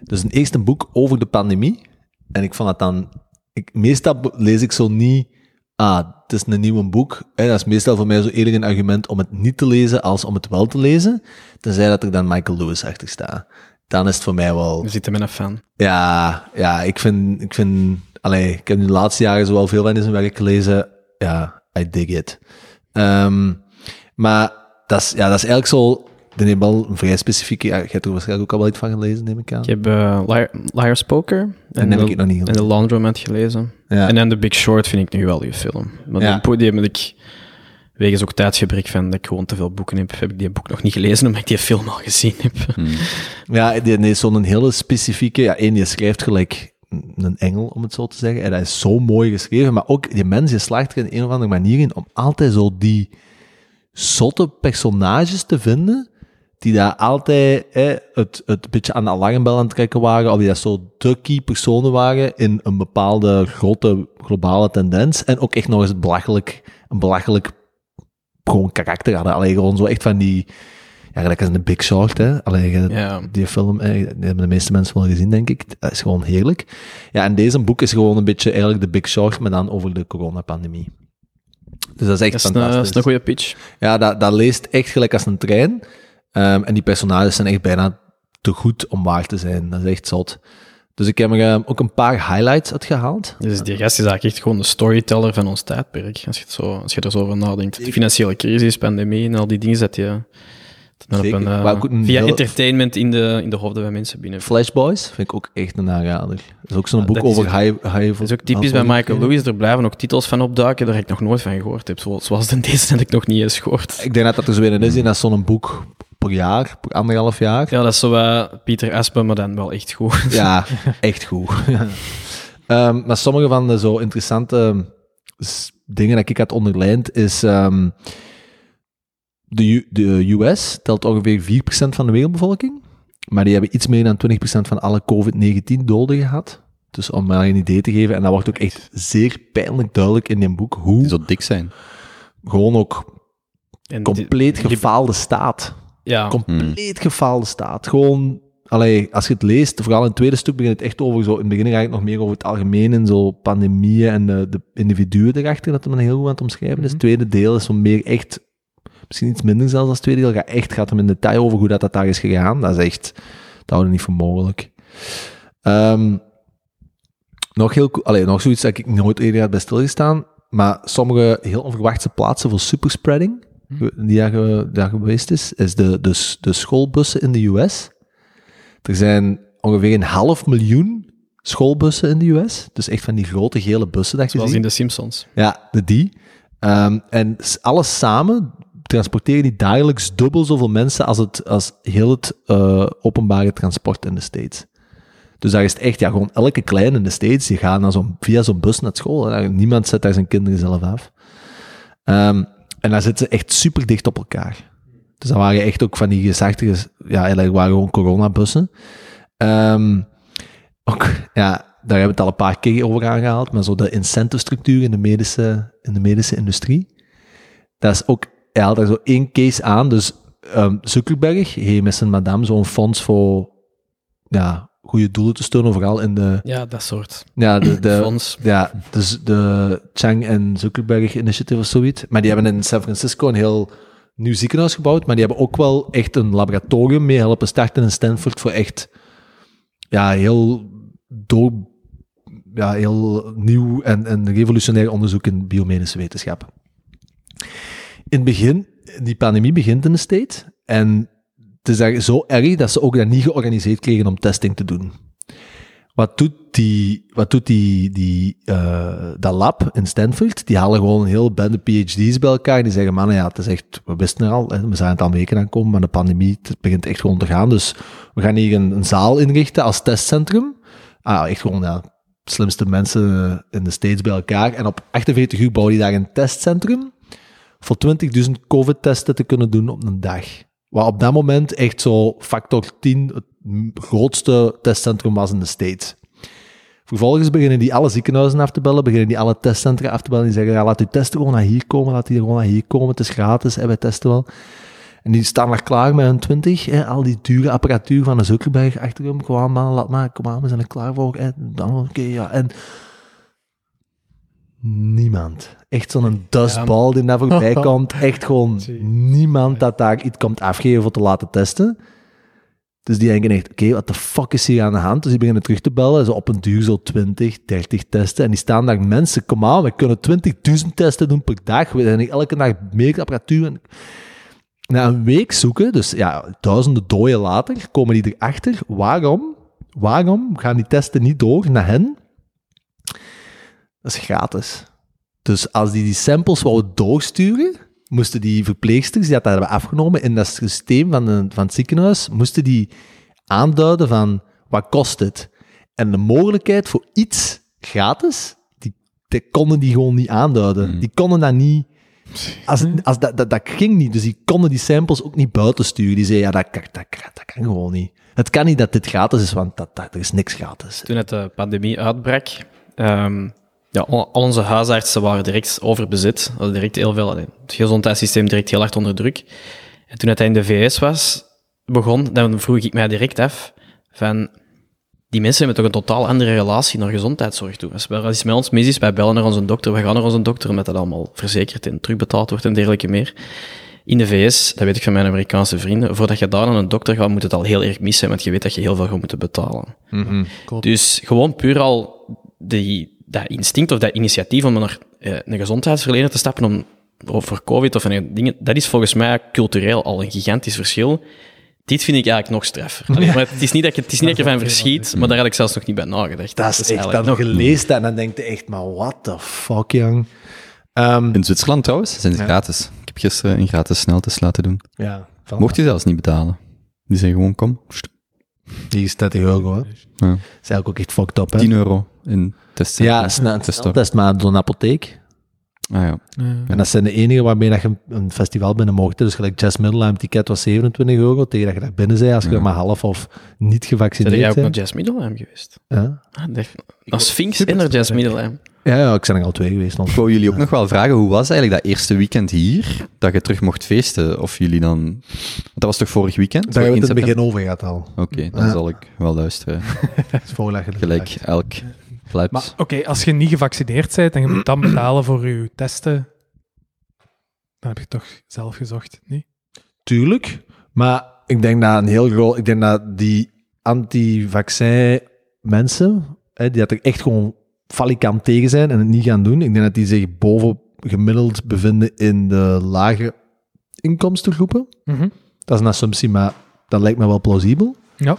Dus een eerste boek over de pandemie. En ik vond dat dan... Ik, meestal bo- lees ik zo niet... Ah, het is een nieuw boek. Hè, dat is meestal voor mij zo eerder een argument om het niet te lezen als om het wel te lezen. Tenzij dat er dan Michael Lewis achter staat. Dan is het voor mij wel... We zitten met een fan. Ja, ja, ik vind, ik vind, allee, ik heb nu de laatste jaren zo wel veel van in zijn werk gelezen. Ja, I dig it. Ehm, maar dat is, ja, dat is eigenlijk zo, de neemt wel een vrij specifieke, ja, je hebt er waarschijnlijk ook al wel iets van gelezen, neem ik aan. Ik heb eh, Liar, Liar's Poker en, heb ik de, het nog niet en The Laundromat gelezen. Ja. En dan The Big Short vind ik een geweldige film. Maar Ja. die po- die heb ik, wegens ook tijdsgebrek van dat ik gewoon te veel boeken heb, heb ik die boek nog niet gelezen, (laughs) omdat ik die film al gezien heb. Hmm, (laughs) Ja, die, nee, zo'n hele specifieke. Ja, één, die schrijft gelijk een engel, om het zo te zeggen. En dat is zo mooi geschreven. Maar ook die mens, die slaagt er in een of andere manier in om altijd zo die zotte personages te vinden. Die daar altijd hè, het, het beetje aan de alarmbel aan het trekken waren. Of die dat zo de key personen waren in een bepaalde grote globale tendens. En ook echt nog eens belachelijk, een belachelijk gewoon karakter hadden. Alleen gewoon zo echt van die. Ja, gelijk als in de Big Short, hè. Alleen Ja. die film, eh, die hebben de meeste mensen wel gezien, denk ik. Dat is gewoon heerlijk. Ja, en deze boek is gewoon een beetje eigenlijk de Big Short, maar dan over de coronapandemie. Dus dat is echt Dat is, een, fantastisch. dat is een goede pitch. Ja, dat, dat leest echt gelijk als een trein. Ehm, en die personages zijn echt bijna te goed om waar te zijn. Dat is echt zot. Dus ik heb er eh, ook een paar highlights uitgehaald. Dus die gast is eigenlijk echt gewoon de storyteller van ons tijdperk. Als je, het zo, als je er zo over nadenkt. De financiële crisis, pandemie en al die dingen dat je dat men op Zeker. een, eh, Maar ook een via heel- entertainment in de, in de hoofden van mensen binnen. Flash Boys vind ik ook echt een aanrader. Dat is ook zo'n Ja, boek dat is- over high... high Dat is ook typisch bij Michael Lewis. Er blijven ook titels van opduiken daar ik nog nooit van gehoord heb. Zoals zoals de (laughs) deze heb ik nog niet eens gehoord. Ik denk dat dat er zo weer een is, en dat is zo'n boek per jaar, per anderhalf jaar. Ja, dat is zo eh, Pieter Aspen, maar dan wel echt goed. (laughs) Ja, echt goed. Ehm, maar sommige van de zo interessante s- dingen dat ik had onderlijnd is... ehm, de, U- de US telt ongeveer 4% van de wereldbevolking, maar die hebben iets meer dan 20% van alle COVID-19 doden gehad. Dus om maar een idee te geven, en dat wordt ook echt zeer pijnlijk duidelijk in dit boek, Die hoe zo dik zijn. gewoon ook En die- compleet die- gefaalde staat. Ja, compleet gefaalde staat. Gewoon, allee, als je het leest, vooral in het tweede stuk begint het echt over zo. In het begin eigenlijk nog meer over het algemeen en zo pandemieën en de, de individuen erachter, dat men heel goed aan het omschrijven is. Het tweede deel is zo meer echt, misschien iets minder zelfs als het tweede deel, gaat echt gaat hem in detail over hoe dat, dat daar is gegaan. Dat is echt, dat houden we niet voor mogelijk. Ehm, nog, heel, co- allee, nog zoiets dat ik nooit eerder had bij stilgestaan, maar sommige heel onverwachte plaatsen voor superspreading die daar, ge- daar geweest is, is de, de, s- de schoolbussen in de US. Er zijn ongeveer een half miljoen schoolbussen in de US. Dus echt van die grote gele bussen dat je zoals ziet. in de Simpsons. Ja, de die. Ehm, en s- alles samen transporteren die dagelijks dubbel zoveel mensen als, het, als heel het eh, openbare transport in de States. Dus daar is het echt, ja, gewoon elke kleine in de States, die gaan dan zo'n- via zo'n bus naar school. En niemand zet daar zijn kinderen zelf af. Ehm, en daar zitten ze echt super dicht op elkaar. Dus dan waren echt ook van die gezagtige, ja, eigenlijk waren gewoon coronabussen. Ehm ook, ja, daar hebben we het al een paar keer over aangehaald, maar zo de incentive-structuur in de medische, in de medische industrie, dat is ook, hij haalt daar zo één case aan, dus ehm, Zuckerberg heeft met zijn madame zo'n fonds voor ja, goede doelen te steunen, vooral in de, Ja, dat soort ja, de, de, fonds. ja, dus de Chang en Zuckerberg Initiative of zoiets. Maar die hebben in San Francisco een heel nieuw ziekenhuis gebouwd. Maar die hebben ook wel echt een laboratorium mee helpen starten in Stanford voor echt ja, heel, door, ja, heel nieuw en, en revolutionair onderzoek in biomedische wetenschap. In het begin, die pandemie begint in de state. En het is daar zo erg dat ze ook daar niet georganiseerd kregen om testing te doen. Wat doet, die, wat doet die, die, eh, dat lab in Stanford? Die halen gewoon een hele bende PhD's bij elkaar. En die zeggen, man, ja, het is echt, we wisten er al, hè, we zijn het al weken aan komen, maar de pandemie het begint echt gewoon te gaan. Dus we gaan hier een, een zaal inrichten als testcentrum. Ah, echt gewoon, ja, slimste mensen in de States bij elkaar. En op 48 uur bouwen die daar een testcentrum voor 20.000 COVID-testen te kunnen doen op een dag. Wat op dat moment echt zo factor 10 het m- grootste testcentrum was in de States. Vervolgens beginnen die alle ziekenhuizen af te bellen, beginnen die alle testcentra af te bellen. Die zeggen, ja, laat uw testen gewoon naar hier komen, laat die gewoon naar hier komen, het is gratis, hè, wij testen wel. En die staan daar klaar met hun 20, hè, al die dure apparatuur van de Zuckerberg achter hem. Kom aan man, laat maar, kom aan, we zijn er klaar voor. Hè. Dan, oké, ja. En niemand. Echt zo'n dustball die naar voorbij komt. Echt gewoon Zie. niemand dat daar iets komt afgeven voor te laten testen. Dus die denken echt, oké, wat de fuck is hier aan de hand? Dus die beginnen terug te bellen, zo op een duur zo 20, 30 testen. En die staan daar, mensen, kom aan, we kunnen 20.000 testen doen per dag. We zijn hier elke dag meer apparatuur. En na een week zoeken, dus ja, duizenden dooien later, komen die erachter. Waarom? Waarom gaan die testen niet door naar hen? Dat is gratis. Dus als die die samples wouden doorsturen, moesten die verpleegsters die dat daar hebben afgenomen in dat systeem van, de, van het ziekenhuis, moesten die aanduiden van wat kost het? En de mogelijkheid voor iets gratis, die, die konden die gewoon niet aanduiden. Die konden dat niet... Als, als dat, dat, dat ging niet, dus die konden die samples ook niet buiten sturen. Die zeiden, ja, dat, kan- dat, kan- dat kan gewoon niet. Het kan niet dat dit gratis is, want dat, dat, er is niks gratis. Toen het de pandemie uitbrak, ehm, ja, al al onze huisartsen waren direct overbezit. Hadden direct heel veel, het gezondheidssysteem direct heel hard onder druk. En toen het in de VS was, begon, dan vroeg ik mij direct af van... Die mensen hebben toch een totaal andere relatie naar gezondheidszorg toe. Als er iets met ons mis is, wij bellen naar onze dokter, we gaan naar onze dokter omdat dat allemaal verzekerd en terugbetaald wordt en dergelijke meer. In de VS, dat weet ik van mijn Amerikaanse vrienden, voordat je daar naar een dokter gaat, moet het al heel erg mis zijn, want je weet dat je heel veel gaat moeten betalen. Mhm. Klopt. Dus gewoon puur al die, dat instinct of dat initiatief om naar eh, een gezondheidsverlener te stappen om, of voor COVID of een dingen, dat is volgens mij cultureel al een gigantisch verschil. Dit vind ik eigenlijk nog straffer. Allee, maar het is niet dat je, het is niet dat je ervan verschiet, maar daar had ik zelfs nog niet bij nagedacht. Dat is echt, eigenlijk dan gelezen dat en dan denk je echt, maar what the fuck, jong. Ehm, In Zwitserland trouwens zijn ze gratis. Ik heb gisteren een gratis sneltest laten doen. ja, voilà. Mocht je zelfs niet betalen. Die zijn gewoon, kom, pst, Die staat heel hoog, hoor. Ja. Dat is eigenlijk ook echt fucked up, hè. 10 euro in test. ja, snel, test. dat is maar door een apotheek. Ah, ja. Ja. En dat zijn de enige waarmee dat je een- een festival binnen mocht. hè. Dus gelijk Jazz Middle ticket was 27 euro, tegen dat je daar binnen zei als je maar half of niet Ben jij gevaccineerd ook naar bent. Jazz Middelheim geweest? Ja. Ah, dacht, naar Sphinx en naar Jazz Middelheim. Ja, ja, ik zijn er al twee geweest. man. Ik wou jullie ook (laughs) nog wel vragen, hoe was eigenlijk dat eerste weekend hier, dat je terug mocht feesten? Of jullie dan... Want dat was toch vorig weekend? Daar hebben we het in in het september? begin over gehad al. Oké, dan Ja. zal ik wel luisteren. Dat is voorleggen. Gelijk elk flat. Ah. Maar oké, als je niet gevaccineerd bent en je moet dan betalen voor je testen, dan heb je toch zelf gezocht, niet? Tuurlijk. Maar ik denk dat een heel groot. Ik denk dat die anti-vaccin mensen. Hè, die dat er echt gewoon falikant tegen zijn en het niet gaan doen. Ik denk dat die zich boven gemiddeld bevinden in de lage inkomstengroepen. Dat is een assumptie, maar dat lijkt me wel plausibel. Ja.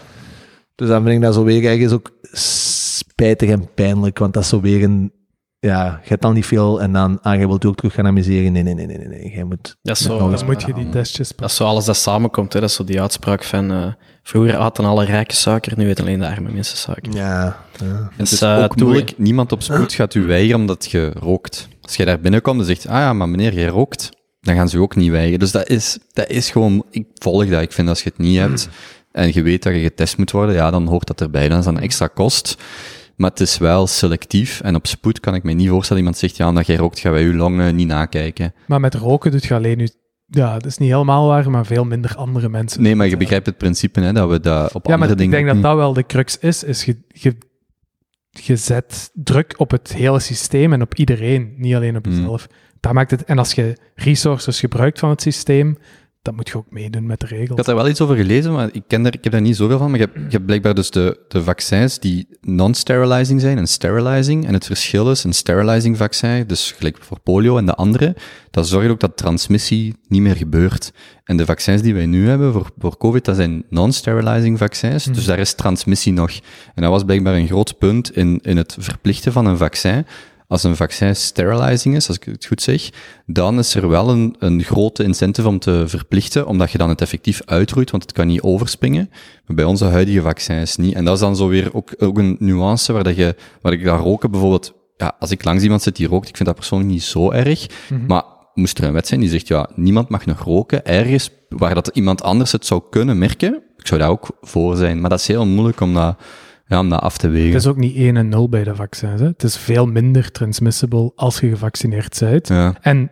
Dus dan vind ik dat zo weer ergens ook spijtig en pijnlijk, want dat is zo weer een... Ja, je hebt al niet veel en dan, ah, je wilt je ook terug gaan amuseren. Nee, nee, nee, nee, nee, nee. Jij moet... Dat is zo, Ja, Dan moet je die testjes Dat is zo alles dat samenkomt. Hè? Dat is zo die uitspraak van... eh, vroeger aten alle rijke suiker, nu eten alleen de arme mensen suiker. Ja, ja. het is Dus, eh, ook doe- moeilijk. Niemand op spoed gaat u weigeren omdat je rookt. Als jij daar binnenkomt en zegt, ah ja, maar meneer, jij rookt, dan gaan ze u ook niet weigeren. Dus dat is, dat is gewoon... Ik volg dat. Ik vind als je het niet hebt en je weet dat je getest moet worden, ja, dan hoort dat erbij. Dan is dat een extra kost. Maar het is wel selectief. En op spoed kan ik me niet voorstellen. Iemand zegt, ja, omdat jij rookt, gaan wij uw longen niet nakijken. Maar met roken doet je alleen nu... Ja, dat is niet helemaal waar, maar veel minder andere mensen. Nee, maar je begrijpt het principe, hè, dat we dat op ja, maar andere dingen... Hm. ik denk dat dat wel de crux is, is je, je, je zet druk op het hele systeem en op iedereen, niet alleen op Hmm. jezelf. Dat maakt het, en als je resources gebruikt van het systeem, dan moet je ook meedoen met de regels. Ik had daar wel iets over gelezen, maar ik, ken daar, ik heb daar niet zoveel van. Maar je hebt, je hebt blijkbaar dus de, de vaccins die non-sterilizing zijn en sterilizing. En het verschil is, een sterilizing vaccin, dus gelijk voor polio en de andere, dat zorgt ook dat transmissie niet meer gebeurt. En de vaccins die wij nu hebben voor, voor COVID, dat zijn non-sterilizing vaccins. Dus daar is transmissie nog. En dat was blijkbaar een groot punt in, in het verplichten van een vaccin. Als een vaccin sterilizing is, als ik het goed zeg, dan is er wel een, een grote incentive om te verplichten, omdat je dan het effectief uitroeit, want het kan niet overspringen. Maar bij onze huidige vaccins niet. En dat is dan zo weer ook, ook een nuance waar, dat je, waar ik daar roken bijvoorbeeld... Ja, als ik langs iemand zit die rookt, ik vind dat persoonlijk niet zo erg. Mhm. Maar moest er een wet zijn die zegt, ja, niemand mag nog roken ergens waar dat iemand anders het zou kunnen merken, ik zou daar ook voor zijn. Maar dat is heel moeilijk om dat, ja, om dat af te wegen. Het is ook niet 1 en 0 bij de vaccins. Hè. Het is veel minder transmissible als je gevaccineerd bent. Ja. En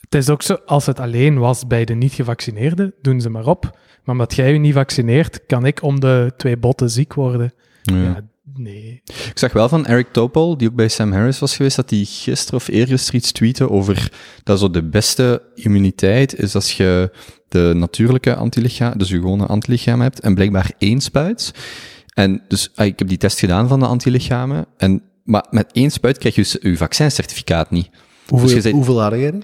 het is ook zo, als het alleen was bij de niet-gevaccineerden, doen ze maar op. Maar omdat jij je niet vaccineert, kan ik om de twee botten ziek worden. Ja. Ja, nee. Ik zag wel van Eric Topol, die ook bij Sam Harris was geweest, dat hij gisteren of eergisteren iets tweette over dat zo de beste immuniteit is als je de natuurlijke antilichaam, dus je gewone antilichaam hebt, en blijkbaar één spuit. En dus ah, ik heb die test gedaan van de antilichamen, en, maar met één spuit krijg je dus je vaccincertificaat niet. Hoeveel, Dus je zei- hoeveel hadden jij er?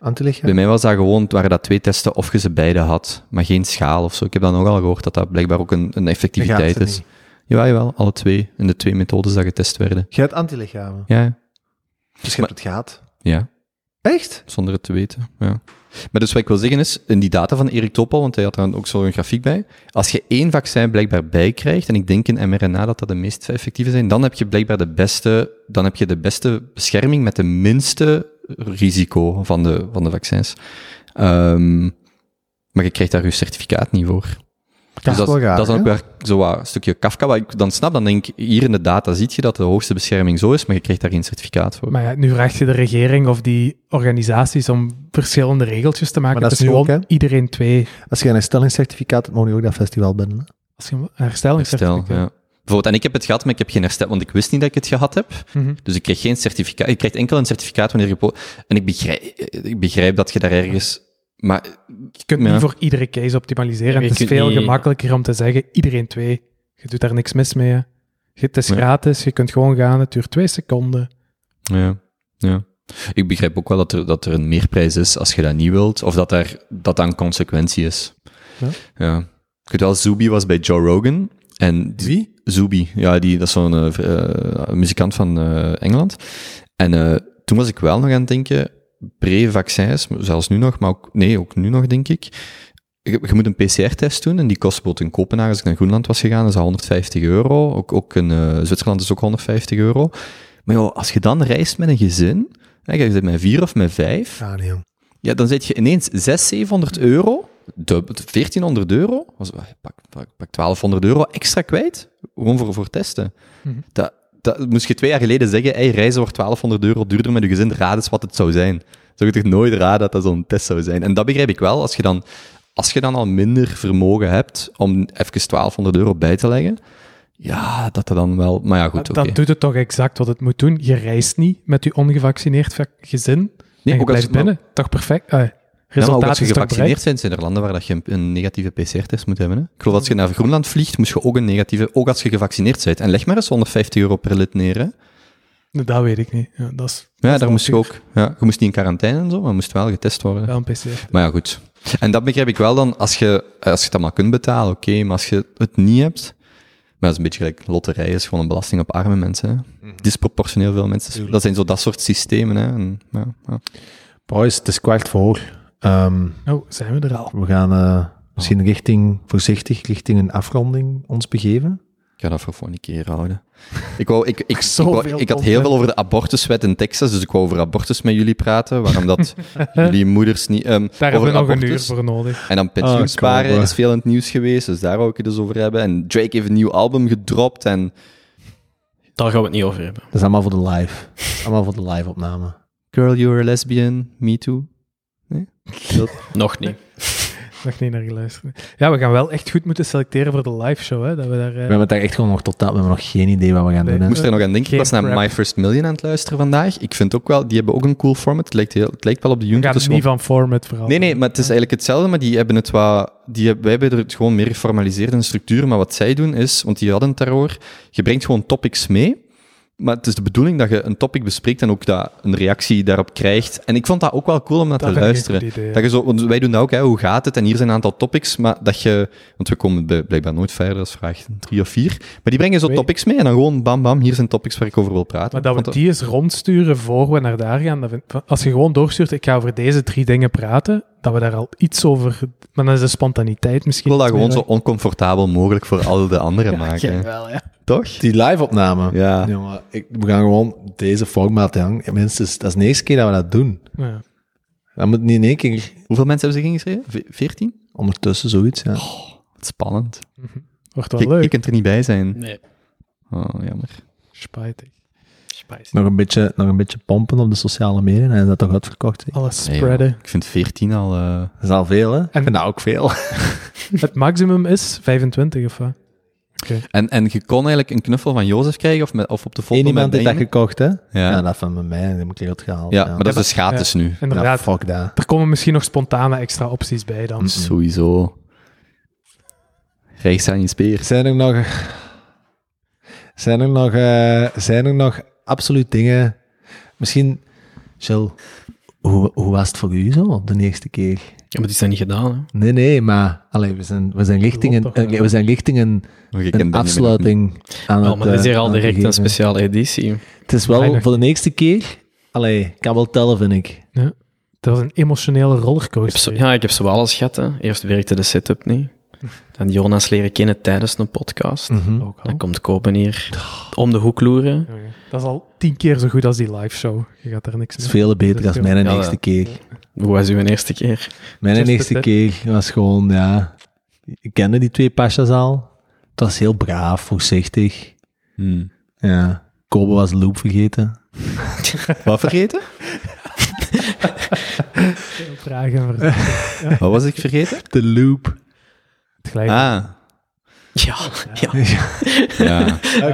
Antilichaam? Bij mij was dat gewoon, het waren dat twee testen of je ze beide had, maar geen schaal of zo. Ik heb dan nogal gehoord dat dat blijkbaar ook een, een Je effectiviteit gaat ze is. niet. Jawel, jawel, alle twee, in de twee methodes dat getest werden. Jij hebt antilichamen. Ja, Dus je hebt het gehad. ja. Echt? Zonder het te weten, ja. Maar dus wat ik wil zeggen is, in die data van Erik Topol, want hij had daar ook zo'n grafiek bij, als je één vaccin blijkbaar bij krijgt, en ik denk in mRNA dat dat de meest effectieve zijn, dan heb je blijkbaar de beste, dan heb je de beste bescherming met de minste risico van de, van de vaccins. Ehm, maar je krijgt daar je certificaat niet voor. Dat is dus dat, wel raar, dat is dan ook hè? weer zo wat een stukje Kafka, wat ik dan snap, dan denk ik, hier in de data zie je dat de hoogste bescherming zo is, maar je krijgt daar geen certificaat voor. Maar ja, nu vraagt je de regering of die organisaties om verschillende regeltjes te maken. Maar dat Het is nu ook, gewoon hè? iedereen twee. Als je een herstellingscertificaat hebt, mogen je ook dat festival binnen. hè? Als je een herstelling Herstel, ja. Bijvoorbeeld, en ik heb het gehad, maar ik heb geen herstel, want ik wist niet dat ik het gehad heb. Mhm. Dus ik kreeg geen certificaat. Je krijgt enkel een certificaat wanneer je... po- En ik begrijp, ik begrijp dat je daar ergens Maar Je kunt Ja. niet voor iedere case optimaliseren. Ja, het je is kunt veel niet- gemakkelijker om te zeggen, iedereen twee. Je doet daar niks mis mee. hè. Je- Het is Nee. gratis, je kunt gewoon gaan, het duurt twee seconden. Ja, ja. Ik begrijp ook wel dat er, dat er een meerprijs is als je dat niet wilt, of dat daar, dat dat een consequentie is. Ja. ja. Ik weet wel, Zubi was bij Joe Rogan. En die- Wie? Zubi, ja, die, dat is zo'n eh, v- eh, muzikant van eh, Engeland. En eh, toen was ik wel nog aan het denken, pre-vaccins, maar zelfs nu nog, maar ook, nee, ook nu nog denk ik. Je, je moet een PCR-test doen en die kost bijvoorbeeld in Kopenhagen, als ik naar Groenland was gegaan, is dat 150 euro. Ook, ook in eh, Zwitserland is ook 150 euro. Maar joh, als je dan reist met een gezin, hè, je zit met vier of met vijf, Ah, nee, jong. ja, dan zit je ineens 600, 700 euro, de, 1400 euro, was, pak, pak, pak 1200 euro extra kwijt, gewoon voor, voor testen. Mhm. Dat, dat moest je twee jaar geleden zeggen, hey, reizen wordt 1200 euro duurder met je gezin, raad eens wat het zou zijn. Zou je toch nooit raden dat dat zo'n test zou zijn? En dat begrijp ik wel, als je dan, als je dan al minder vermogen hebt om even 1200 euro bij te leggen, ja, dat dat dan wel... Maar ja, goed, oké. Dan doet het toch exact wat het moet doen. Je reist niet met je ongevaccineerd va- gezin. en je ook als- blijft binnen. Toch perfect. Eh, Ja, maar ook resultaat als je is toch gevaccineerd bereikt. bent, zijn er landen waar dat je een, een negatieve PCR-test moet hebben. Hè? Ik geloof dat als je naar Groenland vliegt, moet je ook een negatieve, ook als je gevaccineerd bent. En leg maar eens 150 euro per lid neer. Hè? Dat weet ik niet. Ja, dat is Ja, is daar moest je duur. ook. Ja, je moest niet in quarantaine en zo, maar moest wel getest worden. wel een PCR. Maar ja, goed. En dat begrijp ik wel dan, als je, als je het allemaal kunt betalen, oké, maar als je het niet hebt... Maar dat is een beetje gelijk loterij, is gewoon een belasting op arme mensen. Hè? Mhm. Disproportioneel veel mensen. Dat zijn zo dat soort systemen. Hè? En, ja, ja. Boys, het is kwart voor. Ehm, Oh, zijn we er al? we gaan eh, misschien richting, voorzichtig richting een afronding ons begeven. Ik ga dat voor volgende keer houden. (laughs) Ik, wou, ik, ik, ik, (laughs) Zoveel wou- ik had heel content. veel over de abortuswet in Texas, dus ik wou over abortus met jullie praten. Waarom (laughs) dat jullie moeders niet... ehm, Daar hebben over we nog een uur abortus. voor nodig. En dan pensioen Ah, sparen kom op. is veel in het nieuws geweest, dus daar wou ik het dus over hebben. En Drake heeft een nieuw album gedropt en... Daar gaan we het niet over hebben. Dat is allemaal voor de live. allemaal voor de live opname. Girl, you're a lesbian, me too. Nog niet. Nog niet naar geluisterd. Ja, we gaan wel echt goed moeten selecteren voor de live show. Hè, dat we daar, eh, We hebben het daar echt gewoon nog totaal, we hebben nog geen idee wat we gaan Nee. doen. Ik hè. moest er nog aan denken, ik Geen was naar prep. My First Million aan het luisteren vandaag. Ik vind ook wel, die hebben ook een cool format. Het lijkt, heel, het lijkt wel op de we Junto. gaan Het is niet van format vooral. Nee, nee, maar het is eigenlijk hetzelfde, maar die hebben het wat, die, heb- wij hebben het gewoon meer geformaliseerd in de structuur, maar wat zij doen is, want die hadden het daarover, je brengt gewoon topics mee, maar het is de bedoeling dat je een topic bespreekt en ook dat een reactie daarop krijgt. En ik vond dat ook wel cool om naar Dat te vind ik een luisteren. goed idee, ja. dat je zo, want wij doen dat ook, hè, hoe gaat het? En hier zijn een aantal topics, maar dat je, want we komen bij- blijkbaar nooit verder, dat is vraag drie of vier, maar die brengen zo Twee. topics mee en dan gewoon bam bam, hier zijn topics waar ik over wil praten. Maar dat Ik we vond die eens rondsturen voor we naar daar gaan. Dat vind- van- als je gewoon doorstuurt, ik ga over deze drie dingen praten, dat we daar al iets over... Maar dan is de spontaniteit ik misschien... wil dat iets gewoon zo meer oncomfortabel mogelijk voor al de anderen weg. maken. Ja, hè. wel, ja. Toch? Die live opname. Ja. Jongen, ik, we gaan gewoon deze format hangen. Minstens, dat is de eerste keer dat we dat doen. Ja. Dat moet niet in één keer Hoeveel mensen hebben zich ingeschreven? Veertien? ondertussen zoiets. Ja. Spannend. Wordt wel Ik, leuk. ik kunt er niet bij zijn. Nee. Oh, jammer. Spijtig. Nog, een beetje, nog een beetje pompen op de sociale media en is dat toch uitverkocht. hè? Alles Nee, spreaden. Ik vind veertien al... eh, Dat is al veel, hè? En- En nou ook (laughs) veel. Het maximum is 25, of wat? En, en je kon eigenlijk een knuffel van Jozef krijgen of, met, of op de foto Eén iemand met heeft dat Benjamin. gekocht, hè? Ja, Ja. dat van bij mij, die moet ik eruit gehaald. Ja, maar dat is dus gratis nu. Ja, Inderdaad. fuck dat. er komen misschien nog spontane extra opties bij dan. Mm. Sowieso. Rechts aan je speer. Zijn er nog... Zijn er nog, eh, zijn er nog absoluut dingen... Misschien, Jill, hoe, hoe was het voor u zo de eerste keer? Ja, maar die zijn niet gedaan. Hè. Nee, nee, maar allee, we, zijn, we, zijn richting een, Loopt toch wel. eh, we zijn richting een, Maar je kent een Benjamin afsluiting aan Wel, het... Oh, maar dat is eh, hier al aan het direct een gegeven. speciale editie. Het is wel Weinig. voor de eerste keer... Allee, kan wel tellen, vind ik. Dat was een emotionele Ik heb zo- rollercoaster. ja, ik heb ze wel alles gehad. Hè. Eerst werkte de setup niet. Dan Jonas leren kennen tijdens een podcast. Mhm. Ook al. Dan komt Kopen hier om de hoek loeren. Oké. Dat is al tien keer zo goed als die live show. Je gaat daar niks Het is mee. veel beter Dat is dan mijn veel- eerste Ja, keer. Hoe was uw eerste keer? Mijn Just a eerste tip. keer was gewoon, ja... Ik kende die twee pasjes al. Het was heel braaf, voorzichtig. Hmm. Ja. Kobe was de loop vergeten. (laughs) Wat vergeten? Veel Vragen voor Wat was ik vergeten? De loop. het gelijk. Ah. Ja, ja. Ja.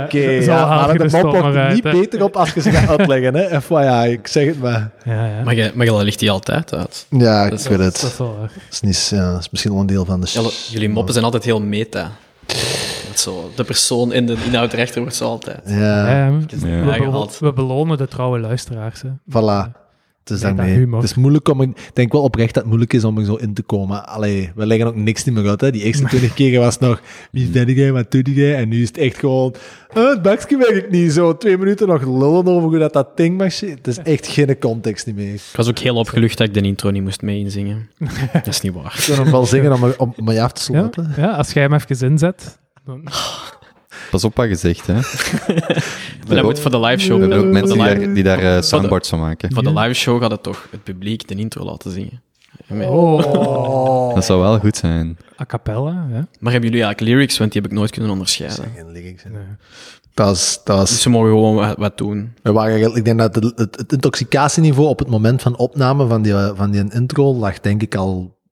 Oké, zo- zo ja, haal maar je de de mop storm wordt er eruit, niet hè. beter op als je ze gaat uitleggen, hè. (laughs) FYI, ik zeg het maar. Ja, ja. Maar, je, maar je ligt die altijd uit. Ja, ik Dat is- weet Dat is het. wel waar. Dat is, niet, ja, dat is misschien al een deel van de... Jelle, Jullie moppen zijn altijd heel meta. Dat zo, de persoon in de inhoud rechter wordt zo altijd. Ja, Ja, ja. Ja. Ehm, We, belo- Ingehaald. we belonen de trouwe luisteraars. Hè. voilà. Het is Nee, dat daarmee. humor. Het is moeilijk om... er- Ik denk wel oprecht dat het moeilijk is om er zo in te komen. Allee, we leggen ook niks niet meer uit, hè. Die (laughs) eerste 20 keer was nog... Wie ben jij, wat doe jij? En nu is het echt gewoon... eh, het bakje werkt niet. Zo twee minuten nog lullen over hoe dat dat ding mag... zitten. Het is echt geen context niet meer. Ik was ook heel opgelucht dat ik de intro niet moest mee (laughs) inzingen. Dat is niet waar. Ik kan hem wel zingen om, om, om mij af te Ja? sloten. ja, als jij hem even inzet. Dan... Pas op wat je zegt, hè. We Maar dat hebben moet voor de live show. ook- we hebben ook mensen die voor, de daar, live, die daar eh, soundboards van maken. voor de live show gaat het toch het publiek de intro laten zingen. Oh. Dat zou wel goed zijn. A cappella, ja. Maar hebben jullie eigenlijk lyrics? Want die heb ik nooit kunnen onderscheiden. Geen lyrics, hè. Nee. Dat was, dat was Dus ze mogen gewoon wat, wat doen. We waren, eigenlijk- ik denk dat het, het, het intoxicatieniveau op het moment van opname van die, van die intro lag denk ik al...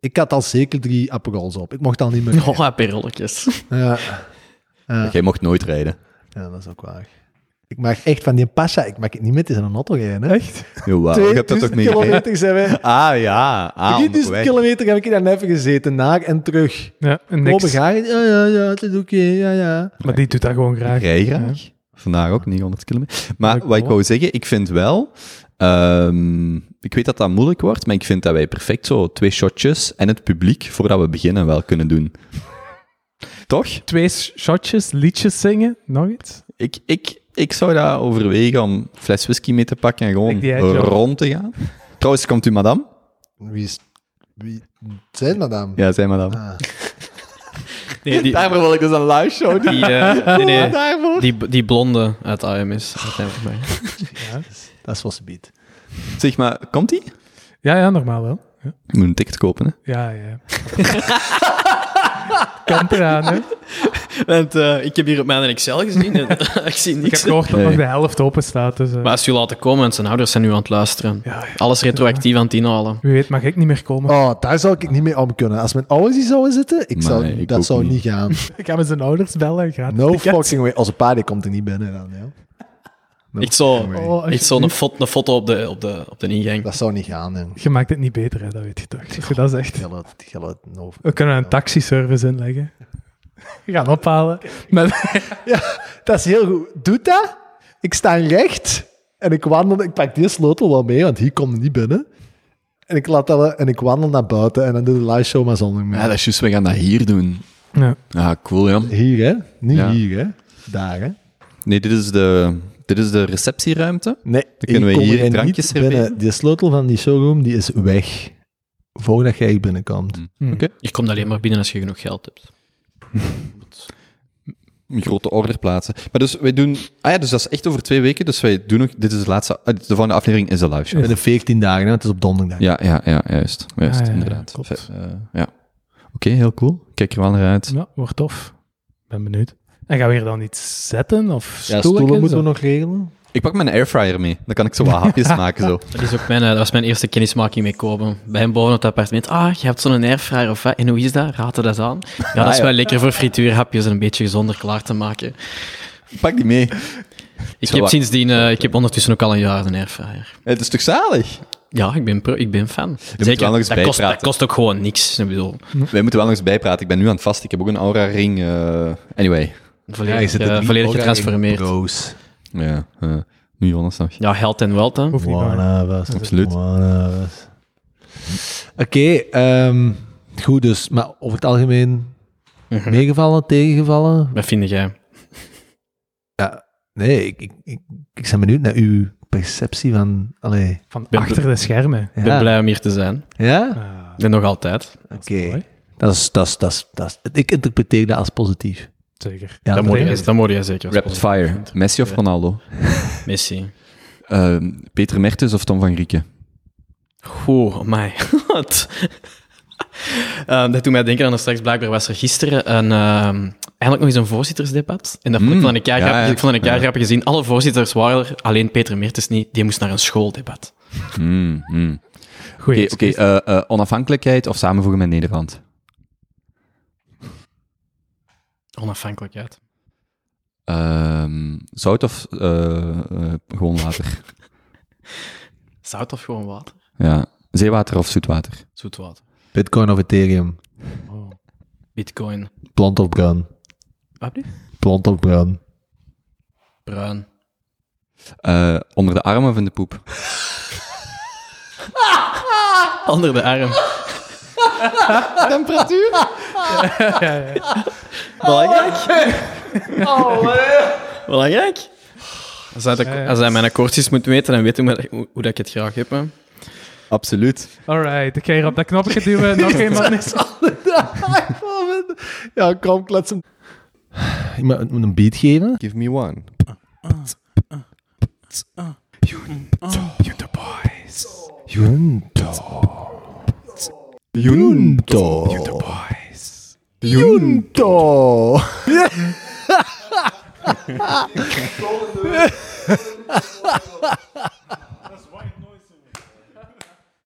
Ik had al zeker drie aperols op. Ik mocht al niet (laughs) meer... (laughs) Oh, perelletjes. Ja, Ja. Jij mocht nooit rijden. ja, dat is ook waar. Ik mag echt van die pasha, ik mag het niet met in een auto rijden. hè. Jawel, je hebt dat 2000 toch (laughs) niet gereden? kilometer (laughs) zijn wij... Ah ja, ah, 3000 onderweg. kilometer heb ik daar even gezeten, naar en terug. Ja, en Niks. niks. ga je? Ja, ja, ja, het is oké, ja, ja. Maar die doet dat gewoon graag. Ik rij graag. Vandaag ook, 900 kilometer. Maar Leuk, wat ik hoor. wou zeggen, ik vind wel... ehm, ik weet dat dat moeilijk wordt, maar ik vind dat wij perfect zo twee shotjes en het publiek, voordat we beginnen, wel kunnen doen. (laughs) Toch? Twee sh- shotjes, liedjes zingen, nog iets. Ik, ik, ik zou dat overwegen om een fles whisky mee te pakken en Ik gewoon die uitjo. rond te gaan. Trouwens, komt u madame? Wie is... Wie... Zijn madame? Ja, zei madame. Ah. Nee, die, Daarvoor wil ik dus een live show die, eh, nee, (laughs) nee, Daarvoor? die, die blonde uit AMS. Dat zijn voor mij. Dat is wel subiet. Zeg maar, komt die? Ja, ja, normaal wel. Ja, Ik moet een ticket kopen, hè. ja. ja. kan eraan, hè. Want eh, ik heb hier op mijn Excel gezien en (laughs) ik zie Ik heb niks. gehoord dat Nee. nog de helft open staat. Dus, eh, Maar als je laten komen, en zijn ouders zijn nu aan het luisteren. ja, ja. Alles retroactief aan het inhalen. Wie weet mag ik niet meer komen. Oh, daar zou ik niet mee om kunnen. Als mijn ouders hier zouden zitten, ik zou, Nee, ik ook dat zou niet. niet (laughs) gaan. Ik ga met zijn ouders bellen en gaat No fucking way. Als een paar die komt er niet binnen dan, ja. No Echt zo, fucking way. Oh, echt alsjeblieft. zo'n fot, een foto op de, op, de, op de ingang. Dat zou niet gaan, hè. Je maakt het niet beter, hè, dat weet je toch. Als je dat zegt. Geld, geld, no. We kunnen een taxiservice inleggen. We gaan ophalen. Met, Dat is heel goed. Doet dat? Ik sta recht en ik wandel. Ik pak die sleutel wel mee, want hier komt er niet binnen. En ik, laat dat, wel- en ik wandel naar buiten en dan doe de live show maar zonder Ja, mij. dat is juist, we gaan dat hier doen. ja. Ah, cool, ja. Hier, hè? Niet Ja. hier, hè? Daar, hè? Nee, dit is de, dit is de receptieruimte. Nee, kunnen we kom hier jij niet drankjes serveren. binnen. Die sleutel van die showroom die is weg voordat jij hier binnenkomt. Hm. Oké. Je komt alleen maar binnen als je genoeg geld hebt. Een grote order plaatsen. Maar dus wij doen... Ah ja, dus dat is echt over twee weken. Dus wij doen nog... Dit is de laatste... ah, de volgende aflevering is de live show. Binnen 14 dagen, hè? Het is op donderdag. Ja, ja, ja, juist. Juist, Ah, ja, ja, inderdaad. klopt. Vet, eh, ja. Oké, heel cool. Kijk er wel naar uit. Ja, wordt tof. Ben benieuwd. En gaan we hier dan iets zetten of Ja, stoelen? stoelen moeten we nog regelen. Ik pak mijn airfryer mee. Dan kan ik zo (laughs) wat hapjes maken, zo. Dat, is ook mijn, eh, dat was mijn eerste kennismaking met Kopen. Bij hem boven op het appartement. Ah, je hebt zo'n airfryer of wat? En hoe is dat? Raad er dat aan? Ja, dat is Ah, ja. wel lekker voor frituurhapjes en een beetje gezonder klaar te maken. Pak die mee. Ik Zo heb wat. sindsdien, eh, ik heb ondertussen ook al een jaar een airfryer. Het is toch zalig? Ja, ik ben, pro- ik ben fan. wel nog eens dat, kost, dat bijpraten. kost ook gewoon niks. Ik bedoel, Wij moeten wel nog eens bijpraten. Ik ben nu aan het vast. Ik heb ook een aura-ring. eh, anyway. volledig, eh, volledig getransformeerd. Roos. Ja. eh, nu Jonas nog. Ja, held en welt, hè. Hoeft niet meer. Absoluut. Oké, ehm, goed dus. Maar over het algemeen, Hm. Mhm. meegevallen, tegengevallen? Wat vind jij? Nee, ik, ik, ik, ik ben benieuwd naar uw perceptie van... Allee, Van Ben- achter de schermen. Ik ben ja? blij om hier te zijn. Ja? Ah, En nog altijd. Oké. mooi. Dat is, dat, is, dat, is, dat is- ik interpreteer dat als positief. Zeker. Ja, dat, dat moet denk je, dat moet je zeker. Rapid fire. Messi of Ronaldo? Messi. Ehm, Peter Mertens of Tom van Grieken? Oeh, mij. (laughs) Ehm, dat doet mij denken aan er straks. Blijkbaar was er gisteren een, ehm, eigenlijk nog eens een voorzittersdebat. En dat vond ik Mm, van een keer ja, grappig. ja. Ik vond dat een Ja. grappig gezien. Alle voorzitters waren er, alleen Peter Meertens niet. Die moest naar een schooldebat. Hmm, hmm. Goed. Oké, oké, eh, eh, onafhankelijkheid of samenvoegen met Nederland? Onafhankelijkheid. Ehm, zout of eh, eh, gewoon water? Zout of gewoon water? ja. Zeewater of zoetwater? Zoet water. Bitcoin of Ethereum? Oh. Bitcoin. Blond of bruin? Wat nu? Blond of bruin? Bruin. Eh, onder de arm of in de poep? Onder de arm. Belangrijk. Belangrijk. Als hij, de- als hij mijn akkoordjes moet weten, dan weet hij hoe, hoe, dat ik het graag heb. Hè. Absoluut. Alright, ik ga hier op dat (laughs) knopje duwen. Nog iemand is. ja, kom, klets hem. Ik moet moet een beat geven. Give me one. Junto. Joen. Junto. Junto.